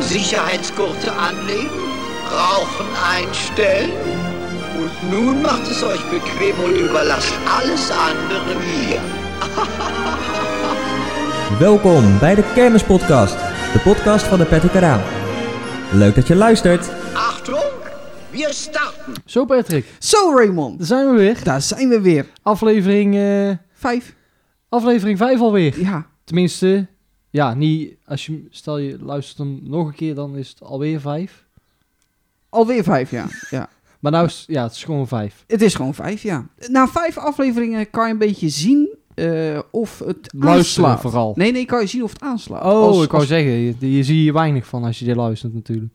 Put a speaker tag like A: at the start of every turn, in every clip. A: Sicherheitsgurte anlegen, Rauchen einstellen. Und nun macht es euch bequem und überlasst alles andere mir.
B: Welkom bij de Kermispodcast, de podcast van de Patrick Raam. Leuk dat je luistert.
A: Achtung, we starten.
C: Zo Patrick.
D: Zo Raymond.
C: Daar zijn we weer.
D: Daar zijn we weer.
C: Aflevering eh,
D: Vijf.
C: Aflevering 5 alweer.
D: Ja.
C: Tenminste, ja, niet als je stel je luistert hem nog een keer, dan is het alweer 5.
D: Alweer vijf, ja. ja.
C: Maar nou is ja, het is gewoon 5.
D: Het is gewoon vijf, ja. Na vijf afleveringen kan je een beetje zien eh, of het
C: Luisteren
D: aanslaat.
C: vooral.
D: Nee, nee, kan je zien of het aanslaat.
C: Oh,
D: Als-
C: ik wou
D: als-
C: zeggen, je, je zie je weinig van als je dit luistert natuurlijk.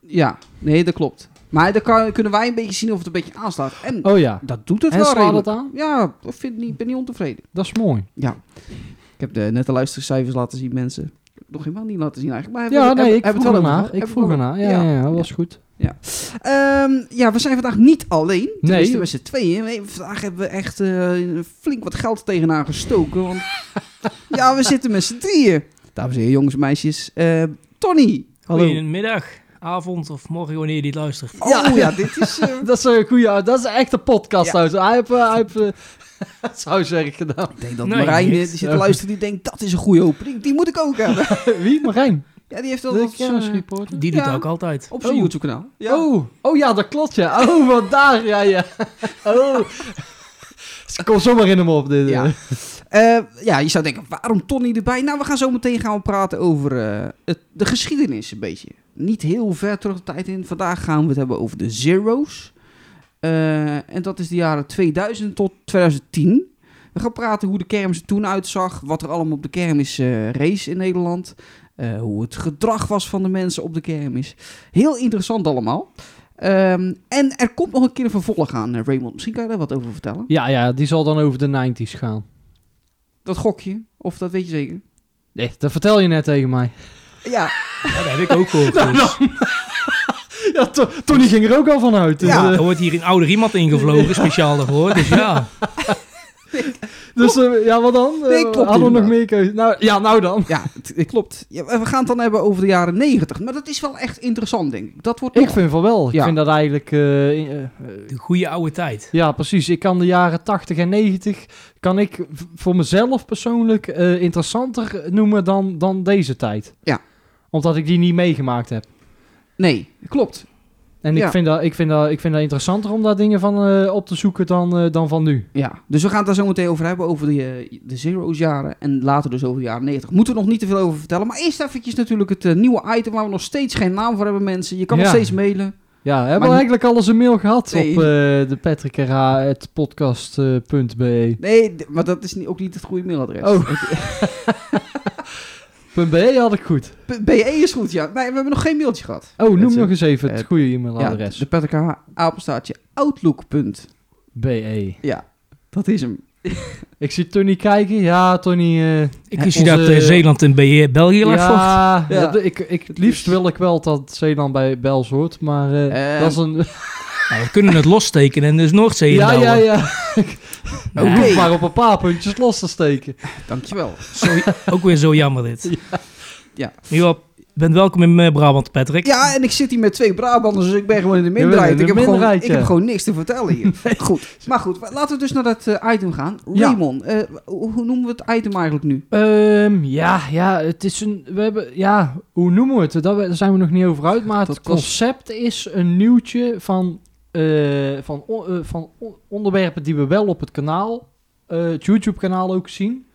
D: Ja, nee, dat klopt. Maar dan kan, kunnen wij een beetje zien of het een beetje aanslaat. En
C: Oh ja,
D: dat doet het
C: en
D: wel
C: slaat
D: redelijk.
C: het aan?
D: Ja, ik vind niet, ben niet ontevreden.
C: Dat is mooi.
D: Ik heb de, net de luistercijfers laten zien, mensen. Nog helemaal niet laten zien eigenlijk. Maar
C: Ja,
D: hebben-
C: nee, ik
D: hebben
C: vroeg
D: we het wel
C: ernaar.
D: over-
C: Ik
D: hebben we
C: vroeg
D: het wel
C: ernaar. Ja,
D: over-
C: ja, ja, dat was goed.
D: Ehm, ja, we zijn vandaag niet alleen. Tenminste,
C: Nee.
D: we zijn tweeën. We- Vandaag hebben we echt eh, flink wat geld tegenaan gestoken. Want ja, we zitten met z'n drieën. Dames en heren, jongens en meisjes. Eh, Tony.
E: Goedemiddag, avond of morgen wanneer je dit luistert.
D: Oh
C: Ja.
D: ja, dit is... eh,
C: Dat is een goede, dat is echt een podcast.
D: Ja.
C: uit. Hij heeft, eh, hij heeft eh, het huiswerk gedaan.
D: ik denk dat
E: Nee,
D: Marijn eh,
E: niet.
D: die zit te luisteren. Die denkt, dat is een goede opening. Die moet ik ook hebben.
C: Wie? Marijn?
D: Ja, die heeft wel
C: De
D: wat
C: Kermis
D: eh,
C: Reporter?
E: Die doet
D: Ja.
E: ook altijd.
D: op zijn
C: Oh.
D: YouTube kanaal.
C: Oh, oh ja, dat klopt ja. Oh, wat daar, ja, ja. Oh. Ze komt zomaar in hem op. Dit,
D: Ja.
C: eh.
D: Eh, ja, je zou denken, waarom Tony erbij? Nou, we gaan zo meteen gaan we praten over eh, het, de geschiedenis een beetje. Niet heel ver terug de tijd in. Vandaag gaan we het hebben over de Zero's. Eh, en dat is de jaren 2000 tot 2010. We gaan praten hoe de kermis er toen uitzag. Wat er allemaal op de kermis eh, race in Nederland. eh, hoe het gedrag was van de mensen op de kermis. Heel interessant allemaal. Ehm, en er komt nog een keer een vervolg aan, eh, Raymond. Misschien kan je daar wat over vertellen.
C: ja, ja, die zal dan over de 90s gaan.
D: Dat gok je, of dat weet je zeker?
C: Nee, Eh, dat vertel je net tegen mij.
D: Ja,
E: Ja, dat heb ik ook gehoord. dus.
C: Ja, To- Tony ging er ook al van uit. Dus,
D: Ja.
C: ja.
E: Er wordt hier een ouder iemand ingevlogen, speciaal daarvoor. Dus ja,
C: dus eh, ja, wat dan? Eh,
D: Nee, klopt
C: Hadden we nog
D: inderdaad.
C: meer keuze? Nou, ja, nou dan.
D: ja het, het klopt. Ja, we gaan het dan hebben over de jaren negentig. Maar dat is wel echt interessant, denk ik. Dat wordt
C: Ik
D: nog-
C: vind van wel. Ik
D: Ja.
C: vind dat eigenlijk... eh, in- eh,
E: de goede oude tijd.
C: ja, precies. Ik kan de jaren 80 en 90... kan ik v- voor mezelf persoonlijk eh, interessanter noemen dan, dan deze tijd.
D: Ja.
C: Omdat ik die niet meegemaakt heb.
D: Nee, klopt.
C: En
D: Ja.
C: ik, vind dat, ik, vind dat, ik vind dat interessanter om daar dingen van eh, op te zoeken dan, eh, dan van nu.
D: Ja. Dus we gaan het daar zo meteen over hebben, over de, eh, de zero's jaren. En later dus over de jaren negentig. Moeten we nog niet te veel over vertellen. Maar eerst eventjes natuurlijk het eh, nieuwe item waar we nog steeds geen naam voor hebben, mensen. Je kan nog
C: Ja.
D: steeds mailen.
C: Ja, we hebben
D: Maar-
C: we eigenlijk al eens een mail gehad
D: Nee.
C: op eh de patrickra.podcast.be.
D: Nee, d- maar dat is niet, ook niet het goede mailadres.
C: Oh. .be had ik goed.
D: B- BE is goed, ja. Nee, we hebben nog geen mailtje gehad.
C: Oh, noem
D: Mensen,
C: nog eens even het
D: het-
C: goede
D: Eh, Ja,
C: e-mailadres.
D: de Patrick apenstaartje outlook. punt.
C: BE.
D: Ja, dat is hem.
C: Ik zie Tony kijken. Ja, Tony. eh,
E: Ik
C: Ja,
E: wist je dat
C: onze-
E: eh, Zeeland en Be- België lag vocht.
C: ja,
D: Ja.
C: dat- ik, ik, het liefst wil ik wel dat Zeeland bij Bels hoort, maar eh,
D: Eh,
C: dat is een...
E: Nou, we kunnen het lossteken en dus Noordzee
C: Ja,
E: inbouwen.
C: ja, ja.
E: Nou,
C: Ik
D: Oké.
C: hoef maar op een paar puntjes los te steken.
D: Dankjewel.
E: Ook weer zo jammer dit.
D: Ja.
E: In ieder geval, je bent welkom in eh, Brabant, Patrick.
D: Ja, en ik zit hier met twee Brabanders, dus ik ben gewoon in de
C: bent in
D: minderheid.
C: de
D: Ik heb, gewoon,
C: minderheid,
D: ik
C: ja.
D: heb gewoon niks te vertellen hier. Goed, maar goed, wa- laten we dus naar dat eh, item gaan.
C: Ja.
D: Raymond, eh, hoe hoe noemen we het item eigenlijk nu?
C: Ehm, ja, ja, het is een. We hebben, ja, hoe noemen we het? Daar we- daar zijn we nog niet over uit. Maar het
D: Dat was-
C: concept is een nieuwtje van, eh, van, on- eh, van on- onderwerpen die we wel op het kanaal, eh, het YouTube-kanaal ook zien.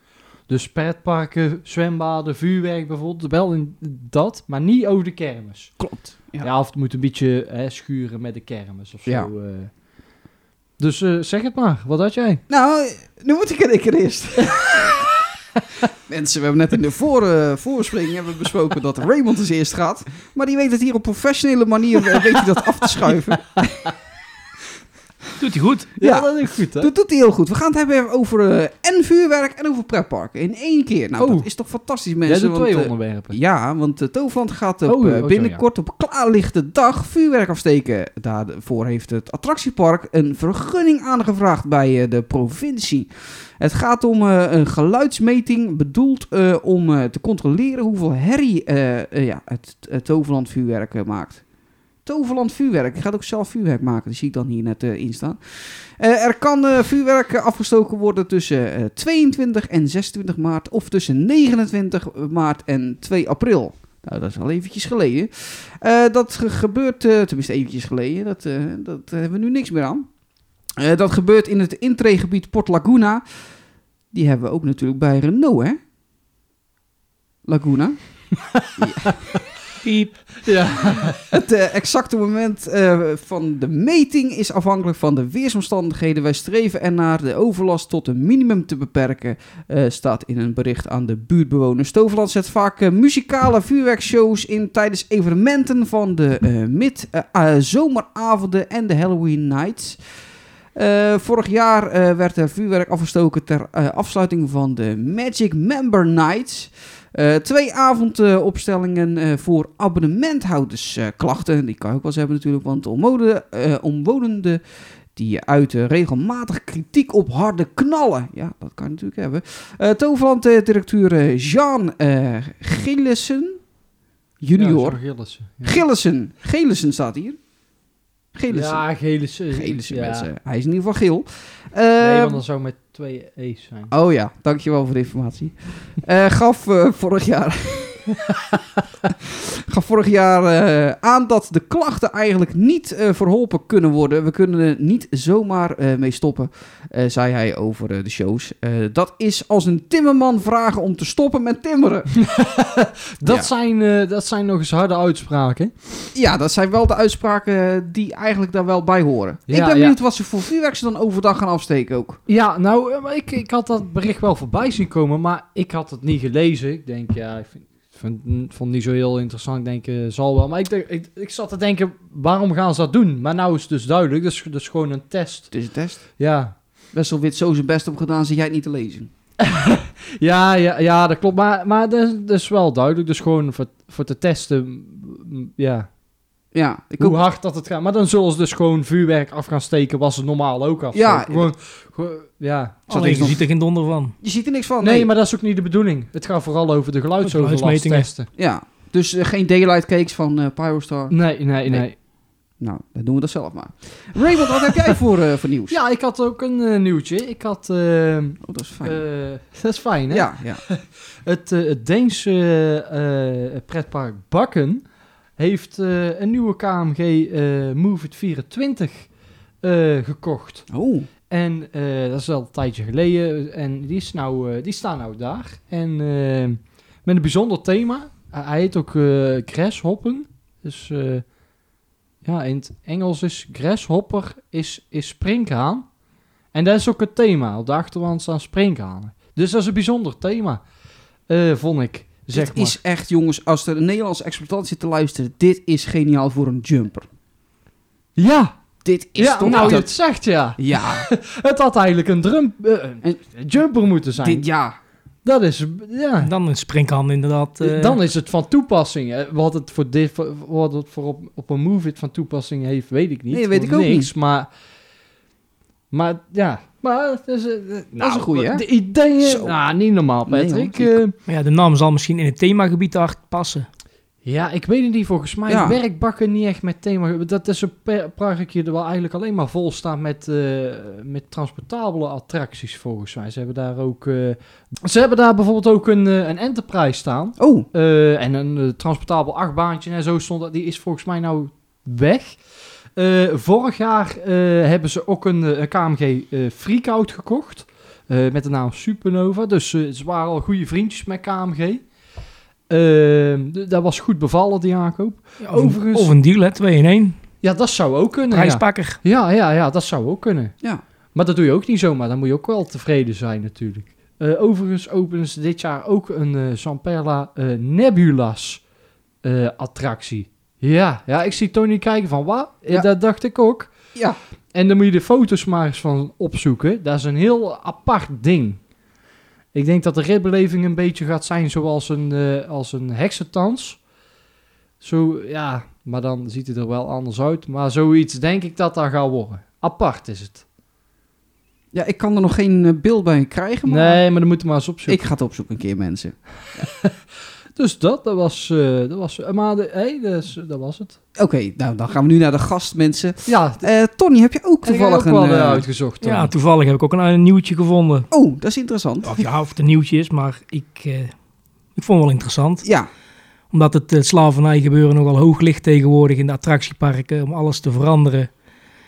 C: Dus pretparken, zwembaden, vuurwerk bijvoorbeeld. Wel in dat, maar niet over de kermis.
D: Klopt. Ja.
C: Ja, of het moet een beetje hè, schuren met de kermis of zo.
D: Ja.
C: eh. Dus eh, zeg het maar, wat had jij?
D: Nou, eh, nu moet ik er ik er eerst. Mensen, we hebben net in de voor, eh, voorspring hebben we besproken dat Raymond als eerst gaat. Maar die weet het hier op professionele manier eh, weet hij dat af te schuiven.
E: Doet hij goed.
D: Ja.
C: dat is goed, hè?
D: Dat doet hij heel goed. We gaan het hebben over eh en vuurwerk en over pretparken. In één keer. Nou,
C: Oh.
D: dat is toch fantastisch,
C: Jij
D: mensen.
C: doet
D: want,
C: twee
D: eh,
C: onderwerpen.
D: Ja, want eh, Toverland gaat op,
C: Oh,
D: eh,
C: oh, zo,
D: binnenkort op klaarlichte dag vuurwerk afsteken. Daarvoor heeft het attractiepark een vergunning aangevraagd bij eh, de provincie. Het gaat om eh, een geluidsmeting bedoeld eh, om eh, te controleren hoeveel herrie eh, eh, ja, het, het Toverland vuurwerk eh, maakt. Toverland vuurwerk. Ik ga het ook zelf vuurwerk maken. Die zie ik dan hier net eh, in staan. Eh, er kan eh, vuurwerk eh, afgestoken worden tussen eh, 22 en 26 maart of tussen 29 maart en 2 april. Nou, dat is al eventjes geleden. Eh, dat ge- gebeurt, eh, tenminste eventjes geleden, dat, eh, dat hebben we nu niks meer aan. Eh, dat gebeurt in het intreegebied Port Laguna. Die hebben we ook natuurlijk bij Renault, hè? Laguna.
E: Piep.
C: Ja.
D: Het eh, exacte moment eh, van de meting is afhankelijk van de weersomstandigheden. Wij streven ernaar de overlast tot een minimum te beperken, eh, staat in een bericht aan de buurtbewoners. Toverland zet vaak eh, muzikale vuurwerkshows in tijdens evenementen van de eh, mid-zomeravonden en de Halloween nights. Eh, vorig jaar eh, werd er vuurwerk afgestoken ter eh, afsluiting van de Magic Member Nights. Eh, twee avondopstellingen eh, voor abonnementhouders. eh, klachten, die kan je ook wel eens hebben natuurlijk, want omwonenden, eh, omwonenden die uiten regelmatig kritiek op harde knallen. Ja, dat kan je natuurlijk hebben. Eh Toverland-directeur Jean eh Gillissen junior.
C: Ja, Gillissen. Ja.
D: Gillissen. Gillissen staat hier. Gillissen.
C: Ja, Gillissen.
D: Gillissen,
C: Ja.
D: mensen. Hij is in ieder geval geel.
C: Nee,
D: Ehm,
C: want dan zou met twee E's zijn.
D: Oh ja, dankjewel voor de informatie. Eh, gaf eh, vorig jaar. gaf vorig jaar eh, aan dat de klachten eigenlijk niet eh, verholpen kunnen worden. We kunnen er niet zomaar eh, mee stoppen, eh, zei hij over eh, de shows. Eh, dat is als een timmerman vragen om te stoppen met timmeren.
C: Dat,
D: Ja.
C: zijn, eh, dat zijn nog eens harde uitspraken.
D: Ja, dat zijn wel de uitspraken die eigenlijk daar wel bij horen.
C: Ja,
D: ik ben
C: ja.
D: benieuwd wat ze voor vuurwerk ze dan overdag gaan afsteken ook.
C: Ja, nou, eh, maar ik, ik had dat bericht wel voorbij zien komen, maar ik had het niet gelezen. Ik denk, ja, ik vind, vind- vond het niet zo heel interessant. Ik denk, eh, zal wel. Maar ik, denk, ik, ik zat te denken, waarom gaan ze dat doen? Maar nou is het dus duidelijk, dat is, dat is gewoon een test.
D: Het is een test.
C: Ja.
D: Wessel Wit zo zijn best op gedaan, zit jij het niet te lezen.
C: Ja, ja, ja, dat klopt. Maar, maar dat, is, dat is wel duidelijk. Dus gewoon voor, voor te testen m, ja,
D: Ja, ik
C: hoe
D: ook.
C: hard dat het gaat. Maar dan zullen ze dus gewoon vuurwerk af gaan steken, was ze normaal ook af.
D: Ja,
C: gewoon, gewoon- ja.
D: Zal
E: Alleen,
D: ik
E: je
D: nog-
E: ziet er geen donder van.
D: Je ziet er niks van.
C: Oh, Nee, maar dat is ook niet de bedoeling. Het gaat vooral over de geluidsoverlast
E: Geluidsmetingen.
C: testen.
D: Ja, dus eh, geen daylight cakes van eh, Pyrostar.
C: Nee, nee, nee,
D: Nee. Nou, dan doen we dat zelf maar. Raymond, wat heb jij voor, eh, voor nieuws?
C: Ja, ik had ook een eh, nieuwtje. Ik had... eh,
D: Oh, dat is fijn.
C: eh, dat is fijn, hè?
D: ja, ja.
C: Het, eh, het Deense eh, eh, pretpark Bakken heeft eh, een nieuwe KMG eh, Move It 24 eh, gekocht.
D: Oh,
C: En eh, dat is al een tijdje geleden. En die, is nou, eh, die staan nou daar. En eh, met een bijzonder thema. Hij- hij heet ook eh Grashoppen. Dus eh, ja, in het Engels is Grasshopper is, is springhaan. En dat is ook het thema. Op de achterwand staan springhanen. Dus dat is een bijzonder thema, eh, vond ik. Zeg
D: dit
C: maar.
D: is echt, jongens, als er een Nederlandse exploitant zit te luisteren, dit is geniaal voor een jumper.
C: Ja,
D: Dit is
C: ja
D: toch
C: nou je
D: dat-
C: het zegt ja.
D: Ja,
C: Het had eigenlijk een, drum, eh, een jumper moeten zijn.
D: dit ja.
C: Dat is, ja.
E: Dan een springhaan inderdaad. eh,
C: dan is het van toepassing. hè. Wat het voor, dit, wat het voor op, op een move it van toepassing heeft, weet ik niet.
D: Nee, weet ik
C: Voor
D: ook
C: niks, Maar, maar ja, maar het is, eh, nou,
D: is een goeie, hè?
C: De ideeën,
D: Zo.
C: nou, niet normaal,
D: Nee,
C: Patrick.
D: hoor.
C: Eh,
E: Maar ja, de naam zal misschien in het themagebied daar passen.
C: ja, ik weet het niet. Volgens mij
D: Ja.
C: werkt Bakken niet echt met thema. Dat is een per- parkje er wel eigenlijk alleen maar vol staat met, eh, met transportabele attracties, volgens mij. Ze hebben daar ook, eh, ze hebben daar bijvoorbeeld ook een, eh, een Enterprise staan.
D: Oh,
C: Eh, en een eh, transportabel achtbaantje en zo stond dat. Die is volgens mij nou weg. Eh, vorig jaar eh, hebben ze ook een, eh, een KMG eh Freakout gekocht. eh, met de naam Supernova. Dus eh, ze waren al goede vriendjes met KMG. Ehm, Eh, d- dat was goed bevallen, die aankoop.
E: of,
C: Overigens-
E: Overigens... of een deal, 2 in 1.
C: Ja, dat zou ook kunnen. Ja.
E: Prijspakker.
C: Ja, ja, ja, dat zou ook kunnen.
D: ja.
C: Maar dat doe je ook niet zomaar. Dan moet je ook wel tevreden zijn natuurlijk. Eh, Eh, overigens openen ze dit jaar ook een eh Zamperla eh, Nebulas eh, attractie. Ja, ja, ik zie Tony kijken van, wat? Eh,
D: Ja.
C: Dat dacht ik ook.
D: Ja.
C: En dan moet je de foto's maar eens van opzoeken. Dat is een heel apart ding. Ik denk dat de ritbeleving een beetje gaat zijn zoals een, eh als een heksentans. Zo, ja, maar dan ziet het er wel anders uit. Maar zoiets denk ik dat daar gaat worden. Apart is het.
D: Ja, ik kan er nog geen eh, beeld bij krijgen, maar
C: Nee, maar dan moeten we maar eens opzoeken.
D: ik ga het opzoeken een keer, mensen.
C: Dus dat, dat was... eh, dat was maar de, hey, dat, is- eh, dat was het.
D: Oké, nou, dan gaan we nu naar de gast, mensen.
C: Ja,
D: Eh Tony, heb je ook
C: toevallig
D: toevallig
C: ook wel
D: een...
C: eh,
D: eh,
C: uitgezocht. Tom.
E: Ja, toevallig heb ik ook een, een nieuwtje gevonden.
D: Oh, dat is interessant.
E: Of ja, of het een nieuwtje is, maar ik, eh, ik vond het wel interessant.
D: Ja,
E: Omdat het eh, slavernijgebeuren nogal hoog ligt tegenwoordig in de attractieparken. Om alles te veranderen.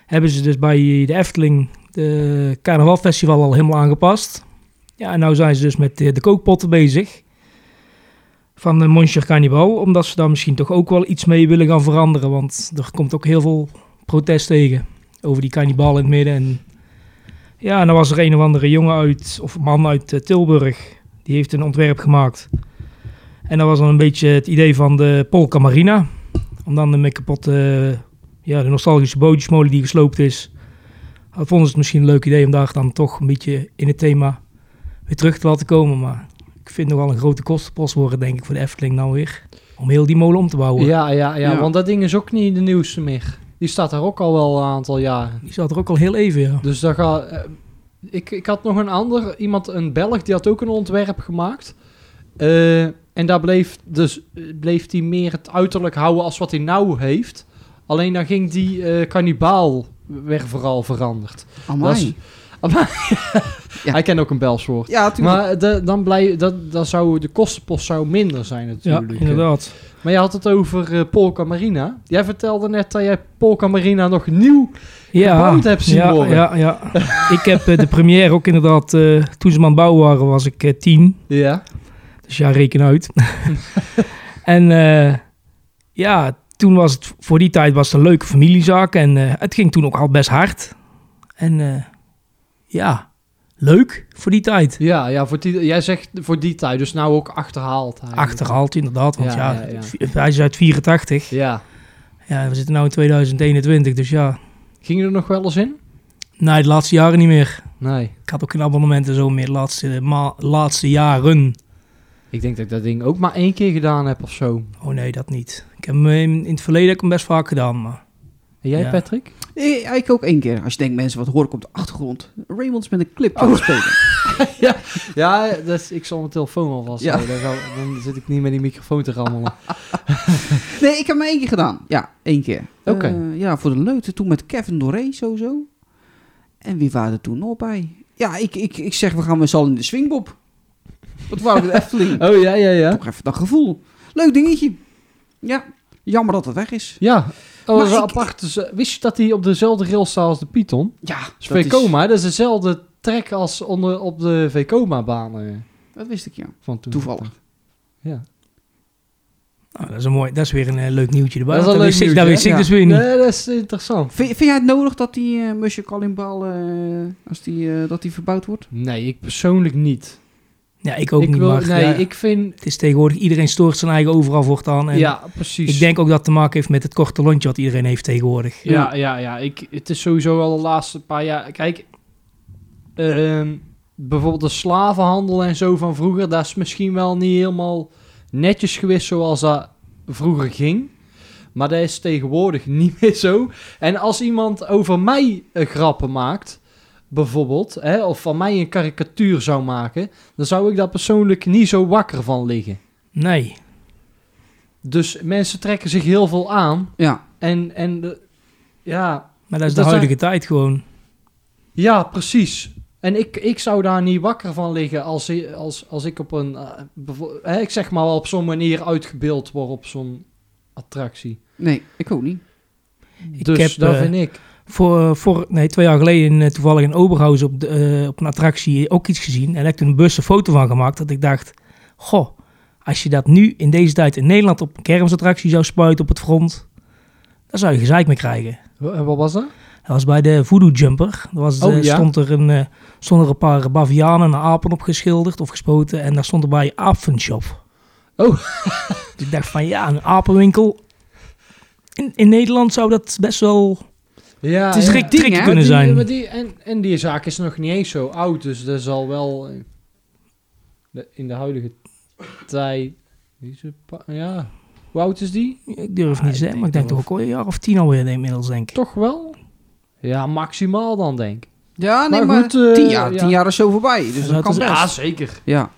E: Hebben ze dus bij de Efteling de carnavalfestival al helemaal aangepast. Ja, en nou zijn ze dus met eh, de kookpotten bezig. Van de Monster Cannibal. Omdat ze daar misschien toch ook wel iets mee willen gaan veranderen. Want er komt ook heel veel protest tegen. Over die cannibal in het midden. En ja, nou was er een of andere jongen uit, of man uit eh, Tilburg. Die heeft een ontwerp gemaakt. En dat was dan een beetje het idee van de Polka Marina. Om dan de met kapotte, eh, ja, de nostalgische bootjesmolen die gesloopt is. Dat vonden ze het misschien een leuk idee om daar dan toch een beetje in het thema weer terug te laten komen. Maar ik vind het nogal een grote kostenpost worden, denk ik, voor de Efteling nou weer. Om heel die molen om te bouwen.
C: Ja, ja, ja,
D: Ja.
C: want dat ding is ook niet de nieuwste meer. Die staat daar ook al wel een aantal jaren.
E: Die zat er ook al heel even, ja.
C: Dus daar gaat... eh, ik, ik had nog een ander, iemand, een Belg, die had ook een ontwerp gemaakt. Eh, en daar bleef dus eh, bleef die meer het uiterlijk houden als wat hij nou heeft. Alleen dan ging die eh kannibaal weer vooral veranderd. Dat is-
D: amai.
C: Amai.
D: Ja.
C: Hij kent ook een Bels woord.
D: Ja, tuurlijk.
C: Maar de, dan blij, dat, dat zou, de kostenpost zou minder zijn
E: Ja,
C: natuurlijk.
E: inderdaad.
C: Maar je had het over eh, Polka Marina. Jij vertelde net dat jij Polka Marina nog nieuw... gebouwd hebt zien
E: ja,
C: worden.
E: Ja, ja. ik heb eh, de première ook inderdaad, eh, toen ze hem aan het bouwen waren, was ik eh, tien.
C: Ja.
E: Dus ja, reken uit. en eh, ja, toen was het, voor die tijd was het een leuke familiezaak. En eh, het ging toen ook al best hard. En eh, ja, leuk voor die tijd.
C: Ja, ja voor die, jij zegt voor die tijd, dus nou ook achterhaald. eigenlijk.
E: Achterhaald inderdaad, want
C: Ja,
E: ja,
C: ja, ja.
E: v- hij is uit 84.
C: Ja.
E: Ja, we zitten nu in 2021, dus ja.
C: Ging je er nog wel eens in?
E: Nee, de laatste jaren niet meer.
C: Nee.
E: Ik had ook geen abonnementen zo meer de laatste, eh, ma- laatste jaren.
C: Ik denk dat ik dat ding ook maar één keer gedaan heb of zo.
E: Oh nee, dat niet. Ik heb hem in, in het verleden heb ik hem best vaak gedaan, maar...
C: En jij,
E: Ja.
C: Patrick?
D: Nee, ik ook één keer. Als je denkt, mensen, wat hoor ik op de achtergrond? Raymond is met een clip
C: Oh.
D: aan het spelen.
C: Ja, dat is- ik zal mijn telefoon alvast
D: Ja.
C: houden. Dan, ga- dan zit ik niet met die microfoon te rammelen.
D: Nee, ik heb maar één keer gedaan. Ja, één keer.
C: Oké.
D: Eh, ja, voor de leute. Toen met Kevin Doré sowieso. En wie waren er toen nog bij? Ja, ik, ik, ik zeg, we gaan met z'n allen in de swingbob. Dat waren we de Efteling.
C: Oh, ja, ja, ja.
D: Toch even dat gevoel. Leuk dingetje. Ja, jammer dat het weg is.
C: Ja. Oh, dat is
D: Maar
C: wel
D: ik-
C: apart. Dus, eh, wist je dat hij op dezelfde rails staat als de Python?
D: Ja,
C: Dus Vekoma, dat is dezelfde trek als onder, op de Vekoma-banen
D: Dat wist ik, ja.
C: van toen.
D: Toevallig.
C: Ja.
E: Nou, dat, is een mooi, dat is weer een eh, leuk nieuwtje erbij.
C: Dat is
E: want
C: een
E: Dat,
C: leuk
E: wist ik, dat
C: nieuwtje,
E: wist
D: hè?
E: ik dus weer niet.
C: Nee, dat is interessant.
D: Vind, vind jij het nodig dat die eh Musje Kalimbal, eh, als die, eh, dat die verbouwd wordt?
C: Nee, ik persoonlijk niet.
E: Ja, ik ook
C: ik
E: niet,
C: wil,
E: maar
C: nee,
E: ja,
C: ik vind...
E: het is tegenwoordig... Iedereen stoort zijn eigen overal voortaan. En
C: ja, precies.
E: ik denk ook dat het te maken heeft met het korte lontje wat iedereen heeft tegenwoordig.
C: Ja, ja, ja. Ik, het is sowieso al de laatste paar jaar... Kijk, ehm, bijvoorbeeld de slavenhandel en zo van vroeger... dat is misschien wel niet helemaal netjes geweest zoals dat vroeger ging. Maar dat is tegenwoordig niet meer zo. En als iemand over mij eh, grappen maakt, bijvoorbeeld... Hè, of van mij een karikatuur zou maken... dan zou ik daar persoonlijk niet zo wakker van liggen.
E: Nee.
C: Dus mensen trekken zich heel veel aan...
D: Ja.
C: En, en de- ja,
E: Maar dat is
C: Dat
E: de
C: zijn-
E: huidige tijd gewoon.
C: ja, precies. En ik, ik zou daar niet wakker van liggen als, i- als, als ik op een, eh, bevo- hè, ik zeg maar wel op zo'n manier uitgebeeld word op zo'n attractie.
D: Nee, ik ook niet.
C: dus
E: heb,
C: dat
E: eh,
C: vind ik.
E: Voor, voor, nee, twee jaar geleden in, eh, toevallig in Oberhaus op, de, eh, op een attractie ook iets gezien. En daar heb ik toen een bus een foto van gemaakt. Dat ik dacht, goh, als je dat nu in deze tijd in Nederland op een kermisattractie zou spuiten op het front. Dan zou je gezeik mee krijgen.
C: Wa- Wat was dat?
E: Dat was bij de Voodoo Jumper. Dat was de-
C: Oh, ja.
E: stond er een, eh, stonden er een paar bavianen en apen op geschilderd of gespoten. En daar stond er bij Apenshop.
C: Oh.
E: dus ik dacht van ja, een apenwinkel. In, in Nederland zou dat best wel
C: Ja,
D: Het is
C: ja.
D: gek ding,
E: tricky
D: hè?
E: kunnen
C: Maar die- eh,
E: zijn.
C: maar die, en, en die zaak is nog niet eens zo oud, dus dat zal wel eh, de- in de huidige tijd. die is een pa- Ja, hoe oud is die?
E: Ik durf niet te zeggen, maar ik denk
C: denk
E: toch ook al een jaar of tien alweer inmiddels, denk ik.
C: Toch wel? Ja, maximaal dan denk ik.
D: Ja, nee,
C: Maar
D: maar,
C: goed, eh,
D: tien, jaar,
C: ja.
D: tien jaar is zo voorbij. Dus
E: Dus
D: dat
E: dat
D: kan
E: is-
D: best.
C: zeker.
D: Ja.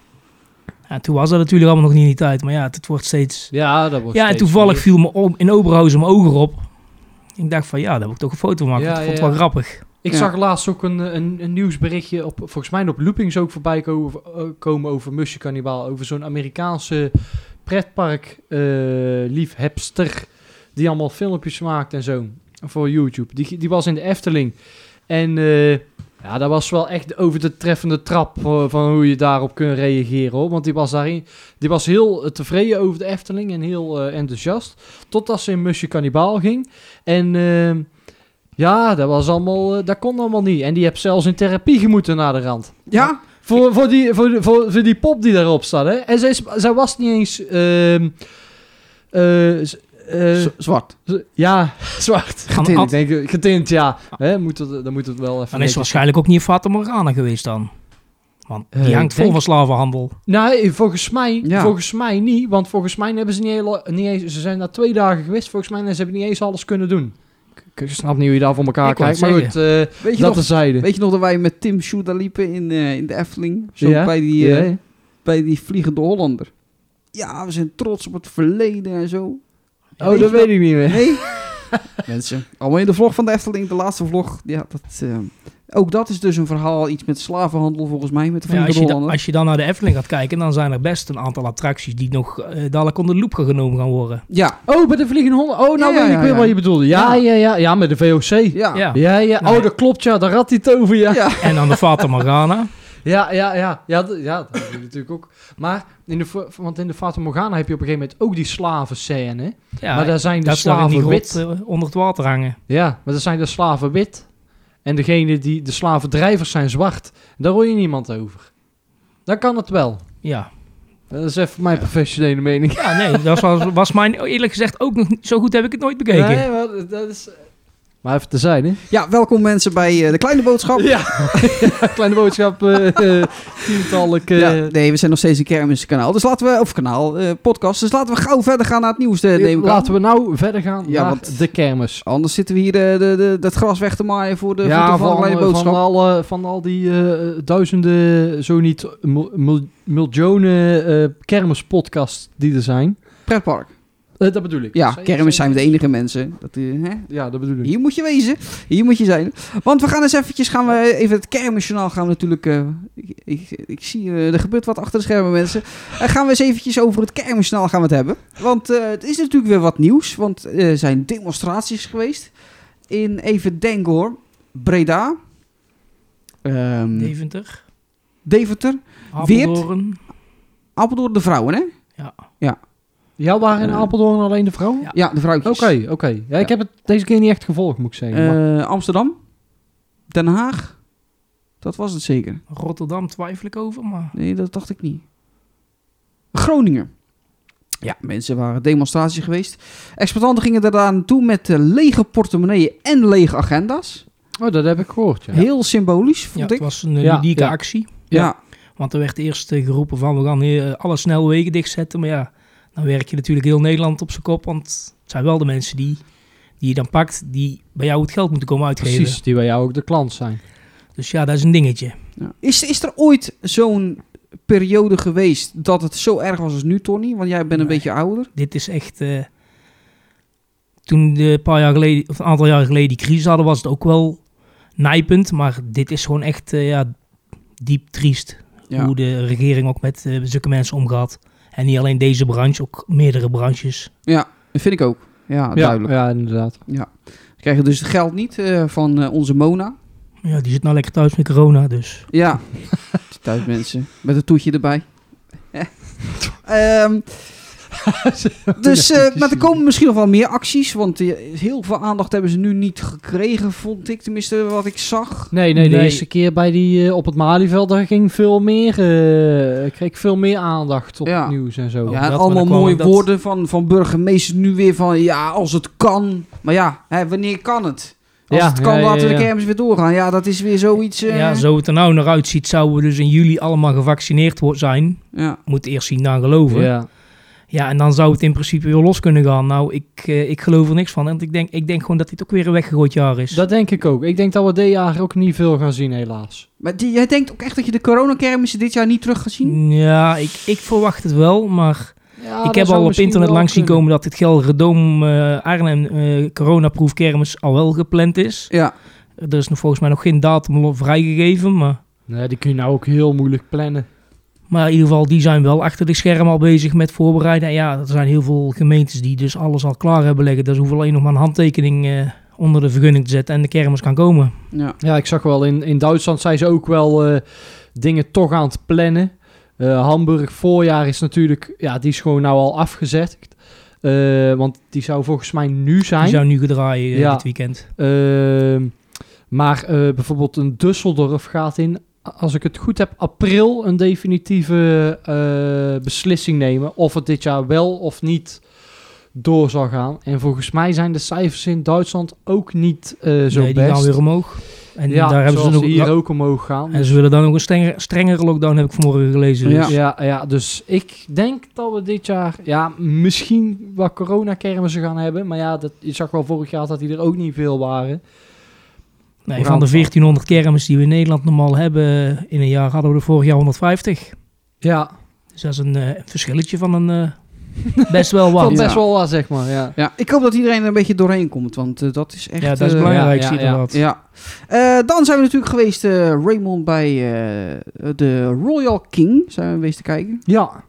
E: Ja, toen was dat natuurlijk allemaal nog niet in die tijd, maar ja, het, het wordt steeds...
C: Ja, dat wordt
E: Ja, en
C: steeds
E: toevallig
C: meer.
E: viel me om, in Oberhausen mijn ogen op. Ik dacht van, ja, daar moet ik toch een foto van maken.
C: Ja,
E: dat vond
C: ja,
E: ik wel
C: ja.
E: grappig.
C: Ik
D: Ja.
C: zag laatst ook een, een, een nieuwsberichtje, op, volgens mij op Loopings ook voorbij ko- eh, komen over Musje Cannibal. Over zo'n Amerikaanse pretpark eh, liefhebster die allemaal filmpjes maakt en zo voor YouTube. Die, die was in de Efteling. En eh, ja, dat was wel echt over de treffende trap eh, van hoe je daarop kunt reageren. Hoor. Want die was, daarin, die was heel eh, tevreden over de Efteling en heel eh, enthousiast. Totdat ze in Musje Cannibal ging. En... ehm, ja, dat was allemaal, eh, dat kon allemaal niet. En die heb zelfs in therapie gemoeten naar de rand.
D: Ja?
C: Voor, voor, die, voor, voor, voor die pop die daarop staat, hè. En zij, is- zij was niet eens... ehm, eh, z- eh,
D: Z- zwart.
C: z- ja, zwart.
E: Getint.
C: Ik denk, eh, getint, ja. Hè, moet dat, dan moet het wel even...
E: Dan is ze waarschijnlijk ook niet in Fata Morgana geweest dan. Want die
C: Eh,
E: hangt
C: ik
E: vol
C: denk-
E: van slavenhandel.
C: Nee, Nou, eh, volgens mij,
D: Ja.
C: volgens mij niet. Want volgens mij hebben ze niet, heel, niet eens... Ze zijn daar twee dagen geweest. Volgens mij hebben ze hebben niet eens alles kunnen doen. Ik, ik snap niet hoe je daar voor elkaar
E: Ik wou
C: kijkt.
E: het
C: Maar goed, eh,
D: Weet je,
C: dat
D: nog,
C: terzijde.
D: weet je nog dat wij met Tim Schuh daar liepen in, eh, in de Efteling? Zo
C: Ja.
D: bij, die, eh,
C: Ja.
D: bij die Vliegende Hollander. Ja, we zijn trots op het verleden en zo.
C: Oh, dat weet ik niet meer.
D: Nee. Mensen. Allemaal in de vlog van de Efteling, de laatste vlog. Ja, dat, eh, ook dat is dus een verhaal, iets met slavenhandel volgens mij, met de
E: Ja,
D: Vliegende
E: als, je dan,
D: Hollander.
E: als je dan naar de Efteling gaat kijken, dan zijn er best een aantal attracties die nog eh, dadelijk onder de loep genomen gaan worden.
D: Ja,
C: Oh, bij de vliegende honden. Oh, nou
D: Ja,
C: weet
D: ja,
C: ik weer
D: ja.
C: wat je bedoelde. Ja, ja, ja. Ja, met de VOC.
D: ja.
E: Ja.
C: Ja, ja.
E: Nee.
C: Oh, dat klopt, ja. Daar had hij het over, ja.
D: Ja.
E: En dan de Fata Morgana.
C: Ja, ja, ja. Ja, d- ja dat heb je natuurlijk ook. Maar, in de, v- want in de Fata Morgana heb je op een gegeven moment ook die slavenscène.
E: Ja,
C: maar daar zijn de
E: dat is daar in die
C: slaven
E: grot
C: wit.
E: eh, onder het water hangen.
C: Ja, maar daar zijn de slaven wit. En degene die, de slavendrijvers zijn zwart. Daar hoor je niemand over. Dan kan het wel.
E: Ja,
C: Dat is even mijn professionele mening.
E: ja nee, dat was, was mijn eerlijk gezegd ook nog niet- zo goed heb ik het nooit bekeken.
C: Nee, maar dat is... eh, Maar even te zijn, hè?
D: ja, welkom mensen bij eh, De Kleine Boodschap.
C: Ja, kleine boodschap, eh, eh, tientallen. eh,
D: Ja, nee, we zijn nog steeds een kermiskanaal. Dus laten we, of kanaal, eh, podcast. Dus laten we gauw verder gaan naar het nieuws, eh, neem ik aan.
C: Laten we nou verder gaan
D: Ja,
C: naar
D: want-
C: de kermis.
D: Anders zitten we hier eh, de, de, dat gras weg te maaien voor de voeten van, de
C: van,
D: Kleine
C: eh, van,
D: Boodschap.
C: alle, van al die eh, duizenden, zo niet mil- mil- miljoenen eh kermispodcasts die er zijn.
D: Pretpark.
C: Eh, dat bedoel ik.
D: Ja,
C: Zei-
D: kermis zijn
C: zei-
D: we de enige mensen. Dat, eh, hè?
C: Ja, dat bedoel ik.
D: Hier moet je wezen. Hier moet je zijn. Want we gaan eens eventjes, gaan we even het kermisjournaal gaan we natuurlijk... eh, ik, ik, ik zie, eh, er gebeurt wat achter de schermen, mensen. En gaan we eens eventjes over het kermisjournaal gaan we het hebben. Want eh, het is natuurlijk weer wat nieuws. Want eh, er zijn demonstraties geweest. In even denken hoor. Breda. Ehm,
E: Deventer,
D: Deventer. Weert?
E: Apeldoorn.
D: Apeldoorn de vrouwen, hè?
C: Ja, waren in
D: Eh,
C: Apeldoorn alleen de vrouwen?
E: Ja.
C: Oké,
D: Ja, de
C: oké.
D: vrouwtjes.
C: Ja, Ik heb het deze keer niet echt gevolgd, moet ik zeggen. maar-
D: Eh, Amsterdam. Den Haag. Dat was het zeker.
E: Rotterdam twijfel ik over, maar...
D: Nee, dat dacht ik niet. Groningen. Ja, mensen waren demonstraties geweest. Exploitanten gingen daaraan naartoe met eh, lege portemonneeën en lege agenda's.
C: oh, dat heb ik gehoord, ja.
D: Heel symbolisch,
E: Ja,
D: vond
E: het
D: ik.
E: was een eh,
C: Ja,
E: ludieke
C: ja.
E: actie.
D: Ja.
E: Want er werd eerst eh, geroepen van we gaan eh, alle snelwegen dichtzetten. Maar ja, dan werk je natuurlijk heel Nederland op zijn kop. Want het zijn wel de mensen die, die je dan pakt, die bij jou het geld moeten komen uitgeven.
C: Precies, die bij jou ook de klant zijn.
E: Dus ja, dat is een dingetje.
D: Ja. Is, is er ooit zo'n periode geweest dat het zo erg was als nu, Tony? Want jij bent een
E: Nee.
D: beetje ouder.
E: Dit is echt... eh, toen de een paar jaar geleden, of een aantal jaar geleden die crisis hadden, was het ook wel nijpend. Maar dit is gewoon echt eh, ja, diep triest. Hoe de regering ook met eh, zulke mensen omgaat. En niet alleen deze branche, ook meerdere branches.
D: ja dat vind ik ook. Ja,
C: ja,
D: duidelijk.
C: ja, inderdaad.
D: We krijgen dus het geld niet eh, van eh, onze Mona.
E: Ja, die zit nou lekker thuis met corona, dus...
D: Ja, thuis mensen. Met een toetje erbij. Ehm, Dus, eh, maar er komen misschien nog wel meer acties, want eh, heel veel aandacht hebben ze nu niet gekregen, vond ik tenminste wat ik zag.
C: Nee, nee, de
E: Nee.
C: eerste keer bij die, eh, op het Malieveld, daar ging veel meer, eh, kreeg veel meer aandacht op
D: Ja.
C: het nieuws en zo.
D: ja, en
E: Oh, dat, maar
D: allemaal
E: dan kwam
D: mooie
E: ook dat-
D: woorden van, van burgemeester nu weer van ja, als het kan. Maar ja, hè, wanneer kan het? Als
C: Ja,
D: het kan,
C: ja, ja, ja.
D: laten de kermis weer doorgaan. Ja, dat is weer zoiets. eh,
E: Ja, zo het er nou naar uitziet, zouden we dus in juli allemaal gevaccineerd wo- zijn.
D: ja.
E: Moet eerst zien naar geloven. Ja.
C: Ja.
E: en dan zou het in principe weer los kunnen gaan. Nou, ik, eh, ik geloof er niks van. Want ik denk, ik denk gewoon dat dit ook weer een weggegooid jaar is.
C: Dat denk ik ook. Ik denk dat we dit jaar ook niet veel gaan zien, helaas.
D: Maar die, jij denkt ook echt dat je de coronakermissen dit jaar niet terug gaat zien?
E: Ja, ik, ik verwacht het wel, maar
C: Ja,
E: ik
C: dat
E: heb
C: Ah, zou
E: al op
C: misschien
E: internet
C: wel
E: langs zien
C: kunnen.
E: komen dat het Gelredoom eh Arnhem eh coronaproof kermis al wel gepland is.
D: Ja.
E: Er is nog volgens mij nog geen datum lo- vrijgegeven, maar,
C: Nee, die kun je nou ook heel moeilijk plannen.
E: maar in ieder geval die zijn wel achter de schermen al bezig met voorbereiden. En ja, er zijn heel veel gemeentes die dus alles al klaar hebben liggen. Dus hoeven alleen nog maar een handtekening eh, onder de vergunning te zetten en de kermis kan komen.
D: ja.
C: Ja, ik zag wel, in, in Duitsland zijn ze ook wel eh, dingen toch aan het plannen. Eh, Hamburg voorjaar is natuurlijk, ja, die is gewoon nou al afgezet. Eh, want die zou volgens mij nu zijn.
E: Die zou nu gedraaien eh,
C: Ja.
E: dit weekend.
C: Ehm, maar eh, bijvoorbeeld een Düsseldorf gaat in, als ik het goed heb, april een definitieve eh, beslissing nemen. Of het dit jaar wel of niet door zal gaan. En volgens mij zijn de cijfers in Duitsland ook niet eh, zo
E: nee, die
C: best.
E: gaan weer omhoog. En
C: ja,
E: daar hebben ze
C: zoals
E: nog,
C: hier ook omhoog gaan.
E: En ze willen dan ook een strenger, strengere lockdown, heb ik vanmorgen gelezen.
D: Ja.
E: Dus.
C: ja, ja, dus ik denk dat we dit jaar ja, misschien wat coronakermissen gaan hebben. Maar ja, dat, je zag wel vorig jaar dat die er ook niet veel waren.
E: Nee,
C: Hoe
E: van de
C: gaat dat?
E: 1400 kermis die we in Nederland normaal hebben in een jaar, hadden we er vorig jaar 150.
C: Ja,
E: Dus dat is een eh, verschilletje van een eh, best wel
C: dat
E: wat.
C: best
D: Ja.
C: wel wat, zeg maar. Ja.
D: ja. Ik hoop dat iedereen er een beetje doorheen komt, want eh, dat is echt...
E: ja, dat is
D: eh,
E: belangrijk,
C: ja,
E: zie je
C: ja,
E: inderdaad.
D: Ja. Eh, dan zijn we natuurlijk geweest, eh, Raymond, bij eh, de Royal King. Zijn we geweest te kijken.
C: Ja,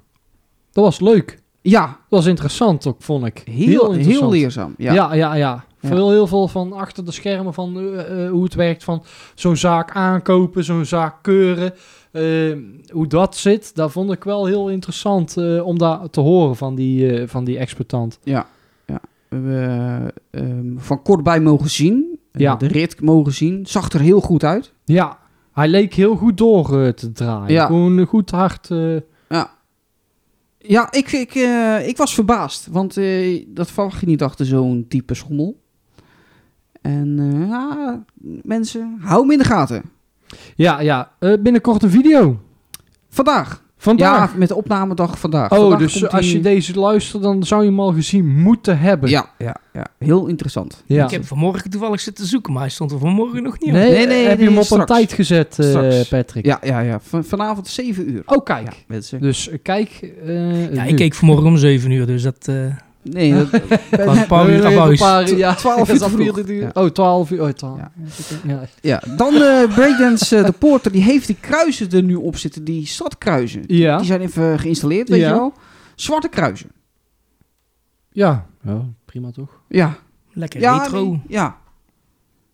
C: dat was leuk.
D: Ja,
C: Dat was interessant ook, vond ik.
D: heel, heel,
C: interessant.
D: leerzaam. Ja.
C: Ja, ja, ja.
D: Ja.
C: Veel, heel veel van achter de schermen van eh, eh, hoe het werkt. Van zo'n zaak aankopen, zo'n zaak keuren. eh, hoe dat zit, dat vond ik wel heel interessant eh, om daar te horen van die, eh, van die exploitant.
D: We hebben eh, ehm, van kortbij mogen zien. Eh,
C: Ja.
D: De rit mogen zien. Zag er heel goed uit.
C: Ja, hij leek heel goed door eh, te draaien.
D: Ja.
C: Gewoon goed hard. eh,
D: Ja, ik, ik, eh, ik was verbaasd. Want eh, dat verwacht je niet achter zo'n type schommel. En eh, ja, mensen, hou hem in de gaten.
C: Ja, ja. Eh, binnenkort een video.
D: Vandaag.
C: Vandaag.
D: Ja, met de opnamedag vandaag.
C: oh,
D: Vandaag
C: dus
D: komt
C: als
D: die-
C: je deze luistert, dan zou je hem al gezien moeten hebben.
D: Ja, ja, ja, heel interessant.
C: Ja.
E: Ik heb vanmorgen toevallig zitten zoeken, maar hij stond er vanmorgen nog niet op.
C: Nee, eh,
D: Nee, nee,
C: heb je
D: nee,
C: hem op
D: straks.
C: een tijd gezet, eh,
D: Straks.
C: Patrick?
D: Ja, ja, ja. Van, vanavond 7 uur.
C: Oh, kijk.
D: Ja, mensen.
C: Dus eh, kijk. eh,
E: Ja,
C: nu.
E: ik keek vanmorgen om 7 uur, dus dat eh,
D: Nee, dat,
E: was een paar
C: We hebben
E: uur
C: even
E: aan
C: een
E: huis.
C: paar- Ja,
D: 12
C: dat
D: uur
C: is al
D: te vroeg.
C: 24 uur.
D: Ja.
C: Oh, 12 uur. Oh, 12.
D: Ja.
C: Ja.
D: ja. Dan eh Breakdance eh, de Porter, die heeft die kruisen er nu op zitten, die stadkruisen.
C: Ja.
D: Die zijn even geïnstalleerd, weet
C: Ja.
D: je wel. Zwarte kruisen.
C: ja. prima toch?
D: Ja.
E: Lekker
D: ja,
E: retro.
D: nee, ja.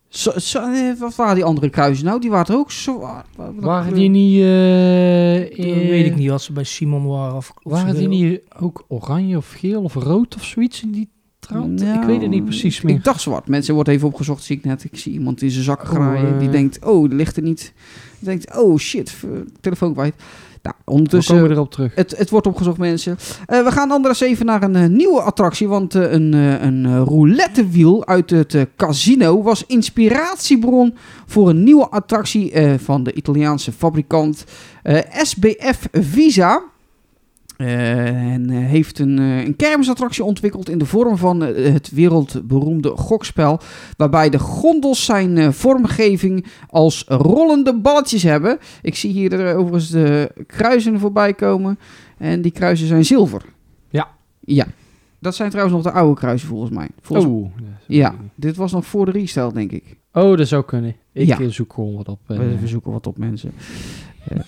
D: Zo- zo- eh, wat waren die andere kruisen nou? Die waren er ook zwaar. wat- wat-
C: Waren die niet...
E: Dat
C: eh, eh,
E: weet ik niet, als ze bij Simon waren of, of
C: Waren die
E: ze-
C: niet ook oranje of geel of rood of zoiets in die trant? ik
D: Nou,
C: weet het niet precies meer.
D: Ik dacht zwart. Mensen wordt even opgezocht, zie ik net. Ik zie iemand in zijn zak
C: Oh,
D: graaien. die
C: eh.
D: denkt, oh, die ligt er niet. Die denkt, oh shit, v- telefoon kwijt. Nou,
C: We
D: ondertussen
C: komen erop terug.
D: Het, het wordt opgezocht, mensen. Eh, we gaan anders even naar een eh, nieuwe attractie. Want eh, een, eh, een eh, roulettewiel uit het eh, casino was inspiratiebron voor een nieuwe attractie eh, van de Italiaanse fabrikant eh, SBF Visa. Eh, en eh, heeft een, eh, een kermisattractie ontwikkeld in de vorm van eh, het wereldberoemde gokspel. Waarbij de gondels zijn eh, vormgeving als rollende balletjes hebben. Ik zie hier eh, overigens de kruisen voorbij komen. En die kruisen zijn zilver.
C: Ja.
D: Ja. Dat zijn trouwens nog de oude kruisen volgens mij. Volgens
C: Oh.
D: Ja, dit was nog voor de restyle, denk ik.
C: Oh, dat zou kunnen. Ik
D: Ja.
C: eh, zoek gewoon wat op. en,
D: We,
C: eh,
D: we zoeken wat op, mensen. Eh,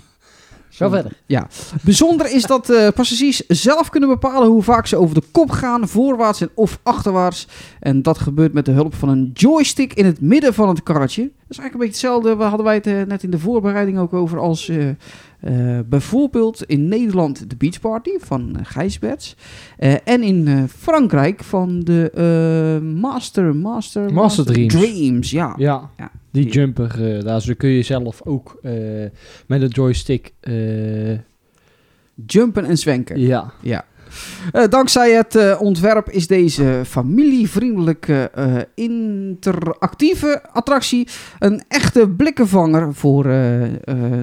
C: Ga verder.
D: Ja. Bijzonder is dat eh, passagiers zelf kunnen bepalen hoe vaak ze over de kop gaan, voorwaarts en of achterwaarts. En dat gebeurt met de hulp van een joystick in het midden van het karretje. Dat is eigenlijk een beetje hetzelfde. We hadden wij het eh, net in de voorbereiding ook over als eh, eh, bijvoorbeeld in Nederland de Beach Party van eh, Gijsberts. Eh, en in eh, Frankrijk van de eh, Master, Master,
C: Master Dreams.
D: ja.
C: Ja,
D: Ja.
C: die
D: Die-
C: jumper, eh, daar zo kun je zelf ook eh, met een joystick. eh,
D: Jumpen en zwenken.
C: ja,
D: Eh, dankzij het eh, ontwerp is deze familievriendelijke eh, interactieve attractie een echte blikkenvanger voor, eh, eh,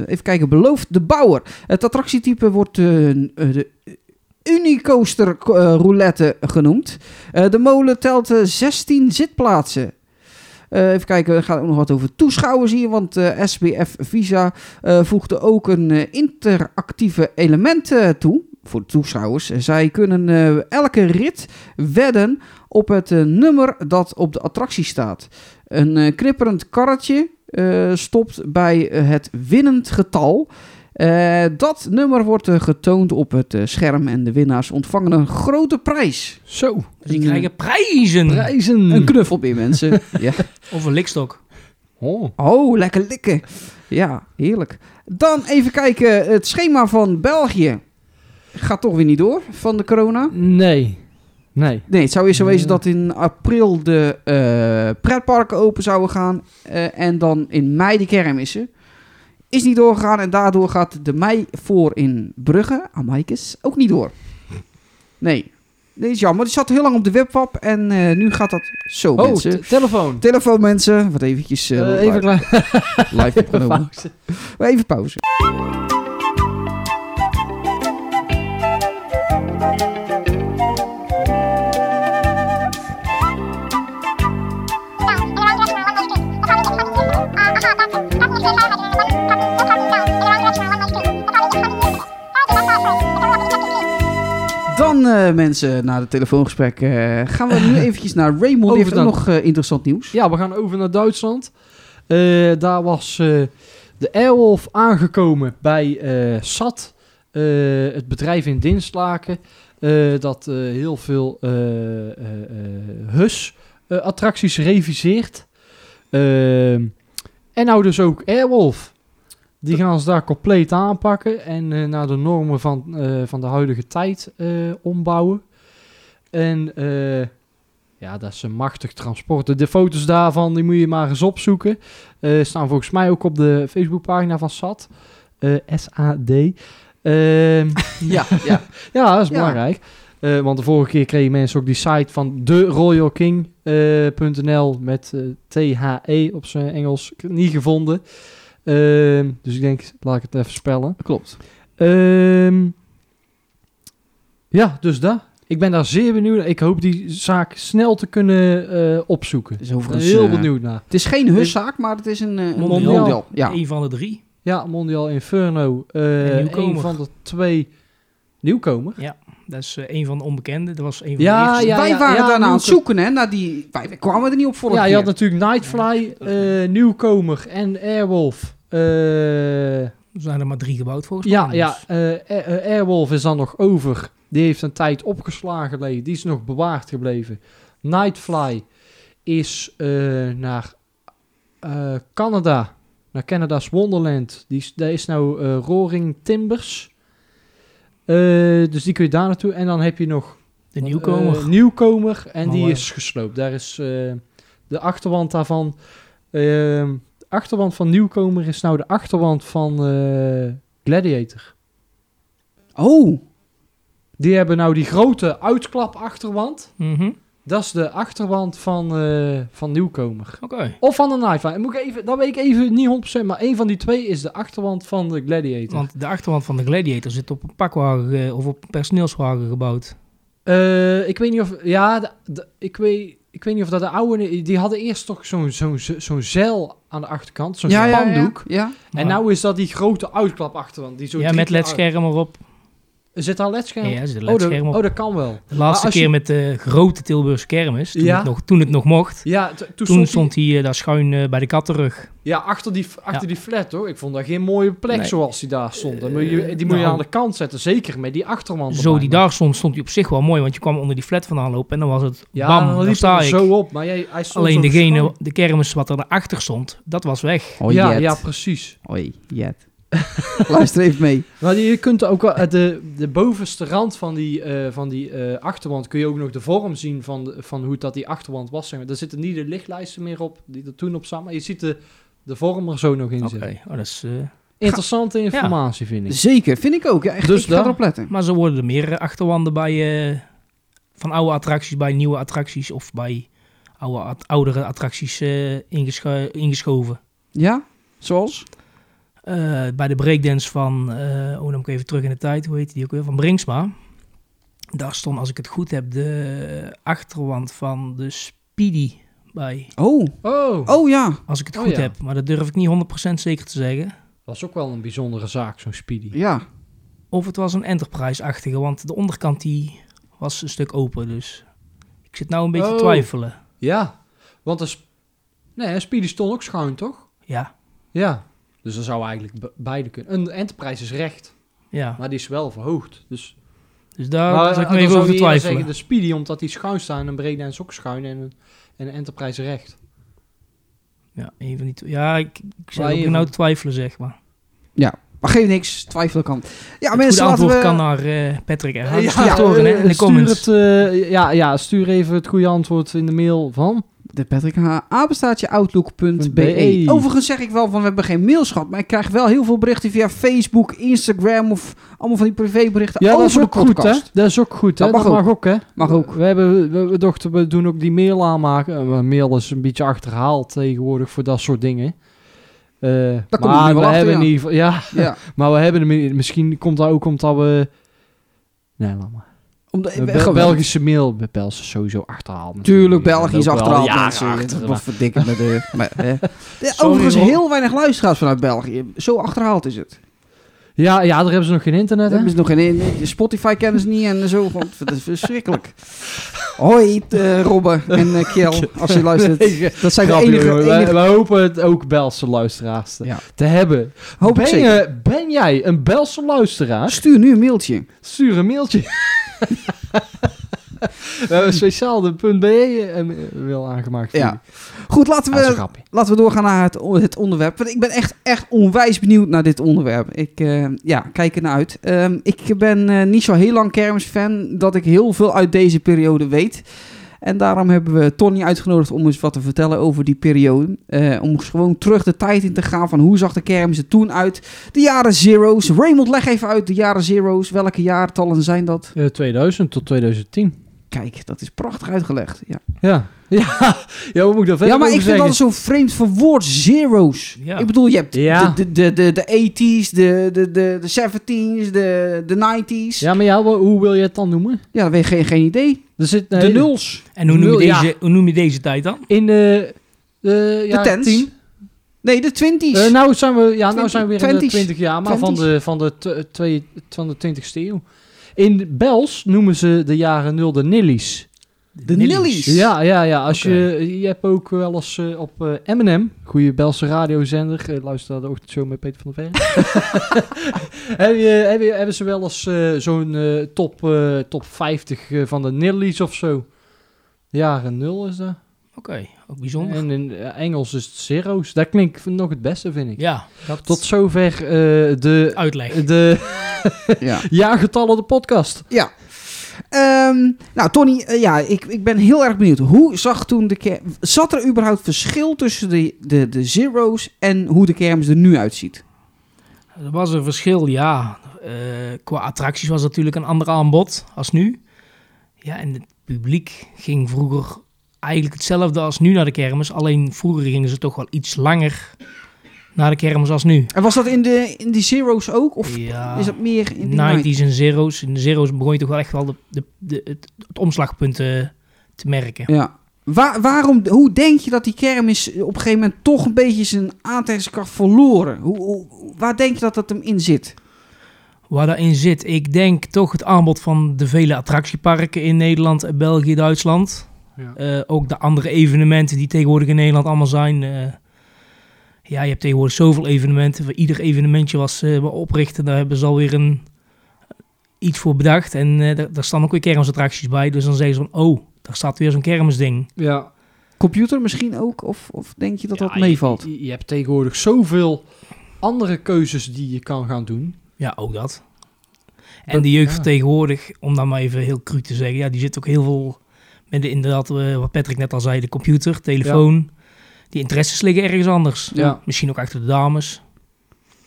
D: even kijken, belooft de bouwer. Het attractietype wordt eh, eh, de Unicoaster eh, roulette genoemd. Eh, de molen telt eh, 16 zitplaatsen. Eh, even kijken, er gaat ook nog wat over toeschouwers hier, want eh, SBF Visa eh, voegde ook een eh, interactieve element eh, toe voor de toeschouwers. Zij kunnen eh, elke rit wedden op het eh, nummer dat op de attractie staat. Een eh, knipperend karretje eh, stopt bij eh, het winnend getal. Eh, dat nummer wordt eh, getoond op het eh, scherm en de winnaars ontvangen een grote prijs.
C: zo.
E: Dus die krijgen prijzen.
C: Prijzen.
D: Een knuffel bij mensen. ja.
E: Of een likstok.
C: Oh.
D: Oh, lekker likken. Ja, heerlijk. Dan even kijken, het schema van België gaat toch weer niet door van de corona.
C: Nee, nee.
D: Nee, het zou eerst zo
C: Eh.
D: wezen dat in april de eh, pretparken open zouden gaan eh, en dan in mei de kermissen. Is niet doorgegaan en daardoor gaat de mei voor in Brugge, Amaikes, ook niet door. Nee, nee is jammer. Het zat heel lang op de webwap en eh, nu gaat dat zo,
C: Oh,
D: mensen.
C: t- telefoon.
D: Telefoon, mensen. Wat eventjes eh,
C: Eh,
D: live-
C: even klaar.
D: live opgenomen.
C: Pauze.
D: Maar even pauze.
F: Thank
D: Dan, eh, mensen, na het telefoongesprek eh, gaan we nu eventjes naar Raymond. Die heeft ook
C: Overdank.
D: nog eh, interessant nieuws.
C: Ja, we gaan over naar Duitsland. Eh, daar was eh, de Airwolf aangekomen bij eh, SAT, eh, het bedrijf in Dinslaken, eh, dat eh, heel veel HUS-attracties eh, reviseert. Ehm, en nou dus ook Airwolf. Die gaan ze daar compleet aanpakken en eh, naar de normen van, eh, van de huidige tijd eh, ombouwen. En eh, ja, dat is een machtig transport. De foto's daarvan, die moet je maar eens opzoeken. Eh, staan volgens mij ook op de Facebookpagina van SAD. Eh, SAD. Ehm,
D: Ja, ja.
C: ja, dat is
D: Ja.
C: belangrijk. Eh, want de vorige keer kregen mensen ook die site van eh, theroyalking.nl met eh THE op zijn Engels niet gevonden. Ehm, dus ik denk, laat ik het even spellen.
D: Klopt.
C: Ehm, ja, dus daar. Ik ben daar zeer benieuwd naar. Ik hoop die zaak snel te kunnen eh, opzoeken.
D: Is overigens,
C: Heel
D: eh,
C: benieuwd naar.
D: Het is geen huszaak, maar het is een eh, een
E: Mondiaal.
D: mondiaal. Ja.
E: Eén van de drie.
C: Ja, Mondial Inferno. eh,
E: nieuwkomer.
C: een van de twee nieuwkomer.
E: Dat is eh, een van de onbekenden. Dat was een van
C: Ja,
E: de eerste.
C: ja.
D: wij waren daarna
C: nu-
D: aan het zoeken, hè? Naar die, wij, wij kwamen er niet op vorige
C: Ja, je
D: keer.
C: had natuurlijk Nightfly, eh, nieuwkomer en Airwolf. Eh,
E: Er zijn er maar drie gebouwd volgens
C: ja,
E: mij.
C: ja
E: Dus
C: eh, eh, eh, Airwolf is dan nog over. Die heeft een tijd opgeslagen gelegen. Die is nog bewaard gebleven. Nightfly is eh, naar eh, Canada, naar Canada's Wonderland. Die is, daar is nou eh, Roaring Timbers. Eh, dus die kun je daar naartoe. En dan heb je nog
E: De nieuwkomer.
C: eh, nieuwkomer. En die
E: Mooi.
C: is gesloopt. Daar is eh, de achterwand daarvan. ehm, de achterwand van nieuwkomer is nou de achterwand van eh, Gladiator.
D: Oh,
C: Die hebben nou die grote uitklap achterwand.
E: Mhm.
C: Dat is de achterwand van, eh, van nieuwkomer.
E: Oké.
C: Of van de Nightfly. En Moet ik even, dat weet ik even niet 100%. Maar één van die twee is de achterwand van de Gladiator.
E: Want de achterwand van de Gladiator zit op een pakwagen eh, of op een personeelswagen gebouwd.
C: Eh, ik weet niet of. Ja, de- de- ik, weet, ik weet niet of dat de oude. Die hadden eerst toch zo'n zo'n zo'n zeil aan de achterkant. Zo'n
D: ja, ja, ja.
C: spandoek.
D: Ja,
C: En
E: Maar-
C: nou is dat die grote uitklap achterwand. Die zo
E: ja,
C: drie
E: met
C: keer uit-
E: ledscherm erop.
C: Zit daar ledscherm?
E: Ja, er zit een
C: oh, dat,
E: ledscherm op.
C: oh, dat kan wel.
E: De laatste
C: Maar als je-
E: keer met de grote Tilburgse kermis, toen,
C: Ja.
E: het, nog, toen het nog mocht.
C: Ja, t- toen,
E: Toen
C: stond,
E: stond hij eh, daar schuin eh, bij de kattenrug.
C: die- ja, achter die, achter die flat hoor. Ik vond daar geen mooie plek
E: Nee.
C: zoals die daar stond. Dan moet je, die moet je
E: nou.
C: aan de kant zetten. Zeker met die achterman.
E: Zo
C: erbij.
E: die daar stond, stond hij op zich wel mooi. Want je kwam onder die flat vandaan lopen en dan was het
C: Ja,
E: bam,
C: dan
E: daar
C: liep
E: sta
C: het
E: ik.
C: er zo op. Maar jij, hij stond
E: Alleen
C: zo
E: degene,
C: schuin.
E: de kermis wat er daarachter stond, dat was weg.
D: Hoi,
C: ja,
D: Oh, Jet.
C: ja, precies.
D: Hoi, Jet. Luister even mee.
C: Maar je kunt ook wel, eh, de, de bovenste rand van die, eh, van die eh, achterwand kun je ook nog de vorm zien van, de- van hoe dat die achterwand was. Zeg maar. Daar zitten niet de lichtlijsten meer op die er toen op staan, maar je ziet de, de vorm er zo nog in
E: Oké,
C: zitten.
E: oh, dat is, eh,
C: Interessante informatie vind ik.
D: Zeker, vind ik ook. Ja, echt,
C: Dus
D: ik ga
C: dan-
D: erop letten.
E: maar zo worden er meer eh, achterwanden bij, eh, van oude attracties bij nieuwe attracties of bij oude, at- oudere attracties eh, ingescho- ingeschoven.
D: Ja? Zoals?
E: Eh, bij de breakdance van, eh oh dan moet ik even terug in de tijd, hoe heet die ook weer, van Bringsma. Daar stond, als ik het goed heb, de achterwand van de Speedy bij.
D: Oh,
C: Oh,
D: oh ja.
E: Als ik het
C: Oh,
E: goed
C: ja.
E: heb, maar dat durf ik niet 100% zeker te zeggen.
C: dat is ook wel een bijzondere zaak, zo'n speedy.
D: Ja.
E: Of het was een Enterprise-achtige, want de onderkant die was een stuk open, dus ik zit nou een beetje
C: Oh.
E: te twijfelen.
C: Ja, want een, sp- nee, een speedy stond ook schuin, toch?
E: Ja,
C: Ja. Dus dan zou eigenlijk be- beide kunnen. Een Enterprise is recht,
E: ja.
C: maar die is wel verhoogd. Dus
E: Dus daar
C: maar, eh,
E: zat ik
C: dan
E: me even
C: zou
E: over te
C: je eerder zeggen
E: twijfelen.
C: de Speedy, omdat die schuin staan en Breakdance ook schuin en, en Enterprise recht.
E: Ja, een van die twee. Ja, ik, ik
C: Maar
E: zit ook
C: even-
E: nou te twijfelen, zeg maar.
D: Maar geef niks, twijfel kan. Ja,
E: Het goede
D: mensen, laten
E: antwoord
D: we...
E: kan naar eh, Patrick en Hans
D: ja,
E: door, hè, in de
C: stuur,
E: comments.
C: het, eh, ja, ja, stuur even het goede antwoord in de mail van.
D: De Patrick H. apenstaartje outlook.be.
C: Be.
D: Overigens zeg ik wel van we hebben geen mails gehad, maar ik krijg wel heel veel berichten via Facebook, Instagram of allemaal van die privéberichten
C: Ja,
D: over
C: dat is
D: de
C: ook goed, hè?
D: podcast.
C: Dat is ook goed, hè?
D: Dat mag ook.
C: hè?
D: Mag ook.
C: We, hebben, we, we dachten, we doen ook die mail aanmaken. Eh, maar mail is een beetje achterhaald tegenwoordig voor dat soort dingen. Eh,
D: komt
C: maar
D: er nu wel
C: we
D: achter,
C: hebben
D: ja.
C: in ieder geval- ja.
D: Ja,
C: maar we hebben hem- misschien komt dat ook omdat we. Nee, laat maar.
D: omdat,
C: Be-
D: gewoon-
C: Belgische mail bij Pels is sowieso achterhaald. natuurlijk.
D: Tuurlijk,
C: Die
D: België is
C: loopt wel
D: achterhaald.
C: jaren
D: mensen.
C: achter,
D: Wat
C: maar-
D: verdikken met de... maar, hè. Ja, Overigens
C: hoor.
D: heel weinig luisteraars vanuit België. Zo achterhaald is het.
C: Ja, ja, daar hebben ze nog geen internet,
D: Dat
C: hè?
D: hebben ze nog geen... nee, Spotify kennen ze niet en zo. want Dat is verschrikkelijk. Hoi eh Robbe en eh Kjell, als je luistert. Dat zijn de
C: Grapje,
D: enige...
C: jongen. Wij-
D: enige-
C: wij hopen het ook Belse luisteraars te,
D: Ja.
C: te hebben.
D: Hoop ik
C: ben,
D: zeker.
C: je- ben jij een Belse luisteraar?
D: Stuur nu een mailtje.
C: Stuur een mailtje. We hebben speciaal de .be en wil aangemaakt. voor
D: Ja.
C: jullie.
D: Goed, laten
C: Ja, dat is een
D: we,
C: grapje.
D: laten we doorgaan naar het, on- het onderwerp. Want ik ben echt, echt onwijs benieuwd naar dit onderwerp. Ik eh, ja, kijk ernaar uit. Ehm, ik ben eh, niet zo heel lang kermisfan dat ik heel veel uit deze periode weet. En daarom hebben we Tony uitgenodigd om eens wat te vertellen over die periode. Eh, om gewoon terug de tijd in te gaan van hoe zag de kermis er toen uit. De jaren zero's. Raymond, leg even uit de jaren zero's. Welke jaartallen zijn dat?
C: Eh, 2000 tot 2010.
D: Kijk, dat is prachtig uitgelegd. Ja,
C: Ja. Ja, ja hoe moet ik dat verder
D: ja maar
C: over
D: ik vind
C: zeggen?
D: dat zo'n vreemd verwoord. Zero's.
E: Ja.
D: Ik bedoel, je hebt
C: Ja.
D: de, de, de, de, de 80s, de, de, de, de 70s, de, de 90s. Ja,
C: Ja, maar ja, wa- hoe wil je het dan noemen?
D: dat weet geen, geen idee.
C: Er zit een
D: de
C: hele-
D: nuls.
E: En hoe noem, je
C: Nul, ja.
E: deze, hoe noem je deze tijd dan?
C: In de... De, ja,
D: tens.
C: 10.
D: Nee, de 20s.
C: Eh, nou zijn we, ja, nou
D: Twintig-
C: zijn we weer in de
D: twenties.
C: 20 jaar, maar van
D: Twenties.
C: de, van, de tw- twee, van de 20ste eeuw. In Bels noemen ze de jaren nul de nillies.
D: de nillies.
C: Ja, ja, ja. Als
E: Oké.
C: je, je hebt ook wel eens eh, op eh M&M, goede Belse radiozender, eh, luister naar de ochtendshow met Peter van der Verre. heb je, heb je, hebben ze wel eens eh, zo'n eh, top, eh, top 50 eh, van de nillies of zo? Jaren nul is dat.
E: Oké, ook bijzonder.
C: En in eh, Engels is het zero's. Dat klinkt nog het beste, vind ik.
E: ja, dat
C: Tot zover eh, de,
E: uitleg.
C: de
D: Ja.
C: jaargetallen de podcast.
D: ja. Ehm, nou, Tony, eh, ja, ik, ik ben heel erg benieuwd. Hoe zag toen de ker- Zat er überhaupt verschil tussen de, de, de zero's en hoe de kermis er nu uitziet?
E: Er was een verschil, ja. Eh, qua attracties was natuurlijk een ander aanbod als nu. Ja, en het publiek ging vroeger eigenlijk hetzelfde als nu naar de kermis. Alleen vroeger gingen ze toch wel iets langer naar de kermis als nu.
D: En was dat in, de, in die zero's ook? Of
E: Ja.
D: is dat meer in die 90s?
E: 90's en zero's. In de zero's begon je toch wel echt wel de, de, de, het, het omslagpunt eh, te merken.
D: Ja. Waar, waarom, hoe denk je dat die kermis op een gegeven moment toch een beetje zijn aantrekkingskracht verloren? Hoe, hoe- waar denk je dat dat hem in zit?
E: waar daarin zit. Ik denk toch het aanbod van de vele attractieparken in Nederland, België, Duitsland.
C: Ja.
E: Eh, ook de andere evenementen die tegenwoordig in Nederland allemaal zijn. eh, ja, je hebt tegenwoordig zoveel evenementen. Voor ieder evenementje was ze eh, oprichten, daar hebben ze alweer een, eh, iets voor bedacht. En eh, daar, daar staan ook weer kermisattracties bij. Dus dan zeggen ze van, oh, daar staat weer zo'n kermisding.
C: ja.
D: Computer misschien ook? Of, of denk je dat
C: Ja,
D: dat meevalt?
C: Je, je- je hebt tegenwoordig zoveel andere keuzes die je kan gaan doen.
E: Ja, ook dat. En
C: Dat-
E: de jeugd
C: ja.
E: van tegenwoordig, om dan maar even heel cru te zeggen, ja, die zit ook heel veel met de, inderdaad, eh, wat Patrick net al zei, de computer, telefoon. Die interesses liggen ergens anders.
C: Ja.
E: Misschien ook achter de dames.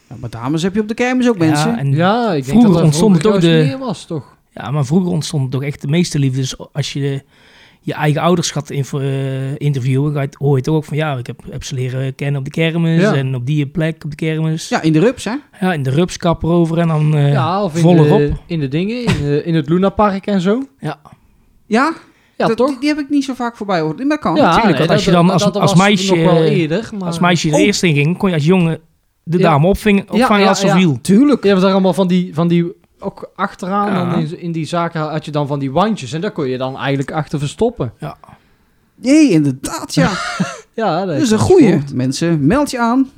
D: Ja, maar dames heb je op de kermis ook mensen.
E: Ja, en, ja.
C: Ja, ik denk
E: Vroeger
C: dat dat
E: ontstond het ook
C: juist
E: de-
C: meer was, toch?
E: maar vroeger ontstond toch echt de meeste liefde. Dus als je de- je eigen ouders gaat info- eh, interviewen, ga je, het- hoor je toch ook van, ja, ik heb, heb ze leren kennen op de kermis
C: Ja.
E: en op die plek op de kermis. Ja,
D: Ja, in de rups, hè?
E: in de rupskap erover en dan eh
C: ja, of in,
E: vol
C: de,
E: erop.
C: in de dingen, in, de- in het lunapark en zo.
E: Ja.
D: Ja,
C: Ja,
D: dat,
C: toch?
D: Die, die heb ik niet zo vaak voorbij gehoord. Maar dat kan.
C: ja,
E: natuurlijk, want als je dan als- als
C: was
E: meisje,
C: nog wel
E: eh,
C: eerder, maar...
E: Als meisje er
C: Oh,
E: eerst in ging, kon je als jongen de
C: Ja.
E: dame opving, opvangen
C: ja,
E: als ze
C: ja.
E: viel.
C: Tuurlijk. Je hebt daar allemaal van die, van die ook achteraan
E: Ja.
C: dan in, in die zaken had je dan van die wandjes en daar kon je dan eigenlijk achter verstoppen.
D: Jee, inderdaad, ja.
C: Ja,
D: Dat is een goeie. Mensen, meld je aan.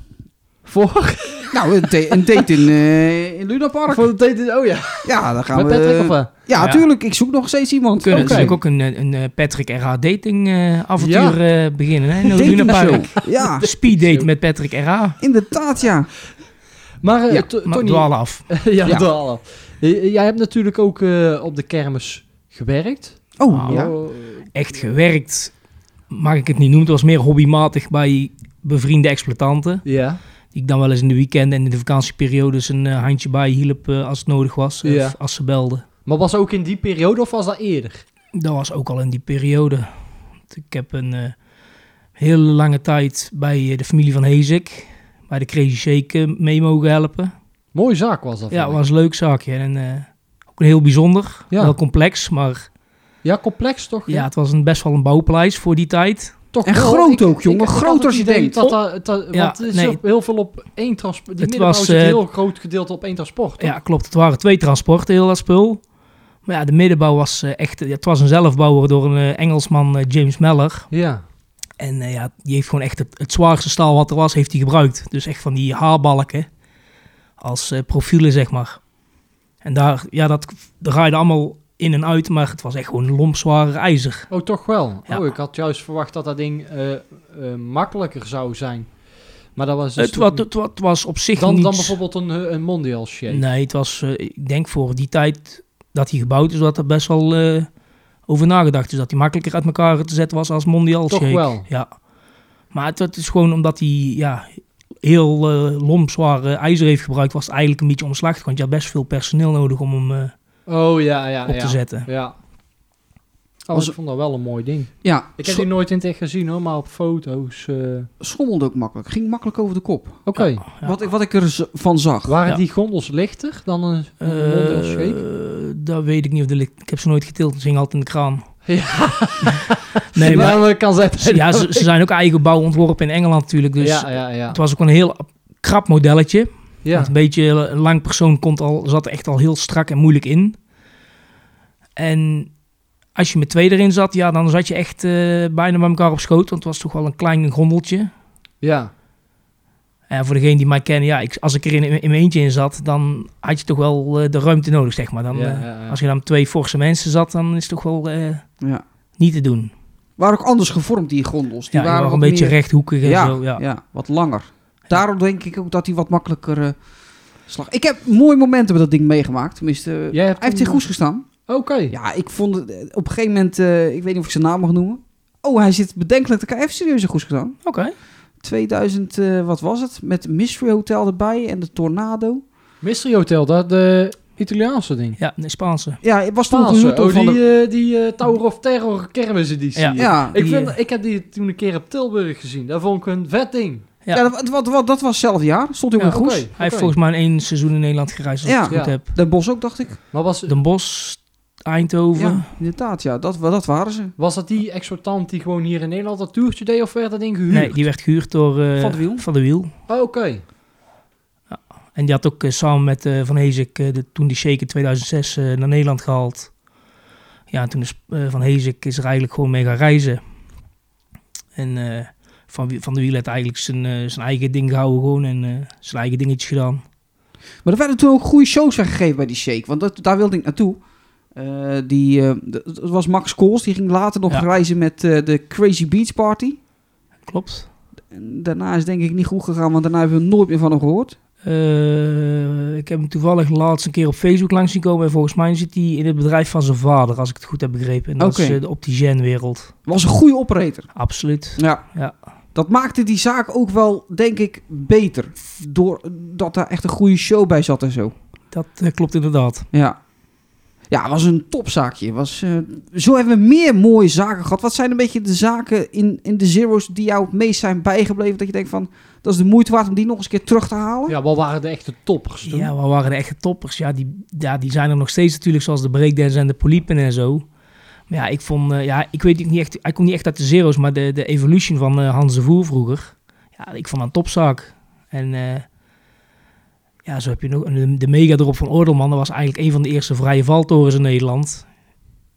C: Voor,
D: Nou, een, da- een date in, eh in Luna Park.
C: voor het eten, oh ja,
D: Ja, dan gaan
C: met
D: we...
C: Patrick of... eh?
D: ja,
E: Ja.
D: tuurlijk. Ik zoek nog steeds iemand.
E: Kunnen
D: Oké.
E: natuurlijk ook een, eh, een eh, Patrick RH dating eh, avontuur eh, beginnen. Hè? In het
D: Dating
E: Lunapark.
D: show. Ja,
E: Speed
C: Show.
E: date met Patrick RH.
D: inderdaad, ja.
C: Maar eh,
D: Ja,
C: To-
E: Maar
C: Tony,
E: dwalen af.
C: ja,
D: Ja.
C: dwalen. Eh, jij hebt natuurlijk ook eh, op de kermis gewerkt.
D: Oh,
E: Ah,
D: ja.
C: Oh,
E: Echt gewerkt, mag ik het niet noemen. Het was meer hobbymatig bij bevriende exploitanten.
C: ja.
E: Die ik dan wel eens in de weekenden en in de vakantieperiodes een eh, handje bij hielp eh, als het nodig was. Of
C: Ja.
E: als ze belden.
C: Maar was ook in die periode of was dat eerder?
E: Dat was ook al in die periode. Want Ik heb een eh, hele lange tijd bij eh, de familie van Hezik, bij de Crazy Shake, eh, mee mogen helpen.
C: Mooie zaak was dat.
E: Ja, het
C: vond ik.
E: was een leuk zaakje. En eh, ook een heel bijzonder,
C: Ja.
E: wel complex, maar
C: ja complex toch?
E: ja, het was een, best wel een bouwpleis voor die tijd.
C: toch
D: En
C: wel.
D: groot
C: Ik-
D: ook,
C: ik-
D: jongen.
C: ik had
D: Groot
C: het
D: als je
C: idee
D: denkt.
C: Dat, dat, dat,
E: Oh. Ja,
C: want het is
E: nee.
C: op- heel veel op één transport. Die
E: Het
C: middenbouw
E: was,
C: zit een
E: eh,
C: heel groot gedeelte op één transport.
E: Ja, klopt. Het waren twee transporten, heel dat spul. Maar ja, de middenbouw was eh, echt... Het was een zelfbouwer door een eh, Engelsman, eh, James Meller.
C: Ja.
E: En eh, ja, die heeft gewoon echt het, het zwaarste staal wat er was, heeft hij gebruikt. Dus echt van die haarbalken als eh, profielen, zeg maar. En daar, ja, dat daar draaide allemaal in en uit, maar het was echt gewoon lompzware ijzer.
C: Oh, toch wel.
E: Ja.
C: Oh, ik had juist verwacht dat dat ding eh, eh, makkelijker zou zijn. Maar dat was dus
E: het,
C: toch
E: wa-
C: niet-
E: het wa- het was op zich
C: dan,
E: niet...
C: dan bijvoorbeeld een, eh, een mondial shape.
E: Nee, het was, eh, ik denk voor die tijd dat hij gebouwd is, dat er best wel eh, over nagedacht is. Dat hij makkelijker uit elkaar te zetten was als mondial
C: Toch
E: shake.
C: wel.
E: Ja. Maar het, het is gewoon omdat hij ja, heel eh lompzwaar eh, ijzer heeft gebruikt, was het eigenlijk een beetje omslachtig. Want je had best veel personeel nodig om hem eh,
C: Oh ja, ja,
E: op
C: ja.
E: te zetten.
C: Ja. Oh,
D: Als-
C: ik vond dat wel een mooi ding.
D: Ja,
C: Ik heb die nooit in het echt gezien hoor, maar op foto's. eh. Oké.
D: schommelde ook makkelijk. Ging makkelijk over de kop.
E: Ja.
D: Wat, ik- wat ik er z- van zag.
C: Waren
E: Ja.
C: die gondels lichter dan een
E: Eh,
C: mondial shape?
E: dat weet ik niet. Of de, licht- ik heb ze nooit getild. Ze hingen altijd in de kraan.
C: Ja.
E: Nee, maar
C: Nou, ik kan zeggen.
E: ja, ze, ze zijn ook eigen bouw ontworpen in Engeland natuurlijk. Dus
C: ja, ja, ja.
E: het was ook wel een heel krap modelletje.
C: ja.
E: Want een beetje een lang persoon komt al, zat er echt al heel strak en moeilijk in. En als je met twee erin zat, ja, dan zat je echt eh, bijna bij elkaar op schoot. Want het was toch wel een klein gondeltje.
C: Ja.
E: En voor degene die mij kennen, ja, ik, als ik er in, in mijn eentje in zat, dan had je toch wel eh, de ruimte nodig, zeg maar. Dan,
C: Ja,
E: eh,
C: ja, ja.
E: Als je dan met twee forse mensen zat, dan is het toch wel eh,
D: Ja.
E: niet te doen.
D: Waren ook anders gevormd, die gondels. Die
E: ja, je
D: waren
E: was een
D: wat
E: beetje
D: meer-
E: rechthoekig en
D: ja,
E: zo. Ja.
D: ja. wat langer. Daarom denk ik ook dat hij wat makkelijker eh, slag. Ik heb mooie momenten met dat ding meegemaakt. Tenminste, eh,
C: Jij hebt
D: hij heeft
C: een-
D: zich goed gestaan.
C: Oké.
D: Ja, ik vond het eh, op een gegeven moment, eh, ik weet niet of ik zijn naam mag noemen. Oh, hij zit bedenkelijk. Ik heeft serieus een goed gedaan.
E: Oké.
D: 2000, eh, wat was het? Met Mystery Hotel erbij en de Tornado.
C: Mystery Hotel, dat de Italiaanse ding.
E: Ja, de Spaanse.
D: Ja, het was toen nog een
C: Spaanse.
D: motto
C: Oh,
D: van
C: die,
D: de...
C: eh, die eh, Tower of Terror kermissen die zie
E: Ja.
C: je.
D: Ja,
C: Ik,
E: Die,
C: vind,
E: eh,
C: ik heb die toen een keer op Tilburg gezien. Daar vond ik een vet ding.
E: ja.
D: ja, dat, wat, wat, dat was hetzelfde jaar. Stond hij ook
E: Ja,
D: in Goes.
C: oké.
E: Hij heeft volgens mij in één seizoen in Nederland gereisd, als
D: Ja.
E: ik het goed
C: Ja.
E: heb.
D: Den Bos ook, dacht ik.
C: Maar was,
E: Den Bosch, Eindhoven.
D: Ja, inderdaad. Ja, dat, dat waren ze.
C: was dat die exortant die gewoon hier in Nederland dat toertje deed? Of werd dat ding gehuurd?
E: nee, die werd gehuurd door eh,
D: Van de Wiel.
E: Van de Wiel.
C: Oh, Oké.
E: En die had ook eh, samen met eh, Van Heesik eh, de, toen die Shake in 2006 eh, naar Nederland gehaald. Ja, en toen is eh, Van Heesik is er eigenlijk gewoon mee gaan reizen. En eh, Van, Wie- van de Wiel heeft eigenlijk zijn, eh, zijn eigen ding gehouden gewoon en eh, zijn eigen dingetje gedaan.
D: Maar er werden toen ook goede shows weggegeven bij die Shake. Want dat, daar wilde ik naartoe. Eh, die, eh, dat dat was Max Kools. Die ging later nog
E: Ja.
D: reizen met eh, de Crazy Beats Party.
E: Klopt.
D: En daarna is denk ik niet goed gegaan. Want daarna hebben we nooit meer van hem gehoord.
E: Eh, ik heb hem toevallig laatst een keer op Facebook langs zien komen. En volgens mij zit hij in het bedrijf van zijn vader, als ik het goed heb begrepen. En dat is
D: Oké.
E: eh, de optigène-wereld.
D: Was een goede operator.
E: Absoluut.
D: Ja.
E: Ja.
D: Dat maakte die zaak ook wel, denk ik, beter. Doordat daar echt een goede show bij zat en zo.
E: Dat eh, klopt inderdaad.
D: Ja. Ja, het was een topzaakje. Was, eh, zo hebben we meer mooie zaken gehad. Wat zijn een beetje de zaken in, in de Zero's die jou het meest zijn bijgebleven? Dat je denkt van, dat is de moeite waard om die nog eens een keer terug te halen?
C: Ja, wat waren de echte toppers toen?
E: Ja, wat waren de echte toppers? Ja die, ja, die zijn er nog steeds natuurlijk, zoals de breakdance en de polypen en zo. Maar ja, ik vond, eh, ja, ik weet niet echt, hij komt niet echt uit de zero's, maar de, de evolution van eh, Hans de Voer vroeger. Ja, ik vond dat een topzaak. En eh, ja, zo heb je nog en de, de mega erop van Ordelman, dat was eigenlijk een van de eerste vrije valtorens in Nederland.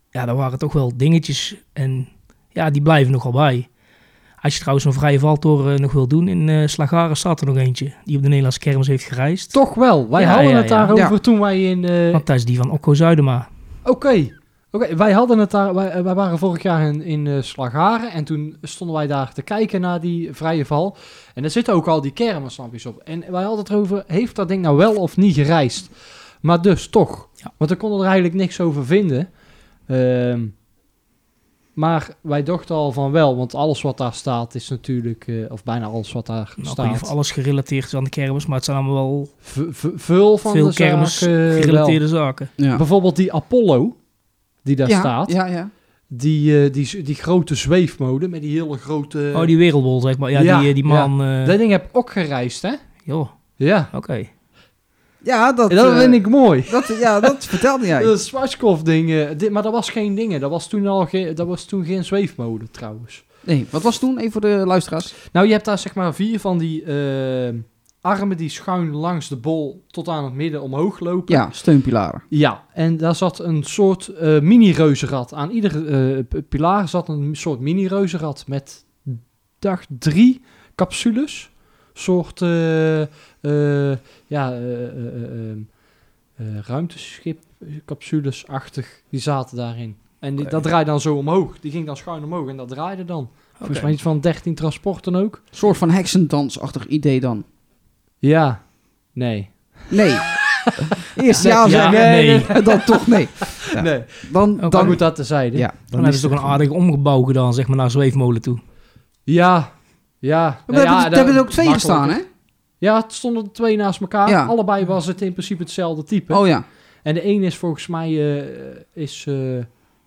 E: Ja, daar waren toch wel dingetjes en ja, die blijven nogal bij. Als je trouwens een vrije valtoren eh, nog wil doen, in eh Slagaren staat er nog eentje, die op de Nederlandse kermis heeft gereisd.
C: Toch wel. Wij
E: Ja,
C: hadden
E: ja,
C: het
E: ja.
C: daarover
D: Ja.
C: toen wij in... eh,
E: Want dat is die van Okko Zuidema. Nou,
C: Oké. Oké, wij hadden het daar... Wij, wij waren vorig jaar in, in eh, Slagharen. En toen stonden wij daar te kijken naar die vrije val. En daar zitten ook al die kermislampjes op. En wij hadden het erover... Heeft dat ding nou wel of niet gereisd? Maar dus toch.
E: Ja.
C: Want we konden er eigenlijk niks over vinden. Ehm, maar wij dachten al van wel. Want alles wat daar staat is natuurlijk... eh, of bijna alles wat daar
E: Nou, ik weet niet
C: staat.
E: of alles gerelateerd is aan de kermis, maar het zijn allemaal wel
C: v- v- veel van
E: veel
C: de
E: kermis
C: zaken eh, wel. Eh,
E: gerelateerde zaken.
D: Ja.
C: Bijvoorbeeld die Apollo, die daar
D: ja,
C: staat.
D: Ja, ja.
C: Die, eh, die, die grote zweefmode met die hele grote...
E: oh, die wereldbol, zeg maar. Ja,
C: ja,
E: die, eh, die man. eh,
C: Dat ding heb ik ook gereisd, hè?
E: joh, oké.
C: Ja.
D: Ja, dat,
C: En dat
D: eh,
C: vind ik mooi.
D: dat, ja, dat vertelde jij.
C: Dat Schwarzkopf-ding. eh, dit- maar dat was geen dingen. Dat was toen, al ge- dat was toen geen zweefmode, trouwens.
D: Nee, wat was toen? Even voor de luisteraars.
C: Nou, je hebt daar zeg maar vier van die eh, armen die schuin langs de bol tot aan het midden omhoog lopen.
D: Ja, steunpilaren.
C: Ja, en daar zat een soort eh, mini-reuzenrad. Aan ieder eh, p- pilaar zat een soort mini-reuzenrad met, dag drie capsules. soort, eh, eh, ja, eh, eh, eh, eh, eh, ruimteschip-capsules-achtig. Die zaten daarin. En die,
E: Oké.
C: dat draaide dan zo omhoog. Die ging dan schuin omhoog en dat draaide dan. Volgens
E: Oké.
C: mij iets van 13 transporten ook.
D: Een soort van heksendansachtig idee dan.
C: Ja, nee.
D: Nee. Eerst ja,
E: Ja,
D: zeggen.
E: nee.
D: En eh, dan toch nee. Ja.
C: Nee,
D: Dan,
E: Oké.
C: dan
D: dan
C: moet dat tezijde.
D: Ja.
E: Dan hebben ze toch een aardig omgebouw gedaan, zeg maar, naar zweefmolen toe.
C: ja. Ja,
D: We hebben,
C: ja,
D: er- er hebben er ook twee
C: makkelijker.
D: gestaan, hè?
C: Ja, het stonden er twee naast elkaar.
D: Ja.
C: Allebei was het in principe hetzelfde type.
D: Oh ja.
C: En de een is volgens mij... eh, is, eh,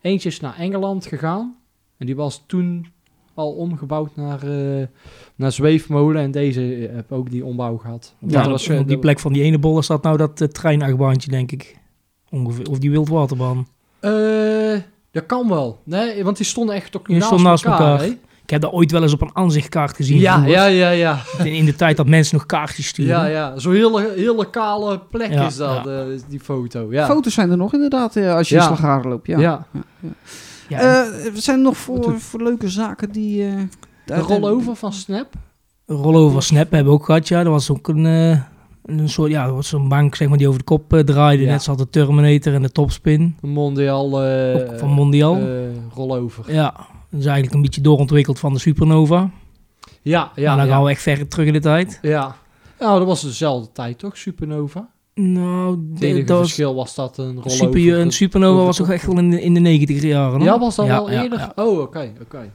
C: eentje is naar Engeland gegaan. En die was toen al omgebouwd naar, eh, naar zweefmolen. En deze eh, heb ook die ombouw gehad. Want
E: Ja,
C: dat was, eh,
E: op die
C: dat-
E: plek van die ene bol daar staat nou dat eh, treinachtbaantje, denk ik. Ongeveer. Of die wildwaterbaan.
C: Eh, dat kan wel. Nee, want die stonden echt ook
E: Die
C: naast,
E: stonden naast
C: elkaar.
E: elkaar.
C: hè?
E: Ik heb dat ooit wel eens op een aanzichtkaart gezien.
C: Ja,
E: vroeger.
C: ja, ja, ja.
E: In- In de tijd dat mensen nog kaartjes stuurden.
C: Ja, ja. Zo'n hele, hele kale plek
E: Ja,
C: is dat,
E: ja.
C: eh, is die foto. Ja.
D: Foto's zijn er nog inderdaad eh, als je
C: Ja.
D: in Slagharen loopt. Ja.
C: ja.
E: Ja, en
D: Eh, er zijn nog
C: Wat
D: voor,
C: doet-
D: voor leuke zaken die... eh,
C: De
D: daar-
C: rollover van Snap.
E: Rollover Snap hebben we ook gehad, ja. Dat was ook een, eh, een soort, ja, dat was zo'n bank, zeg maar, die over de kop eh, draaide.
C: Ja.
E: Net zoals de Terminator en de Topspin.
C: Mondial. eh,
E: ook van Mondial.
C: eh, rollover.
E: ja, dat is eigenlijk een beetje doorontwikkeld van de Supernova.
C: Ja,
E: Ja,
C: ja,
E: dan
C: ja.
E: gaan we echt ver terug in de tijd.
C: ja. Nou, dat was dezelfde tijd toch, Supernova?
E: Nou,
C: Het
E: de-
C: enige
E: dat was
C: verschil was dat een rollover.
E: super, een Supernova
C: over
E: was
C: de
E: ook
C: kop.
E: echt wel in de, in de 90 jaren. hoor.
C: Ja, was dat
E: Ja,
C: al
E: ja,
C: eerder?
E: ja.
C: Oh, oké, oké.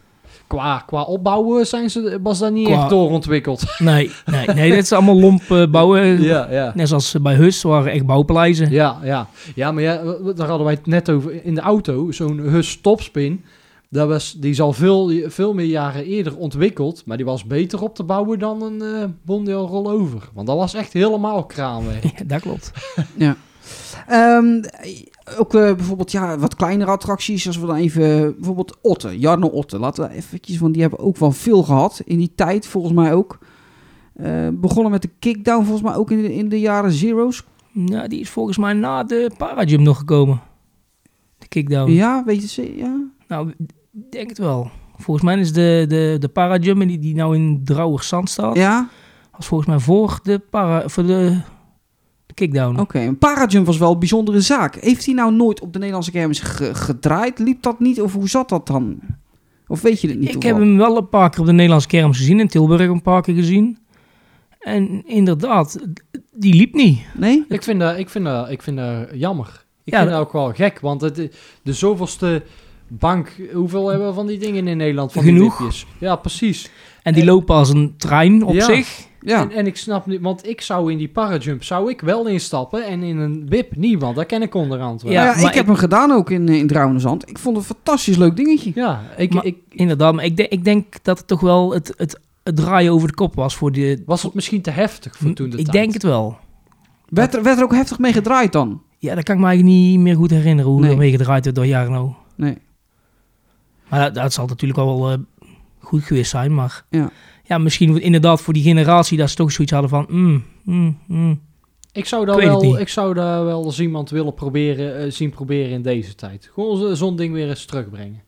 C: Qua, qua opbouwen zijn ze, was dat niet
E: Qua-
C: echt doorontwikkeld.
E: Nee, nee, nee, dat is allemaal lomp eh, bouwen.
C: ja, ja.
E: Net zoals eh, bij Hus, waren echt bouwpaleizen.
C: Ja, ja. Ja, maar ja, w- w- daar hadden wij het net over in de auto. Zo'n Hus Topspin. Dat was, die is al veel, veel meer jaren eerder ontwikkeld. Maar die was beter op te bouwen dan een eh Mondial Rollover. Want dat was echt helemaal kraanwerk.
E: Ja, dat klopt.
D: Ehm, ook eh, bijvoorbeeld ja, wat kleinere attracties. Als we dan even... Bijvoorbeeld Otten. Jarno Otten. Laten we eventjes... Want die hebben ook wel veel gehad in die tijd, volgens mij ook. Eh, Eh, begonnen met de kickdown volgens mij ook in de, in de jaren zero's.
E: Nou, die is volgens mij na de Parajump nog gekomen. De
C: Oh.
E: kickdown.
D: Ja, weet je ze- ja.
E: Nou, ik denk het wel. Volgens mij is de, de, de Parajump die, die nou in Drouwerzand staat,
D: Ja,
E: was volgens mij voor de, para, voor de, de kickdown.
D: oké. Een Parajump was wel een bijzondere zaak. Heeft hij nou nooit op de Nederlandse kermis ge- gedraaid? Liep dat niet? Of hoe zat dat dan? Of weet je het niet?
E: Ik heb
D: toevallig?
E: hem wel een paar keer op de Nederlandse kermis gezien, in Tilburg een paar keer gezien. En inderdaad, die liep niet.
D: Nee?
C: Ik vind dat, ik vind dat, ik vind dat jammer. Ik
E: Ja,
C: vind
E: dat-
C: dat ook wel gek, want het, de zoveelste bank... Hoeveel hebben we van die dingen in Nederland? Van
E: Genoeg.
C: Die dipjes? ja, precies.
E: En die lopen als een trein op
C: Ja.
E: zich.
D: Ja. Nou
C: En, en ik snap niet, want ik zou in die parajump zou ik wel instappen en in een wip niet, want daar ken ik onderhand wel.
E: Ja,
D: Ja,
E: maar
D: ik heb hem gedaan ook in, eh, in Drouwenzand. Ik vond het een fantastisch leuk dingetje.
C: Ja, ik,
E: Maar-
C: ik,
E: Inderdaad, maar ik, de- ik denk dat het toch wel het, het, het draaien over de kop was voor die...
C: was het misschien te heftig voor toen de
E: ik
C: tijd.
E: denk het wel.
D: Werd er, werd er ook heftig mee gedraaid dan?
E: Ja, dat kan ik me eigenlijk niet meer goed herinneren hoe
D: Nee.
E: er mee gedraaid werd door nou. Jarno.
D: Nee.
E: Maar dat, dat zal natuurlijk wel eh, goed geweest zijn, maar...
D: Ja.
E: ja, misschien inderdaad voor die generatie dat ze toch zoiets hadden van... Mm, mm, mm.
C: Ik zou daar
E: Ik weet het niet.
C: wel, ik zou daar wel eens iemand willen proberen, eh, zien proberen in deze tijd. Gewoon zo- zo'n ding weer eens terugbrengen.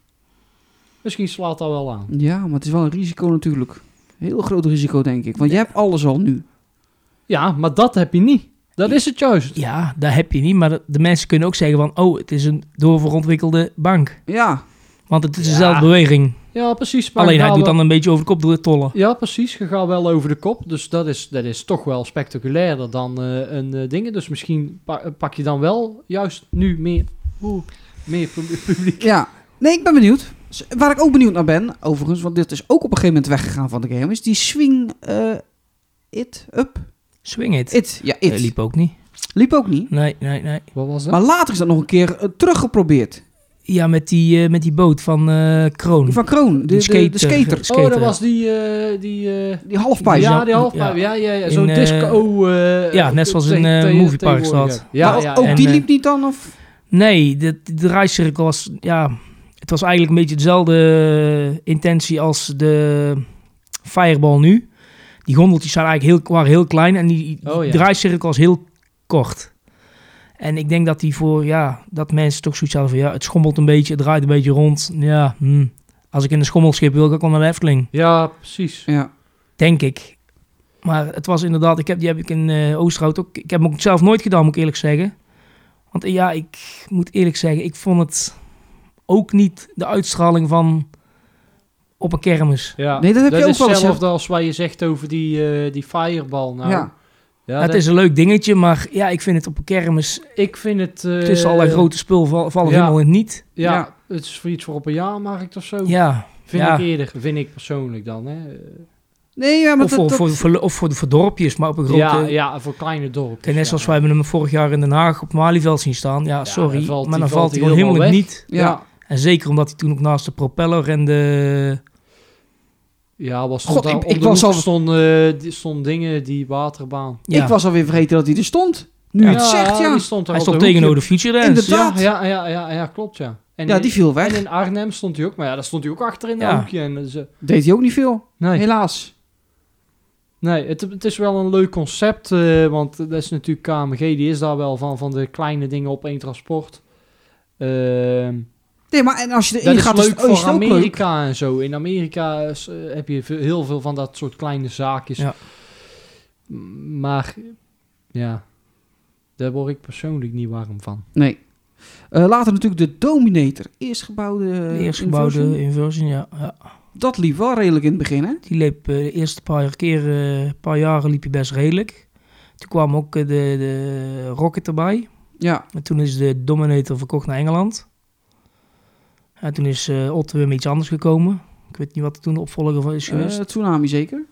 C: Misschien slaat dat wel aan.
D: Ja, maar het is wel een risico natuurlijk. Heel groot risico, denk ik. Want je hebt alles al nu.
C: Ja, maar dat heb je niet. Dat is het juist.
E: Ja, dat heb je niet, maar de, de mensen kunnen ook zeggen van... Oh, het is een doorverontwikkelde bank.
D: Ja,
E: Want het is
C: Ja.
E: dezelfde beweging.
C: Ja, precies. maar
E: Alleen hij
C: ga
E: doet
C: wel-
E: dan een beetje over de kop door het tollen.
C: Ja, precies. Je gaat wel over de kop. Dus dat is, dat is toch wel spectaculairder dan eh, een eh, dingen. Dus misschien pa- pak je dan wel juist nu meer, oeh, meer pub- publiek.
D: ja. Nee, ik ben benieuwd. S- Waar ik ook benieuwd naar ben, overigens, want dit is ook op een gegeven moment weggegaan van de game, is die swing eh, it up.
E: Swing it.
D: It, ja, it.
E: Eh,
D: liep.
E: liep ook niet.
D: ook niet.
E: Nee, nee, nee.
C: Wat was dat?
D: Maar later is dat nog een keer eh, teruggeprobeerd.
E: Ja, met die, eh, met die boot van eh, Kroon.
D: Van Kroon, de, de, de skater.
E: skater. Oh,
C: oh, dat
E: skateren.
C: was die... eh, die eh,
D: Die halfpijp.
C: ja,
E: Ja,
C: die halfpijp. Ja,
E: ja.
C: ja, ja.
E: In,
C: Zo'n
E: eh,
C: disco... eh,
E: ja, net zoals
C: te-
E: in, eh,
C: te-
E: movieparks
C: tegenwoordig.
E: dat.
C: Ja,
D: Maar
C: ja,
D: ook
C: ja.
D: die
E: en, eh,
D: liep niet dan? Of?
E: Nee, de, de draaicirkel was... Ja, het was eigenlijk een beetje dezelfde eh, intentie als de Fireball nu. Die gondeltjes zijn eigenlijk heel, waren heel klein en die, die
C: Oh, ja.
E: draaicirkel was heel kort. En ik denk dat die voor, ja, dat mensen toch zoiets hadden van, ja, het schommelt een beetje, het draait een beetje rond. Ja, hm. als ik in een schommelschip wil, ga ik wel naar de Efteling.
C: Ja, precies.
D: Ja.
E: Denk ik. Maar het was inderdaad, ik heb, die heb ik in eh, Oosterhout ook. Ik heb hem ook zelf nooit gedaan, moet ik eerlijk zeggen. Want eh, ja, ik moet eerlijk zeggen, ik vond het ook niet de uitstraling van op een kermis.
C: Ja.
D: Nee, dat heb je ook
C: is
D: wel eens, hè?
C: hetzelfde als waar je zegt over die, eh, die fireball. Nou,
D: ja.
C: ja,
E: het
C: dat-
E: is een leuk dingetje, maar ja, ik vind het op een kermis.
C: Ik vind het... eh,
E: Het is allerlei grote spul val- vallen
C: ja.
E: helemaal in het niet.
C: Ja,
D: Ja.
C: het is voor iets voor op een jaarmarkt of zo.
E: Ja.
C: Vind
E: Ja.
C: ik eerder, vind ik persoonlijk dan. Hè.
D: Nee, ja, maar
E: Of
D: dat-
E: voor,
D: dat-
E: voor, voor, of voor, voor dorpjes, maar op een grote.
C: Ja, ja, voor kleine dorpen.
E: Kijk, net zoals wij hebben hem vorig jaar in Den Haag op Malieveld zien staan. Ja, sorry,
C: dan valt
E: maar
C: die-
E: dan valt
C: valt
E: hij
C: die
E: gewoon helemaal
C: helemaal weg.
E: niet.
D: ja.
C: Ja,
E: En zeker omdat hij toen ook naast de propeller en de...
C: ja was stond
D: God, ik-
C: daar,
D: ik
C: ik,
D: was
C: was
D: al-
C: stond, eh, die- stond dingen, die waterbaan.
E: Ja,
D: Ik was alweer vergeten dat hij er stond. Nu je het zegt, ja.
C: die stond daar
E: hij
C: op de
E: stond tegenover de
C: hoekje.
E: Future dus Dance.
D: Inderdaad.
C: Ja, ja, ja, ja, ja, klopt, ja. En
D: Ja,
C: in-
D: die viel weg.
C: En in Arnhem stond hij ook, maar ja, daar stond hij ook achter in
E: Ja.
C: dat hoekje. En eh, ze,
D: Deed hij ook niet veel,
C: nee,
D: helaas.
C: nee het, het is wel een leuk concept, eh, want dat is natuurlijk KMG, die is daar wel van, van de kleine dingen op één transport. Ehm
D: Nee, maar en als je
C: Dat
D: erin
C: is
D: gaat,
C: leuk
D: is, oh, is
C: voor
D: het ook leuk.
C: Amerika en zo. In Amerika is, eh, heb je veel- heel veel van dat soort kleine zaakjes.
E: Ja.
C: M- Maar ja, daar word ik persoonlijk niet warm van.
D: Nee. Eh, later natuurlijk de Dominator. Eerst gebouwde...
E: De
D: eh,
E: eerst gebouwde
D: inversion.
E: inversion, ja. ja.
D: Dat liep wel redelijk in het begin, hè?
E: Die liep eh, de eerste paar, keer, eh, paar jaren liep hij best redelijk. Toen kwam ook eh, de, de Rocket erbij.
D: Ja.
E: En toen is de Dominator verkocht naar Engeland. En toen is eh Otto weer met iets anders gekomen. Ik weet niet wat er toen de opvolger van is geweest.
D: Eh, tsunami zeker.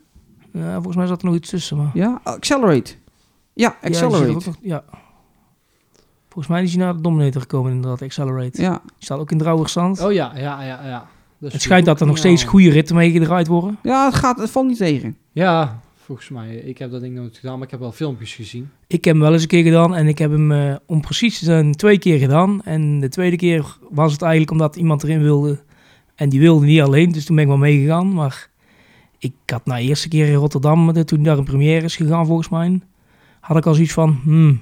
E: Ja, volgens mij zat er nog iets tussen. Maar...
D: Ja. Accelerate. Ja,
E: Ja, die zit er
D: Accelerate.
E: ook nog- Ja. Volgens mij is hij naar de Dominator gekomen inderdaad, Accelerate.
D: Ja.
E: Die staat ook in Drouwersand.
C: Oh ja, ja, ja, ja. Dus
E: Het schijnt dat er nog steeds goede ritten mee gedraaid worden.
D: Ja, het, gaat, het valt niet tegen.
C: Ja, volgens mij. Ik heb dat ding nooit gedaan, maar ik heb wel filmpjes gezien.
E: Ik heb hem wel eens een keer gedaan en ik heb hem eh, om precies te zijn twee keer gedaan. En de tweede keer was het eigenlijk omdat iemand erin wilde. En die wilde niet alleen, dus toen ben ik wel meegegaan. Maar Ik had na de eerste keer in Rotterdam, eh, toen daar een première is gegaan volgens mij, had ik al zoiets van, hmm,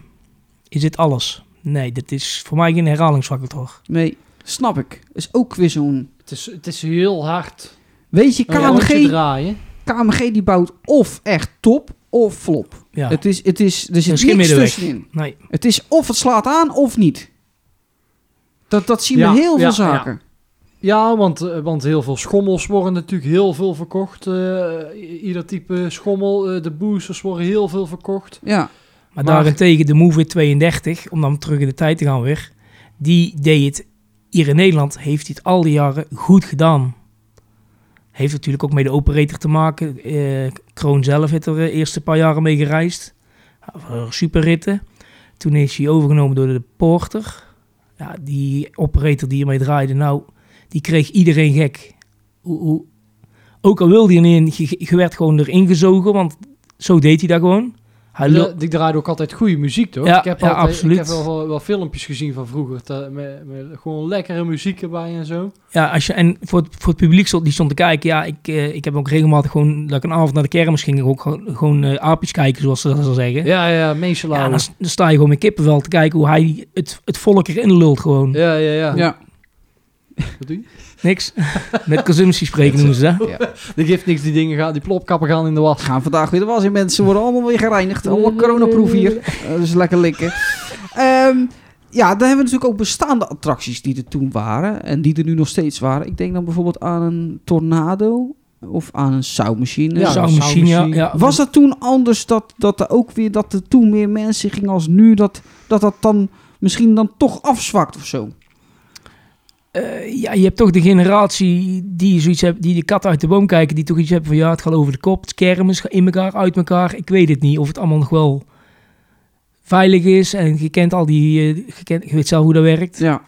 E: is dit alles? Nee, dit is voor mij geen herhalingsfactor.
D: Nee, snap ik. Is ook weer zo'n...
C: Het is, het is heel hard.
D: Weet je,
C: Een rondje
D: KMG,
C: draaien.
D: KMG die bouwt of echt top of flop.
E: Ja,
D: Het is, het is, er
E: is
D: zit
E: geen
D: niks
E: middenweg.
D: tussenin.
E: nee.
D: Het is of het slaat aan of niet. Dat, dat zien
C: Ja,
D: we heel
C: ja,
D: veel
C: ja.
D: zaken.
C: Ja, want, eh, want heel veel schommels worden natuurlijk heel veel verkocht. eh, i- ieder type schommel. eh, de boosters worden heel veel verkocht.
D: Ja,
E: Maar,
C: Maar-
E: daarentegen de Move 32, om dan terug in de tijd te gaan weer, die deed het hier in Nederland, heeft hij het al die jaren goed gedaan. Heeft natuurlijk ook mee de operator te maken. Eh, Kroon zelf heeft er de eerste paar jaren mee gereisd. Eh, Superritten. Toen is hij overgenomen door de Porter. Ja, die operator die ermee draaide, nou, die kreeg iedereen gek. Hoe, hoe- Ook al wilde hij erin, je, je werd gewoon erin gezogen, want zo deed hij dat gewoon. Hij lul-
C: De- die draaide ook altijd goede muziek, toch?
E: Ja,
C: ik heb,
E: ja,
C: altijd,
E: absoluut.
C: Ik heb wel, wel, wel filmpjes gezien van vroeger. te- met, met gewoon lekkere muziek erbij en zo.
E: Ja, als je, en voor het, voor het publiek stond, die stond te kijken. Ja, ik, eh, ik heb ook regelmatig gewoon, dat ik een avond naar de kermis ging, ook gewoon, gewoon eh, aapjes kijken, zoals ze dat zo zeggen. Ja,
C: Ja, ja, meeselauwen.
E: dan, s- dan sta je gewoon met kippenvel te kijken hoe hij het, het volk erin lult gewoon.
C: Ja, ja, ja.
D: ja.
C: Wat doe je?
E: Niks. Met consumptie spreken noemen ze dat.
C: Die geeft niks, die dingen gaan, die plopkappen gaan in de was.
D: Gaan vandaag weer de was in. Mensen worden allemaal weer gereinigd. Allemaal coronaproof hier. Eh, Dat is lekker likken. Ehm, ja, dan hebben we natuurlijk ook bestaande attracties die er toen waren. En die er nu nog steeds waren. Ik denk dan bijvoorbeeld aan een tornado. Of aan een sauwmachine.
C: Ja, dat
E: Zou
C: zou
E: misschien, ja,
C: misschien-
E: ja.
D: Was het toen anders dat, dat er ook weer dat er toen meer mensen gingen als nu? Dat dat, dat dan misschien dan toch afzwakt of zo?
E: Eh, ja, je hebt toch de generatie die zoiets hebt, die de kat uit de boom kijken, die toch iets hebben van ja, het gaat over de kop, het is kermis, in elkaar, uit elkaar. Ik weet het niet of het allemaal nog wel veilig is en je kent al die, eh, je, kent, je weet zelf hoe dat werkt.
D: Ja.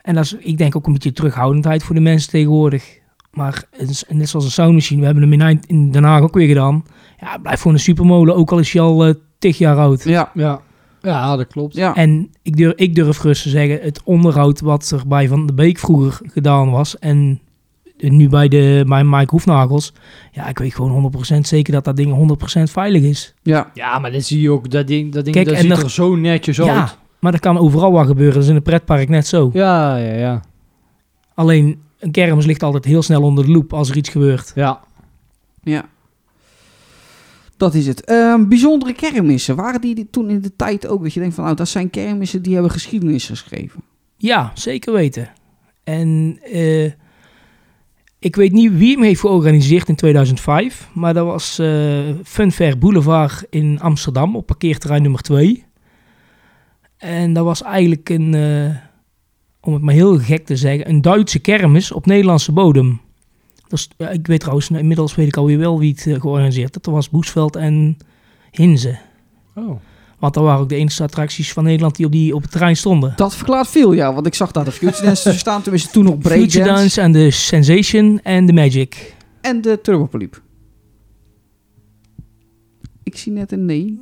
E: En dat is, ik denk ook een beetje terughoudendheid voor de mensen tegenwoordig. Maar het is- net zoals een soundmachine, we hebben hem in, Eind- in Den Haag ook weer gedaan. Ja, het blijft gewoon een supermolen, ook al is hij al eh, tig jaar oud.
D: Ja.
C: Ja. Ja, dat klopt.
D: Ja.
E: En ik durf, ik durf gerust te zeggen, het onderhoud wat er bij Van de Beek vroeger gedaan was en nu bij, de, bij Mike Hoefnagels, ja, ik weet gewoon 100% zeker dat dat ding 100% veilig is.
D: ja.
C: Ja, maar dan zie je ook dat ding, dat ding
E: Kijk,
C: dat
E: en
C: ziet
E: dat-
C: er zo netjes
E: Ja,
C: uit.
E: maar dat kan overal wat gebeuren, dat is in een pretpark net zo.
C: Ja, ja, ja.
E: Alleen, een kermis ligt altijd heel snel onder de loep als er iets gebeurt.
C: Ja.
D: Ja. Dat is het. Ehm, bijzondere kermissen. Waren die dit toen in de tijd ook? Dat je denkt van nou, dat zijn kermissen die hebben geschiedenis geschreven.
E: Ja, zeker weten. En eh, ik weet niet wie hem heeft georganiseerd in 2005, maar dat was eh Funfair Boulevard in Amsterdam op parkeerterrein nummer 2. En dat was eigenlijk een, eh, om het maar heel gek te zeggen, een Duitse kermis op Nederlandse bodem. Dat is- ja, ik weet trouwens, nou, inmiddels weet ik alweer wel wie het eh, georganiseerd had. Dat was Boesveld en Hinze.
C: Oh.
E: Want dat waren ook de enige attracties van Nederland die op, die, op het terrein stonden.
D: Dat verklaart veel, ja. Want ik zag daar de Future Dance tussen staan. Tenminste, toen nog
E: Future
D: Breakdance.
E: Dance en de Sensation en de Magic.
D: En de Turbopoliep. Ik zie net een nee.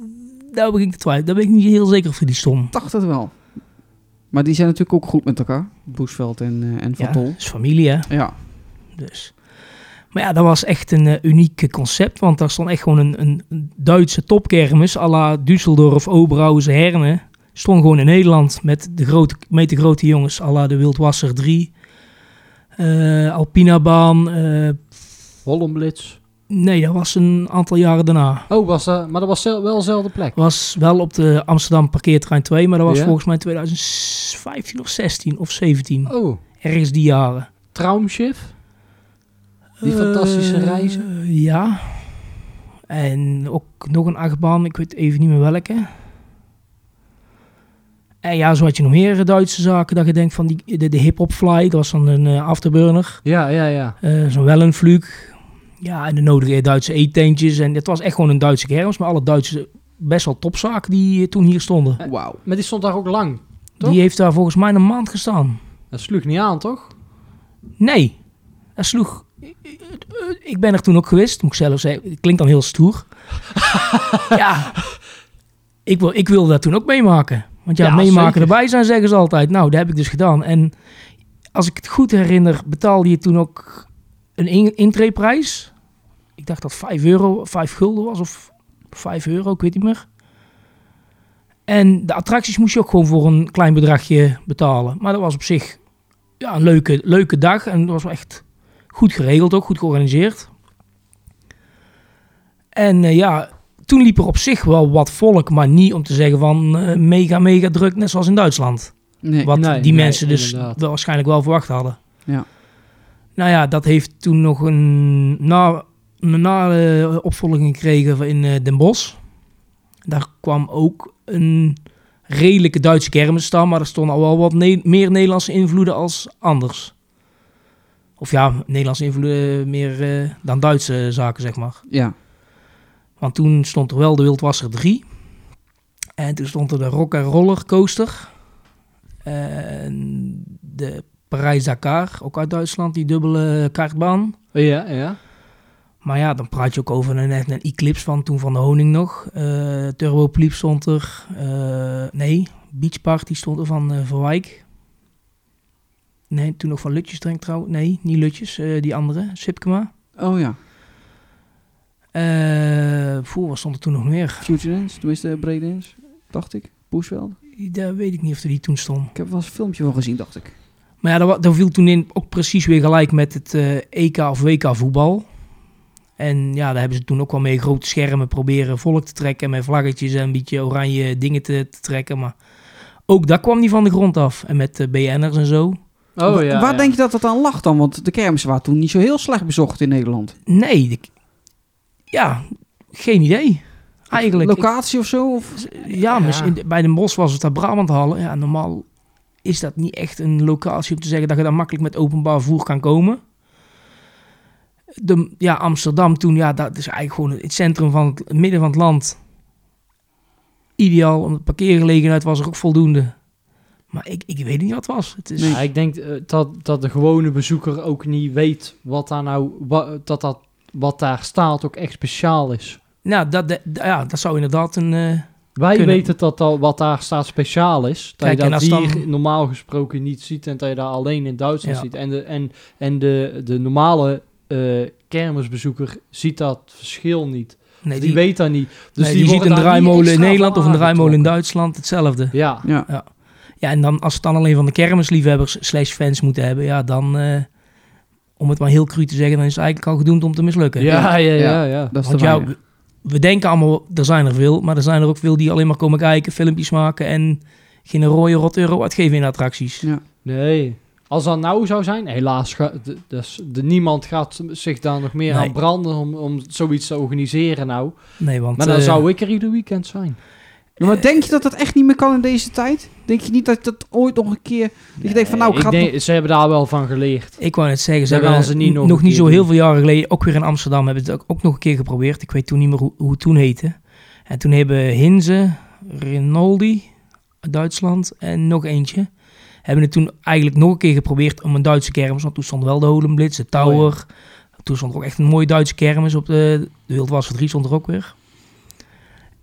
E: Daar ben ik te twijfelen. Daar ben ik niet heel zeker of die stond.
D: Ik dacht het wel. Maar die zijn natuurlijk ook goed met elkaar. Boesveld en, eh, en Van
E: Ja,
D: Tol.
E: is familie, hè?
D: Ja.
E: Dus. Maar ja, dat was echt een eh, uniek eh, concept. Want daar stond echt gewoon een, een een Duitse topkermis. à la Düsseldorf, Oberhausen, Herne. Stond gewoon in Nederland met de grote, met de grote jongens. à la de Wildwasser 3. eh Alpinabaan. eh,
C: Hollenblitz.
E: nee, dat was een aantal jaren daarna.
C: Oh, was dat, maar dat was zel- wel dezelfde plek.
E: Was wel op de Amsterdam parkeerterrein 2. Maar dat was
C: Ja.
E: volgens mij 2015 of 16 of 17.
C: Oh,
E: Ergens die jaren.
C: Traumschiff. Die fantastische
E: Eh,
C: reizen.
E: Ja. En ook nog een achtbaan, ik weet even niet meer welke. En ja, zo had je nog meer Duitse zaken. Dat je denkt van die, de, de hip-hop fly, dat was dan een eh, afterburner.
C: Ja, ja, ja.
E: Eh, Zo'n wellenvlug. Ja, en de nodige Duitse eetentjes. En het was echt gewoon een Duitse kermis, maar alle Duitse best wel topzaken die eh, toen hier stonden.
D: Wauw.
C: Maar die stond daar ook lang. Toch?
E: Die heeft daar volgens mij een maand gestaan.
C: Dat sloeg niet aan, toch?
E: Nee, dat sloeg. Ik ben er toen ook geweest, moet ik zelf zeggen. Het klinkt dan heel stoer. ja, ik, wil, ik wilde dat toen ook meemaken. Want ja,
C: Ja,
E: meemaken
C: zeker.
E: erbij zijn, zeggen ze altijd. Nou, dat heb ik dus gedaan. En als ik het goed herinner, betaalde je toen ook een in- intreeprijs. ik dacht dat 5 euro, 5 gulden was of 5 euro, ik weet niet meer. En de attracties moest je ook gewoon voor een klein bedragje betalen. Maar dat was op zich ja, een leuke, leuke dag en dat was wel echt goed geregeld ook, goed georganiseerd. En eh, ja, toen liep er op zich wel wat volk, maar niet om te zeggen van eh, mega, mega druk, net zoals in Duitsland.
D: Nee.
E: Wat
C: Nee,
E: die
C: nee,
E: mensen dus
C: inderdaad.
E: wel waarschijnlijk wel verwacht hadden.
D: Ja.
E: Nou ja, dat heeft toen nog een na, een na eh, opvolging gekregen in eh, Den Bosch. Daar kwam ook een redelijke Duitse kermis staan, maar er stonden al wel wat ne- meer Nederlandse invloeden als anders. Of ja, Nederlandse invloeden meer eh, dan Duitse zaken, zeg maar.
D: Ja.
E: Want toen stond er wel de Wildwasser 3. En toen stond er de Rock and Roller Coaster. En de Parijs-Dakar, ook uit Duitsland, die dubbele kaartbaan.
C: Ja, ja.
E: Maar ja, dan praat je ook over een, echt een Eclipse van toen van de Honing nog. Eh Turbo Pliep stond er. Eh, nee, Beach Party stond er van eh Verwijk. Nee, toen nog van Lutjes denk trouwens. Nee, niet Lutjes, eh, die andere, Sipkema.
D: Oh ja.
E: Eh voor, wat stond er toen nog meer?
D: Future Dance, tenminste Brede Dance, dacht ik. Boesveld.
E: Daar weet ik niet of er die toen stond.
D: Ik heb er wel eens een filmpje van gezien, dacht ik.
E: Maar ja, dat, wa- dat viel toen in ook precies weer gelijk met het eh, EK of WK voetbal. En ja, daar hebben ze toen ook wel mee grote schermen proberen volk te trekken. Met vlaggetjes en een beetje oranje dingen te, te trekken. Maar ook dat kwam niet van de grond af. En met eh, BN'ers en zo.
C: Oh
D: Wa-
C: ja.
D: Waar
C: ja.
D: denk je dat dat aan lag dan? Want de kermis waren toen niet zo heel slecht bezocht in Nederland.
E: Nee, ik- ja, geen idee. Eigenlijk.
D: Locatie of zo? Of?
E: Ja, misschien in de- bij de Bos was het daar Brabanthallen. Ja, normaal is dat niet echt een locatie om te zeggen dat je daar makkelijk met openbaar voer kan komen. De, ja, Amsterdam toen, ja, dat is eigenlijk gewoon het centrum van het, het midden van het land. Ideaal, om de parkeergelegenheid was er ook voldoende. Maar ik, ik weet niet wat het was. Het is,
C: Ja, ik denk eh, dat, dat de gewone bezoeker ook niet weet wat daar nou, wa- dat dat wat daar staat ook echt speciaal is.
E: Nou, dat, dat- ja, dat zou inderdaad een... eh,
C: Wij
E: Kunnen.
C: weten dat, dat wat daar staat speciaal is. Dat
E: Kijk,
C: je
E: en
C: dat
E: als
C: hier
E: dan-
C: normaal gesproken niet ziet en dat je daar alleen in Duitsland
E: Ja.
C: ziet. En de, en, en de, de normale eh, kermisbezoeker ziet dat verschil niet.
E: nee,
C: die, weet dat niet. Dus
E: nee,
C: die
E: je ziet
C: worden
E: een
C: daar niet
E: draaimolen in
C: extra
E: Nederland
C: van
E: of een draaimolen in
C: aangetrokken.
E: Duitsland, hetzelfde.
C: Ja,
D: Ja.
E: Ja, en dan als we het dan alleen van de kermisliefhebbers slash fans moeten hebben, ja, dan, eh, om het maar heel cru te zeggen, dan is het eigenlijk al gedoemd om te mislukken.
C: ja, ja, ja.
D: Ja.
C: ja.
D: Dat is
E: Want
D: te
E: jou,
D: weinig.
E: we denken allemaal, er zijn er veel, maar er zijn er ook veel die alleen maar komen kijken, filmpjes maken en geen rode rot euro uitgeven in attracties.
C: Nee. Als dat nou zou zijn, helaas, ga, d- dus, de, niemand gaat zich daar nog meer
E: Nee.
C: aan branden om, om zoiets te organiseren nou.
E: Nee, want
C: Maar dan
E: eh,
C: zou ik er ieder weekend zijn.
D: Ja, maar denk je dat dat echt niet meer kan in deze tijd? Denk je niet dat dat ooit nog een keer... Dat je denkt van nou, ik
C: ik
D: ga...
C: denk, ze hebben daar wel van geleerd.
E: ik wou net zeggen, ze
C: Dan
E: hebben
C: gaan ze niet nog
E: nog
C: een
E: niet
C: keer
E: zo heel
C: doen.
E: veel jaren geleden, ook weer in Amsterdam, hebben ze het ook, ook nog een keer geprobeerd. Ik weet toen niet meer hoe, hoe het toen heette. En toen hebben Hinze, Rinaldi uit Duitsland en nog eentje. Hebben het toen eigenlijk nog een keer geprobeerd om een Duitse kermis. Want toen stond wel de Holenblitz, de Tower.
C: Oh
E: Toen stond er ook echt een mooie Duitse kermis op de, de Wildwasser 3 stond er ook weer.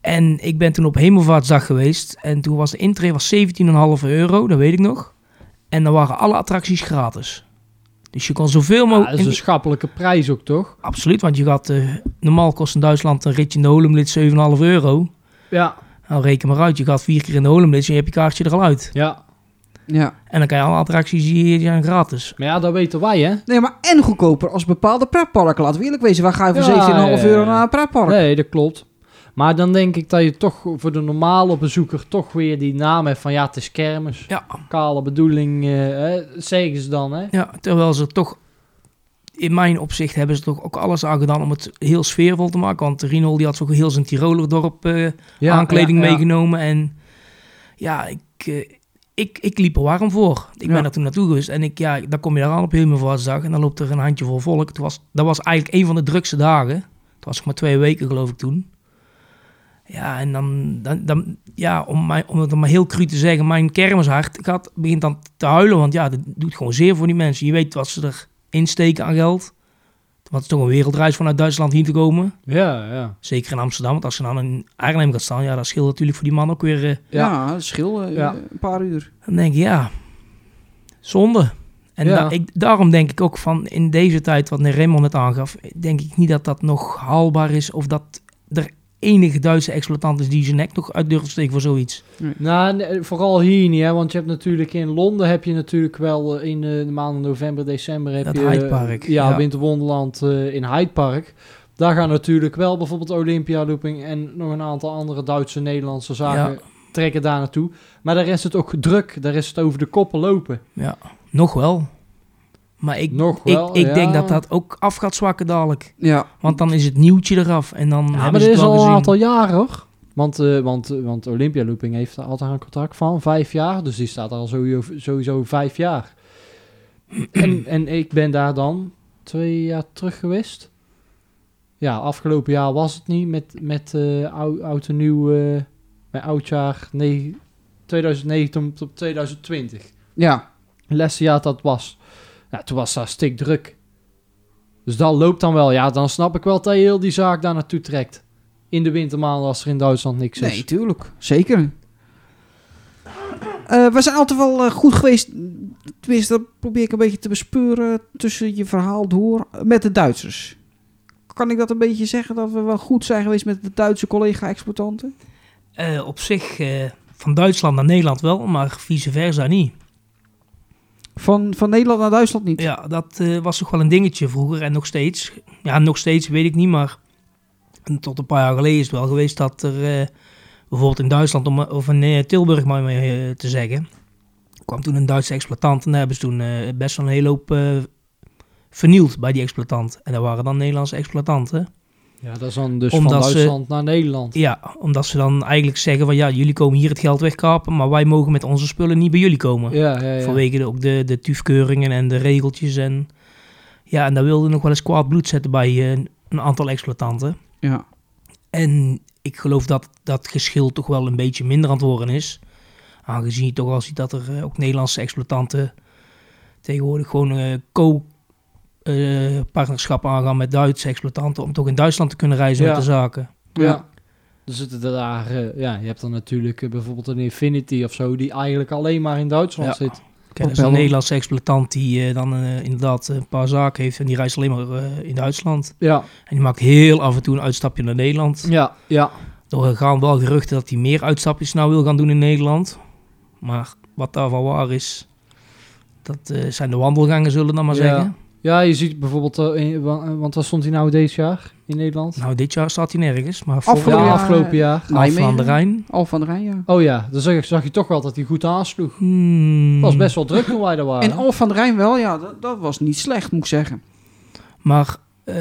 E: En ik ben toen op Hemelvaartsdag geweest. En toen was de intree was 17,5 euro, dat weet ik nog. En dan waren alle attracties gratis. Dus je kon zoveel
C: Ja,
E: mogelijk...
C: dat is dus- een schappelijke prijs ook, toch?
E: Absoluut, want je gaat, eh, normaal kost in Duitsland een ritje in de Holemlid 7,5 euro.
C: Ja.
E: Nou, reken maar uit, je gaat vier keer in de Holemlid en je hebt je kaartje er al uit.
C: Ja.
D: Ja.
E: En dan kan je alle attracties die hier zijn gratis.
C: Maar ja, dat weten wij, hè?
D: Nee, maar en goedkoper als bepaalde pretparken. Laten we eerlijk wezen, waar ga je
C: Ja,
D: voor 17,5
C: ja, ja.
D: euro naar een pretpark?
C: Nee, dat klopt. Maar dan denk ik dat je toch voor de normale bezoeker toch weer die naam hebt van ja, het is kermis.
E: Ja.
C: Kale bedoeling, eh, hè, zeggen ze dan, hè?
E: Ja, terwijl ze toch, in mijn opzicht, hebben ze toch ook alles aan gedaan om het heel sfeervol te maken. Want Rinol die had zo heel zijn Tirolerdorp eh aankleding
C: ja, ja.
E: meegenomen. En ja, ik, eh, ik, ik liep er warm voor. Ik
D: Ja.
E: ben er toen naartoe geweest. En ik, ja, dan kom je daar aan op Hemelvaartsdag en dan loopt er een handjevol volk. Het was, dat was eigenlijk een van de drukste dagen. Het was nog maar twee weken, geloof ik, toen. Ja, en dan, dan, dan ja, om, mij, om het maar heel cru te zeggen, mijn kermishart gaat, begint dan te huilen. Want ja, dat doet gewoon zeer voor die mensen. Je weet wat ze erin steken aan geld. Want het is toch een wereldreis vanuit Duitsland hier te komen.
C: Ja, ja.
E: Zeker in Amsterdam, want als ze dan in Arnhem gaat staan, ja, dat scheelt natuurlijk voor die man ook weer. eh,
D: Ja, dat scheelt eh,
C: Ja.
D: een paar uur.
E: dan denk je, ja, zonde. En
C: Ja.
E: da- ik, daarom denk ik ook van in deze tijd, wat Raymond net aangaf, denk ik niet dat dat nog haalbaar is of dat er enige Duitse exploitant is die zijn nek nog uit durft te steken voor zoiets.
C: Nou, nee, vooral hier niet, hè, want je hebt natuurlijk in Londen heb je natuurlijk wel eh, in eh, de maanden november, december heb
E: Dat
C: je
E: Hyde Park,
C: eh, ja,
E: ja.
C: Winterwonderland eh, in Hyde Park. Daar gaan natuurlijk wel bijvoorbeeld Olympia Looping en nog een aantal andere Duitse, Nederlandse zaken
E: Ja.
C: trekken daar naartoe. Maar daar is het ook druk, daar is het over de koppen lopen.
E: Nog wel. Maar ik,
C: Nog
E: ik,
C: wel,
E: ik
C: ja.
E: denk dat dat ook af gaat zwakken dadelijk.
D: Ja.
E: Want dan is het nieuwtje eraf en dan
C: Ja,
E: hebben
C: maar
E: ze
C: dat
E: het
C: is
E: wel
C: al
E: gezien.
C: een aantal jaren hoor. Want, eh, want, want Olympia Looping heeft daar altijd een contract van vijf jaar. Dus die staat al sowieso, sowieso vijf jaar. en, en ik ben daar dan twee jaar terug geweest. Ja, afgelopen jaar was het niet met, met eh, oud, oud en nieuw. eh bij oudjaar nee, 2019 tot 2020.
D: Ja.
C: Het laatste jaar dat was. Ja, toen was daar stik druk. Dus dat loopt dan wel. Ja, dan snap ik wel dat je heel die zaak daar naartoe trekt. In de wintermaanden als er in Duitsland niks
D: Nee,
C: is.
D: tuurlijk. Zeker. Eh, we zijn altijd wel eh, goed geweest. Tenminste, dat probeer ik een beetje te bespeuren tussen je verhaal door eh, met de Duitsers. Kan ik dat een beetje zeggen dat we wel goed zijn geweest met de Duitse collega-exploitanten?
E: Eh, op zich eh, van Duitsland naar Nederland wel, maar vice versa niet.
D: Van, van Nederland naar Duitsland niet.
E: Ja, dat eh, was toch wel een dingetje vroeger en nog steeds. Ja, nog steeds weet ik niet, maar tot een paar jaar geleden is het wel geweest dat er eh, bijvoorbeeld in Duitsland, om, of in eh, Tilburg maar mee, eh, te zeggen, kwam toen een Duitse exploitant en daar hebben ze toen eh, best wel een hele hoop eh, vernield bij die exploitant. En dat waren dan Nederlandse exploitanten.
C: Ja, dat is dan dus
E: Omdat
C: van
E: ze-
C: Duitsland naar Nederland.
E: Ja, omdat ze dan eigenlijk zeggen van ja, jullie komen hier het geld wegkapen, maar wij mogen met onze spullen niet bij jullie komen.
C: Ja, ja, ja.
E: Vanwege de, ook de, de tufkeuringen en de regeltjes. En, ja, en daar wilde nog wel eens kwaad bloed zetten bij eh, een aantal exploitanten.
D: Ja.
E: En ik geloof dat dat geschil toch wel een beetje minder aan het worden is. Aangezien je toch al ziet dat er eh, ook Nederlandse exploitanten tegenwoordig gewoon eh, co eh, partnerschap aangaan met Duitse exploitanten. Om toch in Duitsland te kunnen reizen
C: Ja.
E: met de zaken.
C: Ja.
D: Ja.
C: Er zitten daar, eh, ja, je hebt dan natuurlijk eh, bijvoorbeeld een Infinity of zo, die eigenlijk alleen maar in Duitsland
E: Ja.
C: zit.
E: Kijk, er is een
D: Propeller.
E: Nederlandse exploitant die eh, dan eh, inderdaad een paar zaken heeft en die reist alleen maar eh, in Duitsland.
C: Ja,
E: En die maakt heel af en toe een uitstapje naar Nederland.
C: ja, ja.
E: Er gaan wel geruchten dat hij meer uitstapjes nou wil gaan doen in Nederland. Maar wat daarvan waar is, dat eh, zijn de wandelgangen, zullen we dan maar
C: Ja.
E: zeggen.
C: Ja, je ziet bijvoorbeeld, eh, in- wa- want waar stond hij nou dit jaar in Nederland?
E: Nou, dit jaar staat hij nergens, maar
C: ja,
D: Afgelopen
E: vorig
D: jaar-
C: afgelopen jaar.
E: jaar van de Rijn.
D: Al van de Rijn, ja.
C: Oh ja, dan zag, zag je toch wel dat hij goed aansloeg.
E: Hmm,
C: Het was best wel druk toen wij er waren.
D: En Al van de Rijn wel, ja. Dat, dat was niet slecht, moet ik zeggen.
E: Maar eh,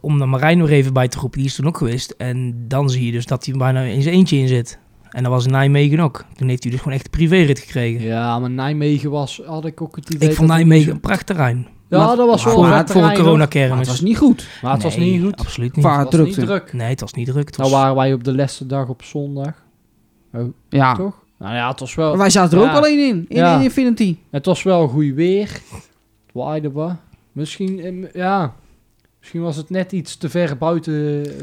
E: om de Marijn nog even bij te roepen, die is toen ook geweest. En dan zie je dus dat hij bijna in zijn eentje in zit. En dat was in Nijmegen ook. Toen heeft hij dus gewoon echt een privérit gekregen.
C: Ja, maar Nijmegen was, had ik ook het idee.
E: ik vond
C: dat-
E: Nijmegen een prachtig terrein.
C: Ja, dat was wel
E: voor,
C: een
D: maar
C: vet
E: voor een
C: terrein, hoor.
D: Maar het
E: coronakermis.
D: was niet goed.
C: Maar Ah, het was
E: Nee,
C: niet goed.
E: Absoluut niet.
D: Qua
C: Het was niet
D: drukte.
C: druk.
E: Nee, het was niet druk. Het
C: Nou
E: was,
C: waren wij op de laatste dag op zondag,
E: Ah.
D: Ja.
C: toch? Nou ja, het was
D: Maar
C: wel,
D: wij zaten er
C: Ja.
D: ook alleen in. In,
C: Ja.
D: in Infinity.
C: het was wel goed weer. Het waaide wat. Misschien, eh, ja, misschien was het net iets te ver buiten,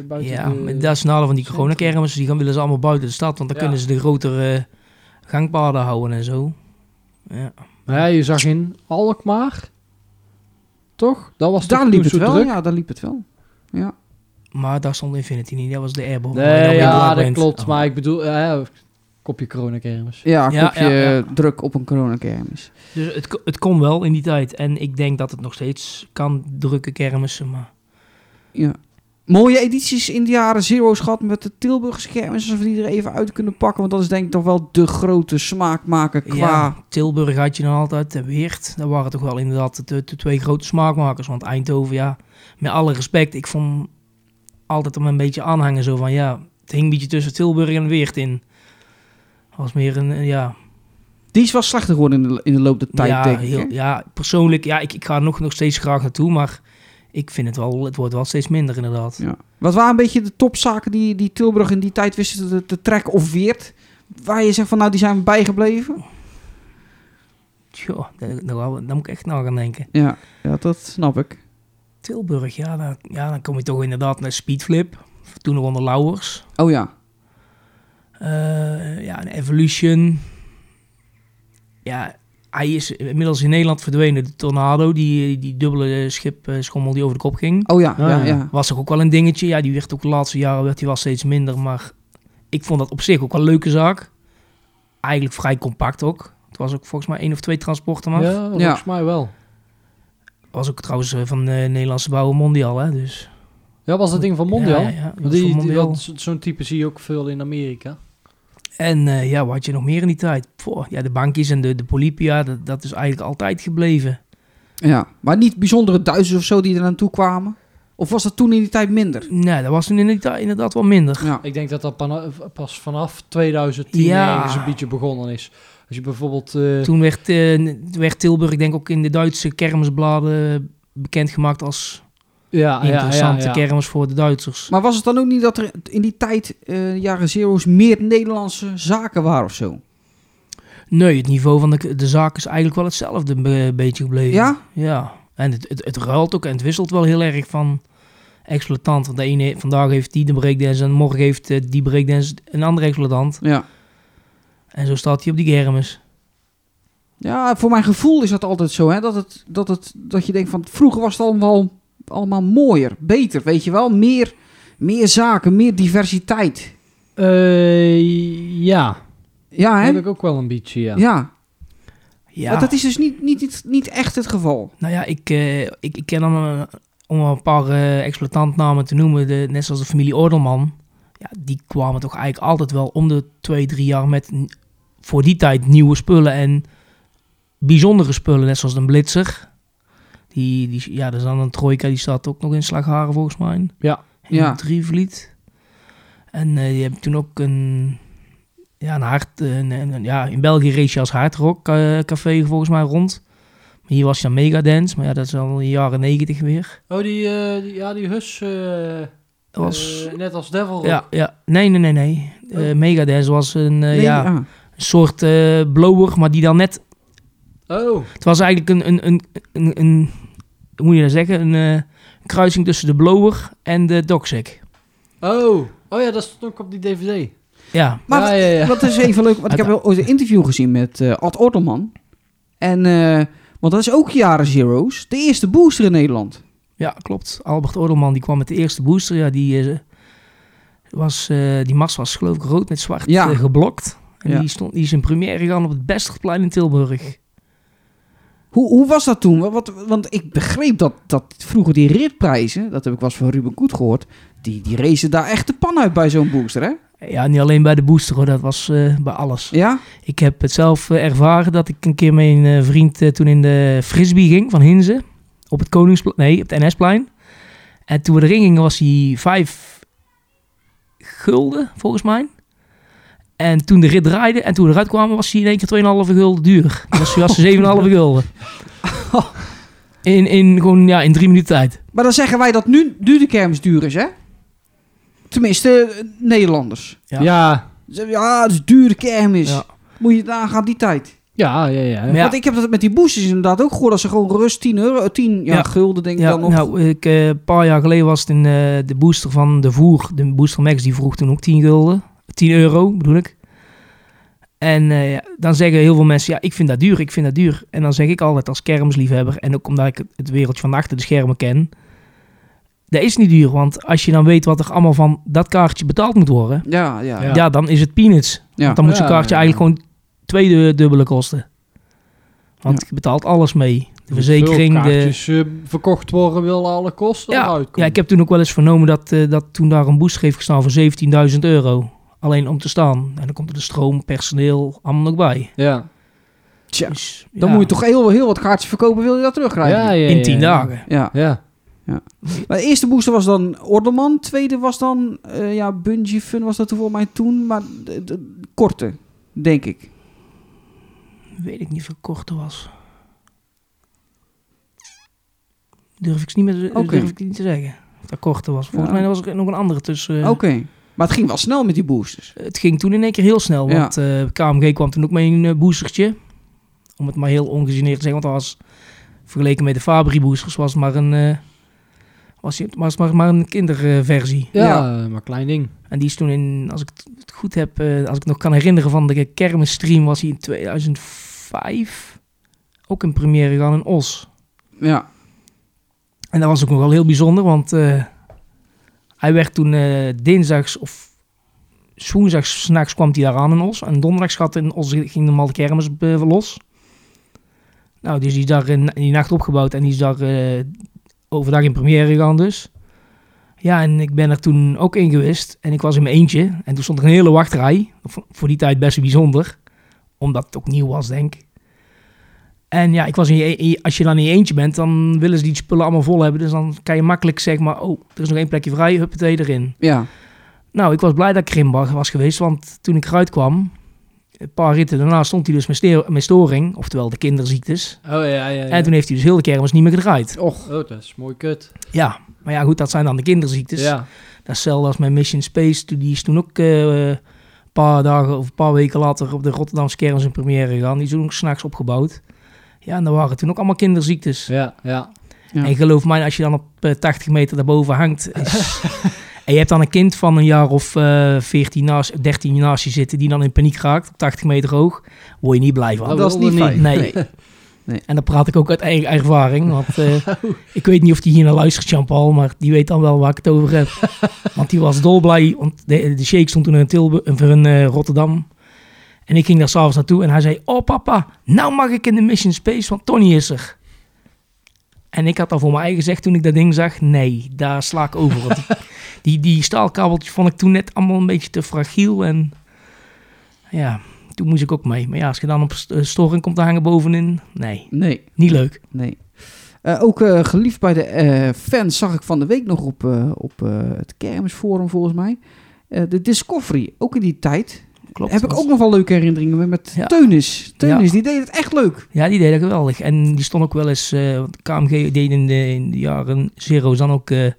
C: buiten
E: ja,
C: de-
E: maar dat is nadeel van die coronakermis. Die gaan willen ze allemaal buiten de stad, want dan
C: Ja.
E: kunnen ze de grotere eh, gangpaden houden en zo. Ja.
C: Maar ja, je zag in Alkmaar, toch? Dat was toch
D: Daar
C: toen
D: liep het
C: zo
D: wel.
C: druk?
D: Ja, daar liep het wel.
E: Maar daar stond Infinity niet. Dat was de airborne. Oh, waar je dan
C: Nee,
E: weer
C: ja,
E: door
C: dat
E: bent.
C: klopt.
E: Oh.
C: Maar ik bedoel, eh, kopje coronakermis.
D: Ja,
E: Ja,
D: kopje
E: ja, ja.
D: druk op een coronakermis.
E: Dus het, ko- het kon wel in die tijd. En ik denk dat het nog steeds kan drukke kermissen. Maar
D: Ja. Mooie edities in de jaren zero's gehad met de Tilburgse kermis. Als we die er even uit kunnen pakken. Want dat is denk ik toch wel de grote smaakmaker qua...
E: ja, Tilburg had je dan altijd, de Weert. Dat waren toch wel inderdaad de, de twee grote smaakmakers. Want Eindhoven, ja, met alle respect. Ik vond altijd om een beetje aanhangen zo van, ja, het hing een beetje tussen Tilburg en Weert in. Was meer een, eh, ja,
D: Die is wel slechter geworden in de, in de loop der tijd,
E: ja,
D: denk ik.
E: heel-
D: hè?
E: ja, persoonlijk, ja, ik, ik ga er nog, nog steeds graag naartoe, maar ik vind het wel, het wordt wel steeds minder inderdaad.
D: Ja. Wat waren een beetje de topzaken die, die Tilburg in die tijd wisten te, te trekken of weert? Waar je zegt van, nou, die zijn we bijgebleven?
E: Tjoh, daar, daar gaan we- daar moet ik echt na gaan denken.
D: Ja, ja dat snap ik.
E: Tilburg, ja dan, ja, dan kom je toch inderdaad naar Speedflip. Toen nog onder Lauwers.
D: Oh ja.
E: Eh, ja, een Evolution. Ja, hij is inmiddels in Nederland verdwenen. De tornado, die, die dubbele eh, schip, eh, schommel die over de kop ging.
D: Oh ja,
C: Ah,
D: ja,
C: ja.
D: ja.
E: Was toch ook wel een dingetje. Ja, die werd ook de laatste jaren werd die wel steeds minder. Maar ik vond dat op zich ook wel een leuke zaak. Eigenlijk vrij compact ook. Het was ook volgens mij één of twee transporten maar.
C: Ja, volgens mij wel.
E: Was ook trouwens eh, van eh Nederlandse bouwen mondiaal, hè. Dus,
C: Ja, was dat ding van Mondial?
E: Ja, ja, ja. Die
C: Want
E: was
C: die,
E: van
C: die-
E: Mondial.
C: dat- zo- Zo'n type zie je ook veel in Amerika.
E: En eh, ja, wat had je nog meer in die tijd? Pfoh, ja, de bankjes en de, de polipia, dat, dat is eigenlijk altijd gebleven.
D: ja. Maar niet bijzondere duizenden of zo die er naartoe kwamen? Of was dat toen in die tijd minder?
E: Nee, dat was toen in die tijd inderdaad wel minder.
D: Ja.
C: Ik denk dat dat pana- pas vanaf 2010
E: Ja.
C: ergens een beetje begonnen is. Als je bijvoorbeeld... eh,
E: Toen werd, eh, werd Tilburg, denk ik, ook in de Duitse kermisbladen bekendgemaakt als
D: Ah,
C: ja, ja,
E: interessante
C: ja, ja.
E: kermis voor de Duitsers.
D: Maar was het dan ook niet dat er in die tijd, eh, jaren zero's, meer Nederlandse zaken waren of zo?
E: Nee, het niveau van de, de zaak is eigenlijk wel hetzelfde een be- beetje gebleven.
D: Ja?
E: Ja. En het, het, het ruilt ook en het wisselt wel heel erg van exploitant. Want de ene, vandaag heeft die de breakdance en morgen heeft eh, die breakdance een andere exploitant.
D: Ja.
E: En zo staat hij op die kermis.
D: Ja, voor mijn gevoel is dat altijd zo, hè? Dat, het, dat, het, dat je denkt van vroeger was het allemaal, allemaal mooier, beter, weet je wel? Meer, meer zaken, meer diversiteit.
C: Eh, ja,
D: Ja, hè?
C: heb ik ook wel een beetje, ja.
D: Ja,
E: Ja.
D: maar dat is dus niet, niet, niet, niet echt het geval.
E: Nou ja, ik, eh, ik, ik ken dan, eh, om een paar eh exploitantnamen te noemen, de, net zoals de familie Ordelman. Ja, die kwamen toch eigenlijk altijd wel om de twee, drie jaar met n- voor die tijd nieuwe spullen en bijzondere spullen, net zoals de Blitzer. Die, die, ja, er is dan een trojka, die staat ook nog in Slagharen volgens mij.
C: Ja.
E: In
D: Ja.
E: Drievliet. En eh, je hebt toen ook een, ja, een hard, eh, een, een- een- ja, in België race je als hardrock eh, café volgens mij rond. Maar hier was je dan Megadance, maar ja, dat is al in de jaren negentig weer.
C: Oh, die, eh, die- ja, die hus... eh,
E: Dat was,
C: eh, net als Devil.
E: ja, ja, nee, nee, nee, nee.
D: Oh.
E: Eh, Megadance was een, eh,
D: Nee,
E: ja,
D: ja.
E: een soort eh, blower, maar die dan net,
C: Oh,
E: het was eigenlijk een, een, een, een, een- hoe moet je dat zeggen, een eh, kruising tussen de blower en de dogsack.
C: oh. Oh ja, dat stond ook op die DVD.
E: Ja,
D: Maar
C: ja, ja, ja.
D: Dat is even leuk, want ik heb wel ooit een interview gezien met eh, Ad Ortelman. En, eh, want dat is ook jaren zero's, de eerste booster in Nederland.
E: Ja, klopt. Albert Ordelman die kwam met de eerste booster. Ja, die, eh, was, eh, die mast was geloof ik rood met zwart
D: Ja.
E: eh, geblokt. En
D: Ja.
E: die, stond, die is in première gegaan op het Bestigplein in Tilburg.
D: Hoe, hoe was dat toen? Wa- Wat, want ik begreep dat, dat vroeger die ritprijzen, dat heb ik wel eens van Ruben Koet gehoord, die, die racen daar echt de pan uit bij zo'n booster, hè?
E: Ja, niet alleen bij de booster hoor, dat was eh, bij alles.
D: Ja?
E: Ik heb het zelf eh, ervaren dat ik een keer met een eh, vriend eh, toen in de frisbee ging van Hinze. Op het Koningsplein, nee, op het NS-plein. En toen we erin gingen was hij vijf gulden, volgens mij. En toen de rit draaide en toen we eruit kwamen was hij in één keer 2,5 gulden duur. Dat was hij was hij 7,5 gulden. In, in, gewoon, ja, in drie minuten tijd.
D: Maar dan zeggen wij dat nu, nu de kermis duur is, hè? Tenminste, eh, Nederlanders.
E: Ja.
C: Ja,
D: Ze zeggen, Ja, het is dure kermis.
E: Ja.
D: Moet je nagaan die tijd.
C: ja, ja. ja.
E: Maar ja,
D: Want ik heb dat met die boosters inderdaad ook gehoord. Dat ze gewoon rust 10 euro, 10 ja,
E: Ja.
D: gulden denk ik
E: Ja,
D: dan nog.
E: nou, ik, eh, een paar jaar geleden was het in eh, de booster van de Voer, de booster Max, die vroeg toen ook 10 gulden, 10 euro bedoel ik. En eh, ja, dan zeggen heel veel mensen, ja, ik vind dat duur, ik vind dat duur. En dan zeg ik altijd als kermisliefhebber, en ook omdat ik het- het wereldje van achter de schermen ken, dat is niet duur, want als je dan weet wat er allemaal van dat kaartje betaald moet worden,
D: ja, ja,
E: ja,
D: ja.
E: dan is het peanuts.
D: ja.
E: Want dan moet
C: Ja,
E: zo'n kaartje
C: ja, ja.
E: eigenlijk gewoon twee du- dubbele kosten. Want je betaalt alles mee. De verzekering, de,
C: Kaartjes, eh, verkocht worden wil alle kosten
E: ja,
C: eruit
E: ja,
C: komen.
E: ik heb toen ook wel eens vernomen dat, eh, dat toen daar een booster heeft gestaan voor 17.000 euro. Alleen om te staan. En dan komt er de stroom, personeel, allemaal nog bij.
C: Ja.
D: Tja,
E: Dus,
D: Dan
E: ja,
D: moet je toch eh, heel, heel wat kaartjes verkopen, wil je dat terugkrijgen?
C: Ja, ja, ja,
E: in 10
C: ja.
E: dagen.
D: ja.
C: Ja.
D: Maar de eerste booster was dan Orderman. Tweede was dan, eh, ja, Bungee Fun was dat toen volgens mij toen. Maar de, de- korte, denk ik.
E: Weet ik niet of het korter was. Durf ik, ze niet meer,
D: Oké.
E: durf ik niet te zeggen. Of dat korter was. Volgens
D: Ja. Oh,
E: mij was er nog een andere tussen. eh,
D: Oké. Maar het ging wel snel met die boosters.
E: Het ging toen in één keer heel snel.
D: Ja.
E: Want eh, KMG kwam toen ook mee een eh, boostertje. Om het maar heel ongegeneerd te zeggen. Want dat was vergeleken met de Fabri boosters was het maar een, eh, was, je- was maar, maar een kinderversie.
C: Ja,
D: Ja.
C: eh, maar klein ding.
E: En die is toen in, als ik het goed heb, eh, als ik het nog kan herinneren van de kermisstream, was hij in 2005 ook in première gegaan in Os.
D: Ja.
E: En dat was ook nog wel heel bijzonder, want eh, hij werd toen eh, dinsdags of woensdags 's nachts kwam hij daar aan in Os. En donderdags gaat in Os ging de Malte Kermis eh, los. Nou, dus die is daar in, in die nacht opgebouwd en die is daar eh, overdag in première gegaan dus. Ja, en ik ben er toen ook in geweest en ik was in mijn eentje. En toen stond er een hele wachtrij, voor- voor die tijd best bijzonder. Omdat het ook nieuw was, denk ik. En ja, ik was in je, in je- als je dan in je eentje bent, dan willen ze die spullen allemaal vol hebben. Dus dan kan je makkelijk zeg maar, oh, er is nog één plekje vrij, huppatee erin.
D: Ja.
E: Nou, ik was blij dat ik erin wa- was geweest, want toen ik eruit kwam, een paar ritten daarna stond hij dus met, ste- met storing, oftewel de kinderziektes.
C: Oh ja, ja, ja.
E: En toen heeft hij dus heel de kermis niet meer gedraaid.
C: Och. Oh, dat is mooi kut.
E: Ja, maar ja goed, dat zijn dan de kinderziektes.
C: ja.
E: Dat is hetzelfde als mijn Mission Space. Toen- Die is toen ook eh, een paar dagen of een paar weken later op de Rotterdamse kermis in première gegaan. Die is toen ook s'nachts opgebouwd. Ja, en daar waren toen ook allemaal kinderziektes.
C: Ja, ja.
D: Ja.
E: En geloof mij, als je dan op eh, 80 meter daarboven hangt. Is... en je hebt dan een kind van een jaar of eh 14 naast, 13 naast je zitten. die dan in paniek raakt op 80 meter hoog. word je niet blij van.
C: Dat
D: Dat is
C: wilde
D: niet
C: niet.
D: fijn.
E: Nee. En dan praat ik ook uit eigen eigen ervaring. Want eh,
D: Oh.
E: ik weet niet of die hier naar luistert, Jean-Paul. maar die weet dan wel waar ik het over heb. want die was dolblij. Want de, de shake stond toen in, Tilburg, of in eh, Rotterdam. En ik ging daar s'avonds naartoe en hij zei: Oh papa, nou mag ik in de Mission Space, want Tony is er. En ik had al voor mijn eigen gezegd toen ik dat ding zag: Nee, daar sla ik over. Want die, die, die staalkabeltjes vond ik toen net allemaal een beetje te fragiel. En ja, toen moest ik ook mee. Maar ja, als je dan op st- eh, storing komt te hangen bovenin, nee,
D: Nee.
E: niet leuk.
D: Nee. Eh, ook eh, geliefd bij de eh, fans zag ik van de week nog op, eh, op eh, het kermisforum volgens mij. Eh, de Discovery, ook in die tijd.
E: Klopt.
D: heb ik ook nog wel leuke herinneringen mee met
E: Ja.
D: Teunis. Teunis,
E: Ja.
D: die deed het echt leuk.
E: Ja, die deden geweldig. En die stond ook wel eens, eh, want KMG deed in de, in de jaren zero's dan ook eh,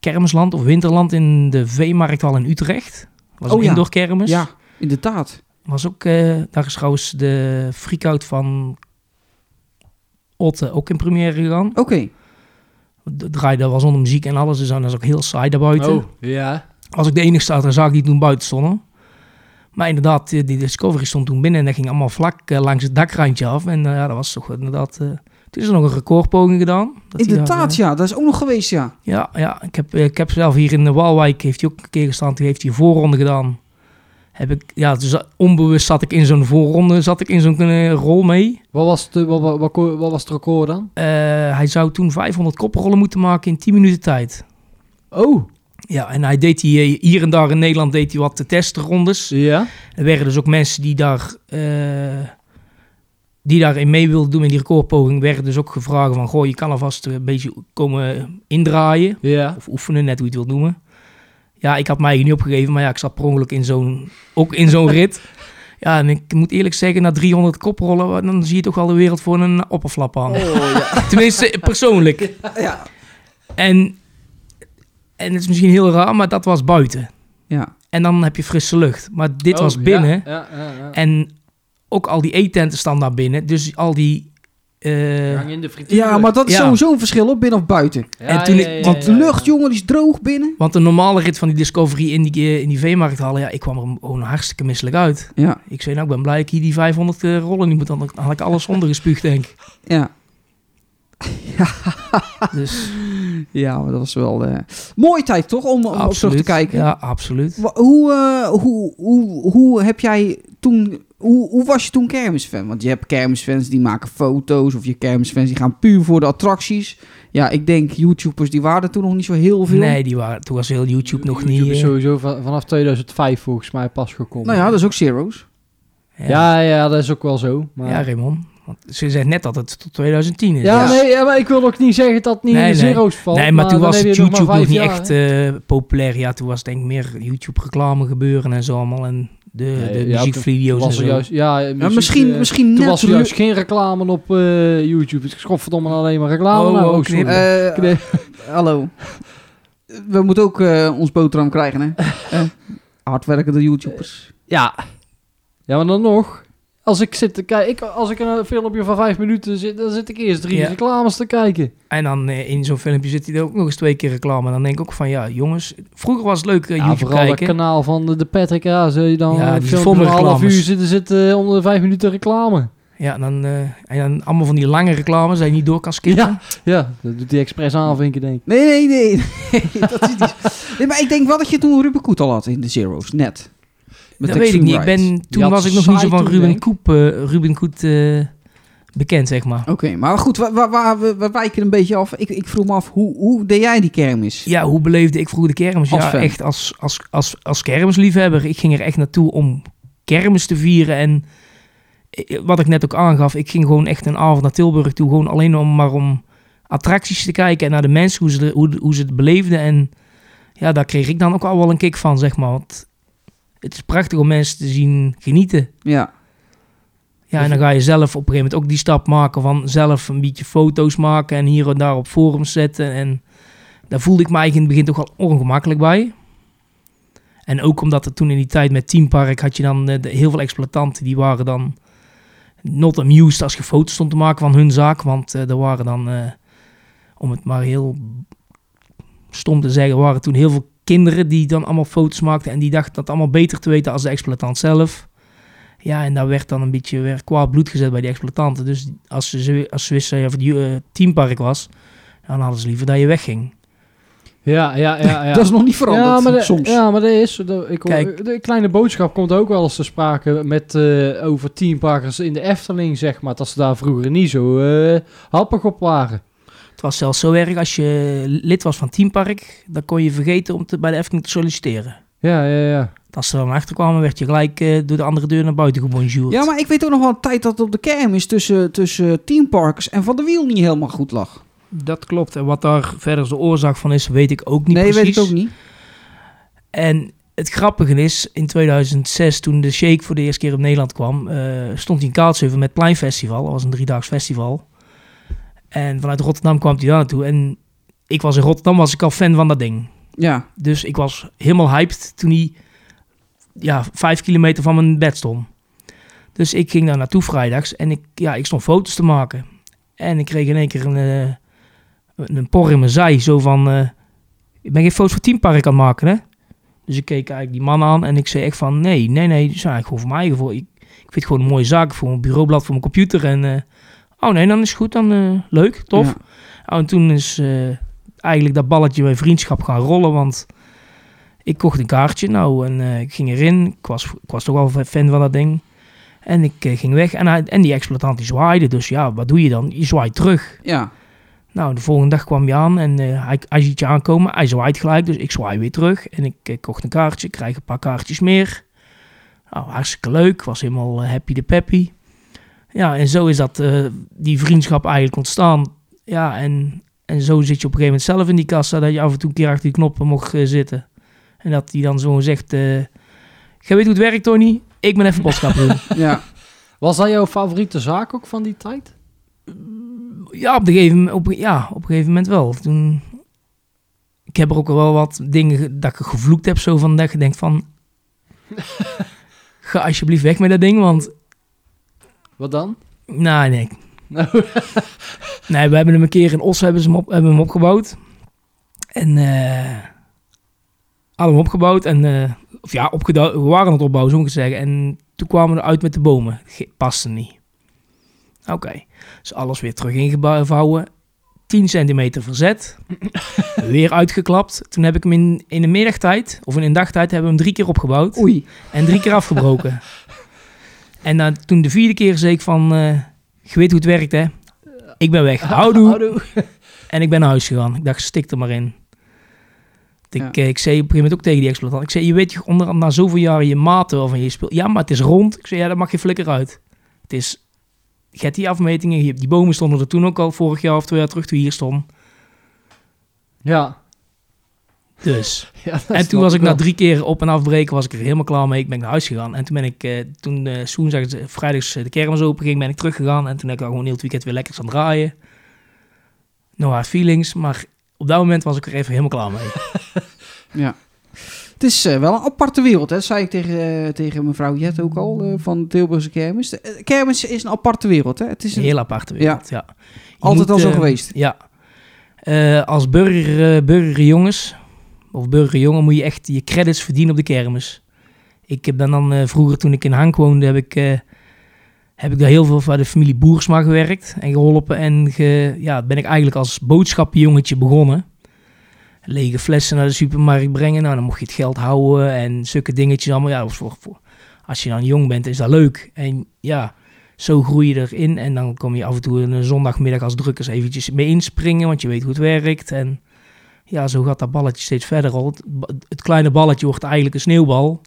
E: kermisland of winterland in de veemarkthal in Utrecht. Was
D: Oh
E: een
D: ja.
E: indoor kermis.
D: Ja, inderdaad.
E: Was ook, eh, daar is trouwens de freakout van Otte ook in première gegaan.
D: Oké.
E: Het Draaide was onder muziek en alles, dus dan is ook heel saai daarbuiten.
C: Oh, ja.
E: Als ik de enige staat, dan zag ik die toen buiten stonden. Maar inderdaad, eh, die Discovery stond toen binnen en dat ging allemaal vlak eh, langs het dakrandje af. En eh, ja, dat was toch inderdaad... eh, toen is er nog een recordpoging gedaan. Dat die
D: Inderdaad,
E: daar,
D: ja. Dat is ook nog geweest, ja.
E: eh, ja. Ja, ik heb, eh, ik heb zelf hier in de Walwijk, heeft hij ook een keer gestaan, toen heeft hij een voorronde gedaan. Heb ik, ja, dus eh, onbewust zat ik in zo'n voorronde, zat ik in zo'n eh, rol mee.
C: Wat was, het, eh, wat, wat, wat, ko- wat was het record dan?
E: Eh, hij zou toen 500 koprollen moeten maken in 10 minuten tijd.
C: Oh,
E: Ja, en hij deed die, eh, hier en daar in Nederland deed hij wat de testrondes.
C: ja.
E: Er werden dus ook mensen die daar, eh die daarin mee wilden doen in die recordpoging, werden dus ook gevraagd van, goh, je kan alvast een beetje komen indraaien.
C: Ja.
E: Of oefenen, net hoe je het wilt noemen. Ja, ik had mij hier niet opgegeven, maar ja, ik zat per ongeluk in zo'n, ook in zo'n rit. Ja, en ik moet eerlijk zeggen, na 300 koprollen, dan zie je toch al de wereld voor een opperflap aan. Tenminste, persoonlijk.
D: Oh, Ja.
E: En, en het is misschien heel raar, maar dat was buiten.
D: Ja.
E: En dan heb je frisse lucht. Maar dit
C: Oh,
E: was binnen.
C: Ja, ja, ja, ja.
E: En ook al die eetenten staan daar binnen. Dus al die... eh,
C: Hang in de frituur.
D: ja, maar dat is
E: Ja.
D: sowieso een verschil, op binnen of buiten.
C: Ja,
E: en toen ik-
D: Want de lucht, jongen, die is droog binnen.
E: Want de normale rit van die Discovery in die, eh, in die veemarkt halen, ja, ik kwam er gewoon hartstikke misselijk uit.
D: Ja.
E: Ik zei, nou, ik ben blij dat ik hier die 500 eh, rollen niet moet, dan dan had ik alles ondergespuugd, denk ik.
D: Ja.
E: Dus,
D: Ja, maar dat was wel... eh mooie tijd, toch? Om, om op terug
E: absoluut.
D: te kijken.
E: Ja, absoluut.
D: Wa- Hoe, eh, hoe, hoe, hoe heb jij toen... Hoe, hoe was je toen kermisfan? Want je hebt kermisfans die maken foto's... of je kermisfans die gaan puur voor de attracties. Ja, ik denk YouTubers die waren er toen nog niet zo heel veel.
E: Nee, die waren, toen was heel YouTube nog
C: YouTube
E: niet...
C: is
E: eh,
C: sowieso va- vanaf 2005 volgens mij pas gekomen.
D: Nou ja, dat is ook
C: Dus
D: Zero's.
E: ja,
C: ja, ja, dat is ook wel zo. Maar...
E: ja, Raymond. Want ze zei net dat het tot 2010 is.
C: eh, Ja,
D: Ja.
C: Nee, ja, maar ik wil ook niet zeggen dat het niet
E: Nee,
C: in de
E: nee.
C: zero's valt.
E: nee, maar, toen
C: dan
E: was
C: heb je
E: het
C: nog
E: YouTube
C: maar
E: nog
C: vijf
E: niet
C: jaar,
E: echt eh, populair. Ja, toen was denk ik meer YouTube-reclame gebeuren en zo allemaal. En de,
C: Nee,
E: de
C: ja,
E: muziekvideo's en
C: Was
E: zo.
C: er juist, ja, eh,
D: Ja,
C: muziek,
D: misschien,
C: eh,
D: misschien
C: Toen
D: net...
C: was er
D: lu-
C: juist geen reclame op eh, YouTube. Het is godverdomme alleen maar reclame.
E: Oh,
C: nou,
E: oh,
C: oh, sorry.
E: knip.
D: Eh,
C: Knip.
D: hallo. We moeten ook eh, ons boterham krijgen, hè? Eh, hardwerkende YouTubers.
C: Ja. Ja, maar dan nog. Als ik zit te kijken, ik, als ik een filmpje van vijf minuten zit, dan zit ik eerst drie
E: Ja.
C: reclames te kijken.
E: En dan eh, in zo'n filmpje zit hij er ook nog eens twee keer reclame. En dan denk ik ook van, ja, jongens, vroeger was het leuk
C: Ja,
E: eh, YouTube
C: vooral het
E: kijken.
C: kanaal van de, de Patrick Haas. eh, Dan
E: Ja,
C: ja,
E: die is
C: filmpje
E: vol
C: van
E: met
C: een half uur
E: reclames.
C: zitten, zitten onder de vijf minuten reclame.
E: Ja, en dan, eh, en dan allemaal van die lange reclames die je niet door kan skippen.
C: Ja. Ja, dat doet hij expres aanvinken, denk ik.
D: Nee, nee, nee. nee, dat is niet. nee maar ik denk wel dat je toen Ruben Koet al had in de Zero's, net.
E: dat
D: Extreme
E: weet ik niet. Ik
D: Rights.
E: ben,
C: Die
E: toen
C: had
E: was ik nog niet zo
C: saai
E: van
C: toen,
E: Ruben
C: denk ik.
E: Koep, eh, Ruben Koet eh, bekend, zeg maar.
D: Oké, maar goed, wa- wa- wa- we, we wijken een beetje af. Ik, ik vroeg me af, hoe, hoe deed jij die kermis?
E: Ja, hoe beleefde ik vroeger de kermis?
D: Als
E: ja,
D: fan.
E: echt als, als, als, als kermisliefhebber. Ik ging er echt naartoe om kermis te vieren. En eh, wat ik net ook aangaf, ik ging gewoon echt een avond naar Tilburg toe. Gewoon alleen om maar om attracties te kijken en naar de mensen, hoe ze, de- hoe, hoe ze het beleefden. En ja, daar kreeg ik dan ook al wel een kick van, zeg maar. Want het is prachtig om mensen te zien genieten.
D: Ja.
E: Ja, en dan ga je zelf op een gegeven moment ook die stap maken van zelf een beetje foto's maken en hier en daar op forums zetten. En daar voelde ik me eigenlijk in het begin toch wel ongemakkelijk bij. En ook omdat er toen in die tijd met Team Park had je dan eh, de- heel veel exploitanten die waren dan not amused als je foto's stond te maken van hun zaak. Want eh, er waren dan, eh, om het maar heel stom te zeggen, waren toen heel veel kinderen die dan allemaal foto's maakten. En die dachten dat allemaal beter te weten als de exploitant zelf. Ja, en daar werd dan een beetje weer kwaad bloed gezet bij die exploitanten. Dus als ze- ze, als ze wisten of het ju- eh, teampark was, dan hadden ze liever dat je wegging.
C: Ja, ja, ja. ja.
D: dat is nog niet veranderd,
C: ja, maar de-
D: soms.
C: Ja, maar dat is... dat- ik hoor-
E: Kijk.
C: de kleine boodschap komt ook wel eens te sprake met, eh, over teamparkers in de Efteling, zeg maar. Dat ze daar vroeger niet zo eh happig op waren.
E: Het was zelfs zo erg, als je lid was van teampark, dan kon je vergeten om te, bij de Efteling te solliciteren.
C: Ja, ja, ja.
E: Als ze er dan achter kwamen, werd je gelijk eh, door de andere deur naar buiten gebonjourd.
D: Ja, maar ik weet ook nog wel een tijd dat het op de kermis tussen, tussen Team Parks en Van der Wiel niet helemaal goed lag.
E: Dat klopt. En wat daar verder de oorzaak van is, weet ik ook niet
D: nee, weet
E: precies.
D: ik ook niet.
E: En het grappige is, in 2006, toen de Shake voor de eerste keer op Nederland kwam, eh, stond hij in Kaatsheuvel met Pleinfestival. Dat was een driedaags festival. En vanuit Rotterdam kwam hij daar naartoe. En ik was in Rotterdam, was ik al fan van dat ding.
D: Ja,
E: Dus ik was helemaal hyped toen hij ja, vijf kilometer van mijn bed stond. Dus ik ging daar naartoe vrijdags en ik, ja, ik stond foto's te maken. En ik kreeg in één keer een, eh, een por in mijn zij. Zo van, eh, ik ben geen foto's voor Teampark aan het maken, hè? Dus ik keek eigenlijk die man aan en ik zei echt van, nee, nee, nee, dit is eigenlijk gewoon voor mij. Voor, ik, ik vind het gewoon een mooie zaak voor mijn bureaublad, voor mijn computer. En, eh, oh nee, dan is het goed, dan eh, leuk, tof.
D: Ja.
E: Oh, en toen is eh, eigenlijk dat balletje bij vriendschap gaan rollen, want ik kocht een kaartje nou en eh, ik ging erin. Ik was, ik was toch wel fan van dat ding. En ik eh, ging weg en, hij- en die exploitant die zwaaide. Dus ja, wat doe je dan? Je zwaait terug.
D: ja.
E: Nou, de volgende dag kwam je aan en eh, hij, hij ziet je aankomen. Hij zwaait gelijk, dus ik zwaai weer terug. En ik eh, kocht een kaartje, krijg een paar kaartjes meer. Nou, hartstikke leuk. Was helemaal eh, happy de peppy. Ja, en zo is dat, eh, die vriendschap eigenlijk ontstaan. Ja, en, en zo zit je op een gegeven moment zelf in die kassa... dat je af en toe een keer achter die knoppen mocht eh, zitten. En dat hij dan zo zegt... eh Jij weet hoe het werkt, Tony? Ik ben even boodschappen doen.
D: ja.
C: Was dat jouw favoriete zaak ook van die tijd?
E: Ja, op een gegeven, mo- op, ja, op een gegeven moment wel. Toen, ik heb er ook wel wat dingen ge- dat ik gevloekt heb, zo van dat je denkt van... ga alsjeblieft weg met dat ding, want...
C: Wat dan?
E: Nou, nee.
C: Nou,
E: Nee, we hebben hem een keer in Os hebben ze hem, op, hebben hem opgebouwd. En eh hadden hem opgebouwd en... eh, of ja, opgedouwd, we waren aan het opbouwen, zo moet ik het zeggen. En toen kwamen we eruit met de bomen. Ge- Paste niet. Oké. Dus alles weer terug ingevouwen. 10 centimeter verzet. weer uitgeklapt. Toen heb ik hem in, in de middagtijd, of in de dagtijd, hebben we hem drie keer opgebouwd.
D: Oei.
E: En drie keer afgebroken. en dan, toen de vierde keer zei ik van... eh je weet hoe het werkt, hè? Ik ben weg. Houdoe.
C: Houdoe.
E: En ik ben naar huis gegaan. Ik dacht, stik er maar in. Ik,
D: Ja.
E: eh, ik zei op een gegeven moment ook tegen die exploitant. Ik zei, je weet je onder na zoveel jaren je maat wel van je speelt. Ja, maar het is rond. Ik zei, ja, daar mag je flikker uit. Het is... Je hebt die afmetingen. je hebt- Die bomen stonden er toen ook al vorig jaar of twee jaar terug toen je hier stond.
C: ja.
E: Dus...
C: ja dat
E: En
C: snap
E: toen was ik
C: wel.
E: na drie keer op en afbreken, was ik er helemaal klaar mee. Ik ben naar huis gegaan. En toen ben ik, eh, toen eh woensdag, vrijdags eh, de kermis open ging, ben ik teruggegaan. En toen heb ik al gewoon heel het weekend weer lekker aan het draaien. No hard feelings, maar op dat moment was ik er even helemaal klaar mee.
D: Ja. Het is eh, wel een aparte wereld, hè? dat zei ik tegen, eh, tegen mevrouw Jet ook al, eh, van de Tilburgse kermis. De, eh, kermis is een aparte wereld, hè? Het is
E: Een
D: een-
E: heel aparte wereld, ja. Je
D: altijd
E: moet,
D: al zo
E: eh,
D: geweest.
E: Ja. Eh, als burger, eh, burgerjongens, of burgerjongen, moet je echt je credits verdienen op de kermis. Ik heb dan, dan eh, vroeger, toen ik in Hank woonde, heb ik eh, heb ik daar heel veel voor de familie Boersma gewerkt en geholpen. En ge, ja, ben ik eigenlijk als boodschappenjongetje begonnen. Lege flessen naar de supermarkt brengen. Nou, dan mocht je het geld houden en zulke dingetjes allemaal. Ja, dat was voor, voor- als je dan jong bent, is dat leuk. En ja, zo groei je erin. En dan kom je af en toe een zondagmiddag als drukkers eventjes mee inspringen, want je weet hoe het werkt. En ja, zo gaat dat balletje steeds verder al. Het, ba- het kleine balletje wordt eigenlijk een sneeuwbal.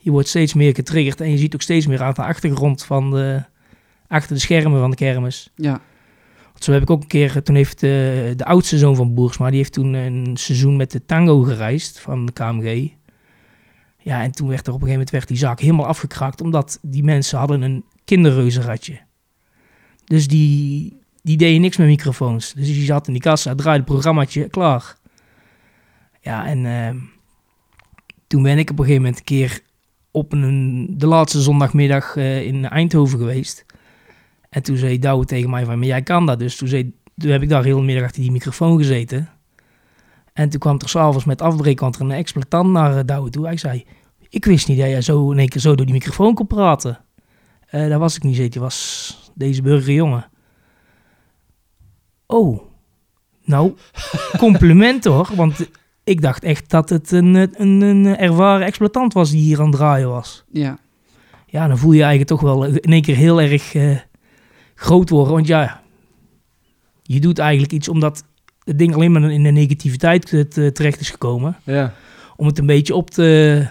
E: Je wordt steeds meer getriggerd en je ziet ook steeds meer aan de achtergrond van de, achter de schermen van de kermis.
D: Ja.
E: Want zo heb ik ook een keer, eh, toen heeft de, de oudste zoon van Boersma, die heeft toen een seizoen met de tango gereisd van de KMG. Ja, en toen werd er op een gegeven moment werd die zaak helemaal afgekraakt, omdat die mensen hadden een kinderreuzenradje. Dus die, die deden niks met microfoons. Dus die zat in die kassa, draaide het programmaatje, klaar. Ja, en eh, toen ben ik op een gegeven moment een keer op een, de laatste zondagmiddag eh, in Eindhoven geweest. En toen zei Douwe tegen mij van, maar jij kan dat. Dus toen, zei, toen heb ik daar heel de middag achter die microfoon gezeten. En toen kwam er s'avonds met afbreek kwam er een exploitant naar eh, Douwe toe. Hij zei, ik wist niet dat jij zo in één keer zo door die microfoon kon praten. Eh daar was ik niet, zei hij, was deze burgerjongen. Oh, nou, compliment hoor. Want ik dacht echt dat het een, eh, een, een ervaren exploitant was die hier aan het draaien was
D: Ja.
E: ja, dan voel je je eigenlijk toch wel in één keer heel erg eh, groot worden. Want ja, je doet eigenlijk iets omdat het ding alleen maar in de negativiteit eh, te- terecht is gekomen.
C: Ja.
E: Om het een beetje op te...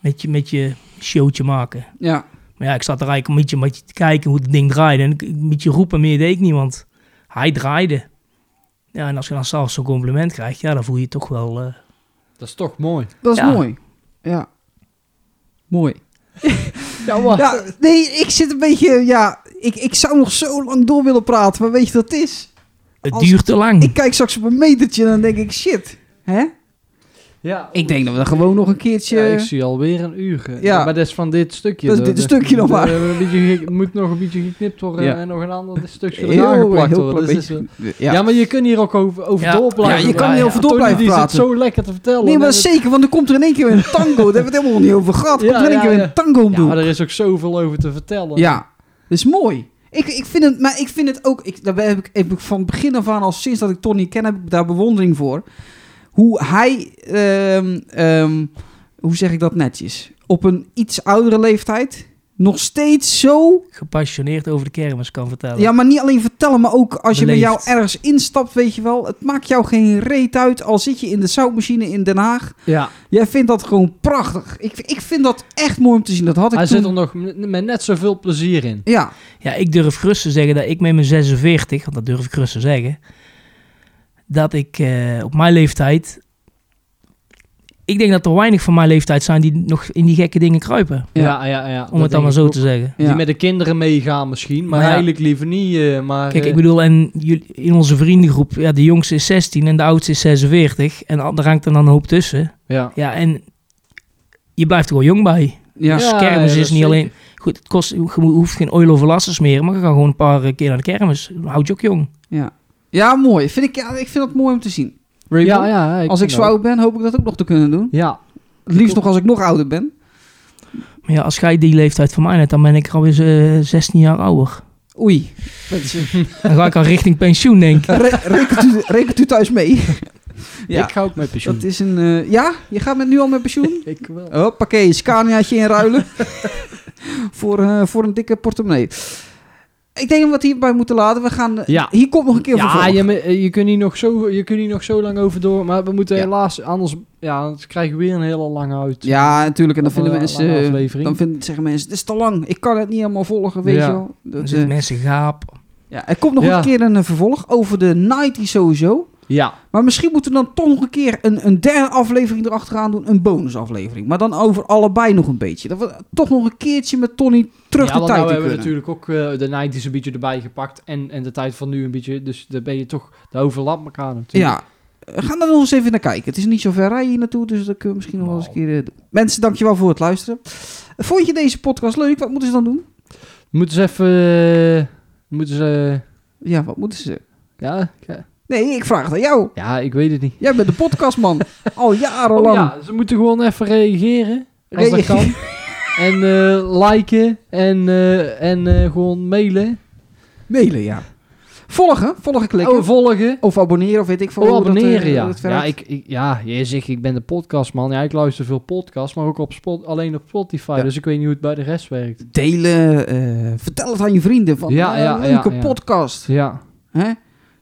E: met je, met je showtje maken.
D: Ja.
E: Maar ja, ik zat er eigenlijk een beetje, een beetje te kijken hoe het ding draaide. En ik- een beetje roepen, meer deed ik niet, want hij draaide. Ja, en als je dan zelfs zo'n compliment krijgt, ja, dan voel je je toch wel... eh,
C: Dat is toch mooi.
D: Dat is
E: Ja.
D: mooi. Ja. Mooi.
C: Ja, wat?
D: Ja, nee, ik zit een beetje... Ja, ik, ik zou nog zo lang door willen praten, maar weet je wat het is?
E: het
D: Als-
E: duurt te lang.
D: Ik kijk straks op een metertje en dan denk ik, shit. Hè?
C: Ja.
D: Ik denk dat we dan gewoon nog een keertje...
C: Ja, ik zie alweer een uur. eh.
D: Ja.
C: Maar dat is van dit stukje.
D: Dat is dit stukje nog maar.
C: Er eh, een beetje ge- moet nog een beetje geknipt worden
D: Ja.
C: en nog een ander stukje eraan geplakt
D: heel
C: worden.
D: klein
C: Dus is-
D: beetje.
C: ja.
D: Ja.
C: maar je kunt hier ook over, over
E: Ja.
C: door blijven.
D: Ja, je kan hier over door
C: Tony,
D: blijven
C: die
D: praten.
C: zit zo lekker te vertellen.
D: Nee, maar
C: En
D: dat is zeker, want er komt er in één keer weer een tango. Daar hebben we het helemaal niet over gehad. Komt
C: Ja,
D: er in één
C: ja,
D: keer weer
C: ja.
D: een tango
C: het-
D: om
C: Ja,
D: doen.
C: maar er is ook zoveel over te vertellen.
D: Ja, dat is mooi. Ik, ik vind het, maar ik vind het ook, ik, daar heb ik, heb ik van begin af aan, al sinds dat ik Tony ken, heb ik daar bewondering voor. Hoe hij, ehm, ehm, hoe zeg ik dat netjes, op een iets oudere leeftijd nog steeds zo,
E: Gepassioneerd over de kermis kan vertellen.
D: ja, maar niet alleen vertellen, maar ook als je met
E: Beleefd.
D: jou ergens instapt, weet je wel. Het maakt jou geen reet uit, al zit je in de zoutmachine in Den Haag.
C: ja.
D: Jij vindt dat gewoon prachtig. Ik, ik vind dat echt mooi om te zien. Dat had ik
C: Hij
D: toen...
C: zit er nog m- met net zoveel plezier in.
D: Ja,
E: Ja, ik durf gerust te zeggen dat ik met mijn 46, want dat durf ik gerust te zeggen, dat ik eh, op mijn leeftijd. Ik denk dat er weinig van mijn leeftijd zijn die nog in die gekke dingen kruipen.
D: Ja.
C: Ja, ja, ja.
E: Om het dan maar zo te zeggen.
D: ja.
C: Die met de kinderen meegaan misschien, maar
E: Maar ja.
C: eigenlijk liever niet. eh, maar,
E: Kijk,
C: eh,
E: ik bedoel, en jullie- in onze vriendengroep, ja, de jongste is 16 en de oudste is 46. En al- daar hangt er dan een hoop tussen.
C: ja.
E: Ja, en je blijft er wel jong bij.
D: ja.
C: Ja.
E: kermis
C: dat
E: is niet
C: zeker.
E: alleen... Goed, het kost, je hoeft geen oil over lasten smeren, maar je gaat gewoon een paar eh, keer naar de kermis. Houd je ook jong.
D: Ja, ja mooi. Vind ik, ja, ik vind dat mooi om te zien. Rainbow,
C: ja, ja,
D: als ik
C: kan
D: zo
C: ook.
D: oud ben, hoop ik dat ook nog te kunnen doen.
C: Ja,
D: Het liefst nog als ik nog ouder ben.
E: Maar ja, als jij die leeftijd van mij net, dan ben ik alweer eh, 16 jaar ouder.
D: Oei.
E: Dan ga ik al richting pensioen, denk ik.
D: Re- rekent, u, rekent u thuis mee? ja,
C: ik ga ook met pensioen.
D: dat is een... eh, ja? Je gaat met nu al met pensioen?
C: Ik wel.
D: Hoppakee, Scaniaatje inruilen. voor, eh, voor een dikke portemonnee. Ik denk dat we het hierbij moeten laten. We gaan... eh,
C: Ja.
D: Hier komt nog een keer vervolg.
C: Ja, je, me- eh, je, kunt hier nog zo, je kunt hier nog zo lang over door, maar we moeten
D: Ja.
C: helaas, anders, ja, anders krijgen we weer een hele lange uit.
D: Ja, natuurlijk. En dan
C: Of een
D: vinden
C: lange
D: mensen... eh,
C: aflevering.
D: Dan vinden, zeggen mensen, het is te lang. Ik kan het niet helemaal volgen, weet
C: Ja.
D: je wel. Dat,
E: Dan
D: eh,
E: zitten mensen gaap.
D: ja, er komt nog
C: Ja.
D: een keer een eh, vervolg over de 90 sowieso.
C: Ja,
D: Maar misschien moeten we dan toch nog een keer een, een derde aflevering erachteraan doen. Een bonusaflevering. Maar dan over allebei nog een beetje. Dat we toch nog een keertje met Tony terug
C: ja
D: de
C: want
D: tijd
C: nou
D: in
C: hebben we
D: kunnen.
C: natuurlijk ook eh, de 90's een beetje erbij gepakt en, en de tijd van nu een beetje, dus daar ben je toch, daar overlapt elkaar natuurlijk.
D: Ja. Eh, Ga daar nog eens even naar kijken. Het is niet zo ver rijden hier naartoe, dus dat kunnen we misschien nog wel eens een keer eh, doen. Mensen, dankjewel voor het luisteren. Vond je deze podcast leuk? Wat moeten ze dan doen?
C: Moeten ze even, eh, moeten ze,
D: Ja, wat moeten ze?
C: ja, ja,
D: Nee, ik vraag het aan jou.
C: ja, ik weet het niet.
D: Jij bent de podcastman. Al jarenlang.
C: Oh ja, ze moeten gewoon even reageren. Als dat
D: Reageer.
C: kan. En eh, liken en, eh, en eh, gewoon mailen.
D: Mailen, ja. Volgen, volgen klikken.
C: Oh, volgen.
D: of abonneren, of weet ik veel.
C: Oh,
D: hoe dat, eh,
C: abonneren,
D: hoe
C: ja.
D: dat verder-
C: Ja, ik, ik- ja, je zegt ik ben de podcastman. Ja, ik luister veel podcasts, maar ook op Spot, alleen op Spotify.
D: Ja.
C: Dus ik weet niet hoe het bij de rest werkt.
D: Delen, eh, vertel het aan je vrienden. Van,
C: Ja,
D: eh,
C: ja, ja,
D: leuke
C: ja.
D: podcast.
C: Ja,
D: Hè?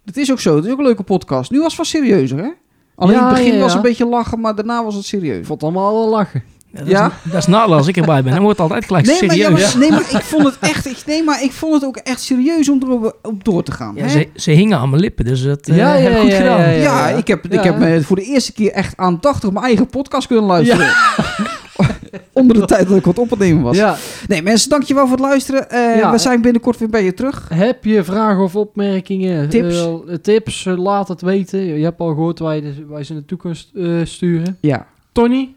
D: Dat is ook zo, het is ook een leuke podcast. Nu was het wat serieuzer, hè? Alleen
C: Ja,
D: in het begin
C: ja, ja.
D: was het een beetje lachen, maar daarna was het serieus.
C: ik vond het allemaal wel lachen.
E: dat, Is, dat is nadeel als ik erbij ben. Dan wordt het altijd gelijk
D: Nee, maar, ja,
E: serieus.
D: maar- nee, maar ik vond het echt. Ik, nee, maar ik vond het ook echt serieus om erop op door te gaan.
E: Ja,
D: hè?
E: ze, ze hingen aan mijn lippen, dus dat eh,
C: Ja, ja,
E: heb ik goed
C: ja,
E: gedaan.
C: ja,
D: Ja, ik heb,
C: Ja.
D: ik heb me voor de eerste keer echt aandachtig mijn eigen podcast kunnen luisteren. Onder de tijd dat ik wat op het nemen was.
C: Ja,
D: Nee, mensen, dankjewel voor het luisteren. Eh,
C: Ja.
D: we zijn binnenkort weer bij je terug.
C: heb je vragen of opmerkingen?
D: Tips?
C: eh, tips, eh, laat het weten. Je hebt al gehoord waar, je, waar je ze in de toekomst eh, sturen.
D: Ja.
C: Tony?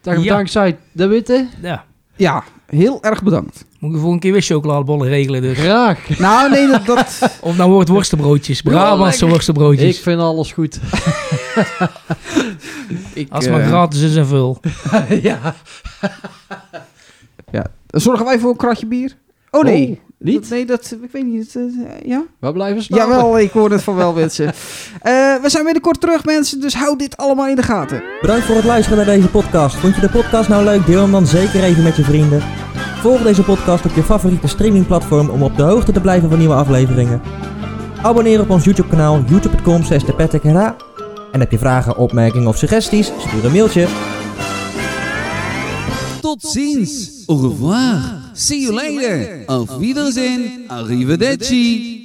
C: Dag,
E: Ja.
C: Dankzij de Witte.
E: Ja.
D: Ja, heel erg bedankt.
E: Moet ik de volgende keer weer chocoladebollen regelen. Dus.
C: Graag.
D: Nou, nee, dat... dat
E: Of dan wordt het worstenbroodjes. Brabantse
C: Ik
E: worstenbroodjes.
C: vind alles goed.
E: als het maar
D: eh,
E: gratis is en vul.
C: ja.
D: Zorgen wij voor een kratje bier? Oh, nee.
C: Oh, niet?
D: Dat- nee, dat... Ik weet niet. dat, eh, ja?
C: We blijven staan.
D: Jawel, ik hoor het van wel, mensen. Eh, we zijn binnenkort terug, mensen. Dus houd dit allemaal in de gaten.
B: Bedankt voor het luisteren naar deze podcast. Vond je de podcast nou leuk? Deel hem dan zeker even met je vrienden. Volg deze podcast op je favoriete streamingplatform om op de hoogte te blijven van nieuwe afleveringen. Abonneer op ons YouTube kanaal youtube.com En heb je vragen, opmerkingen of suggesties? Stuur een mailtje.
F: Tot ziens. Au revoir. See you later. Auf Wiedersehen. Arrivederci.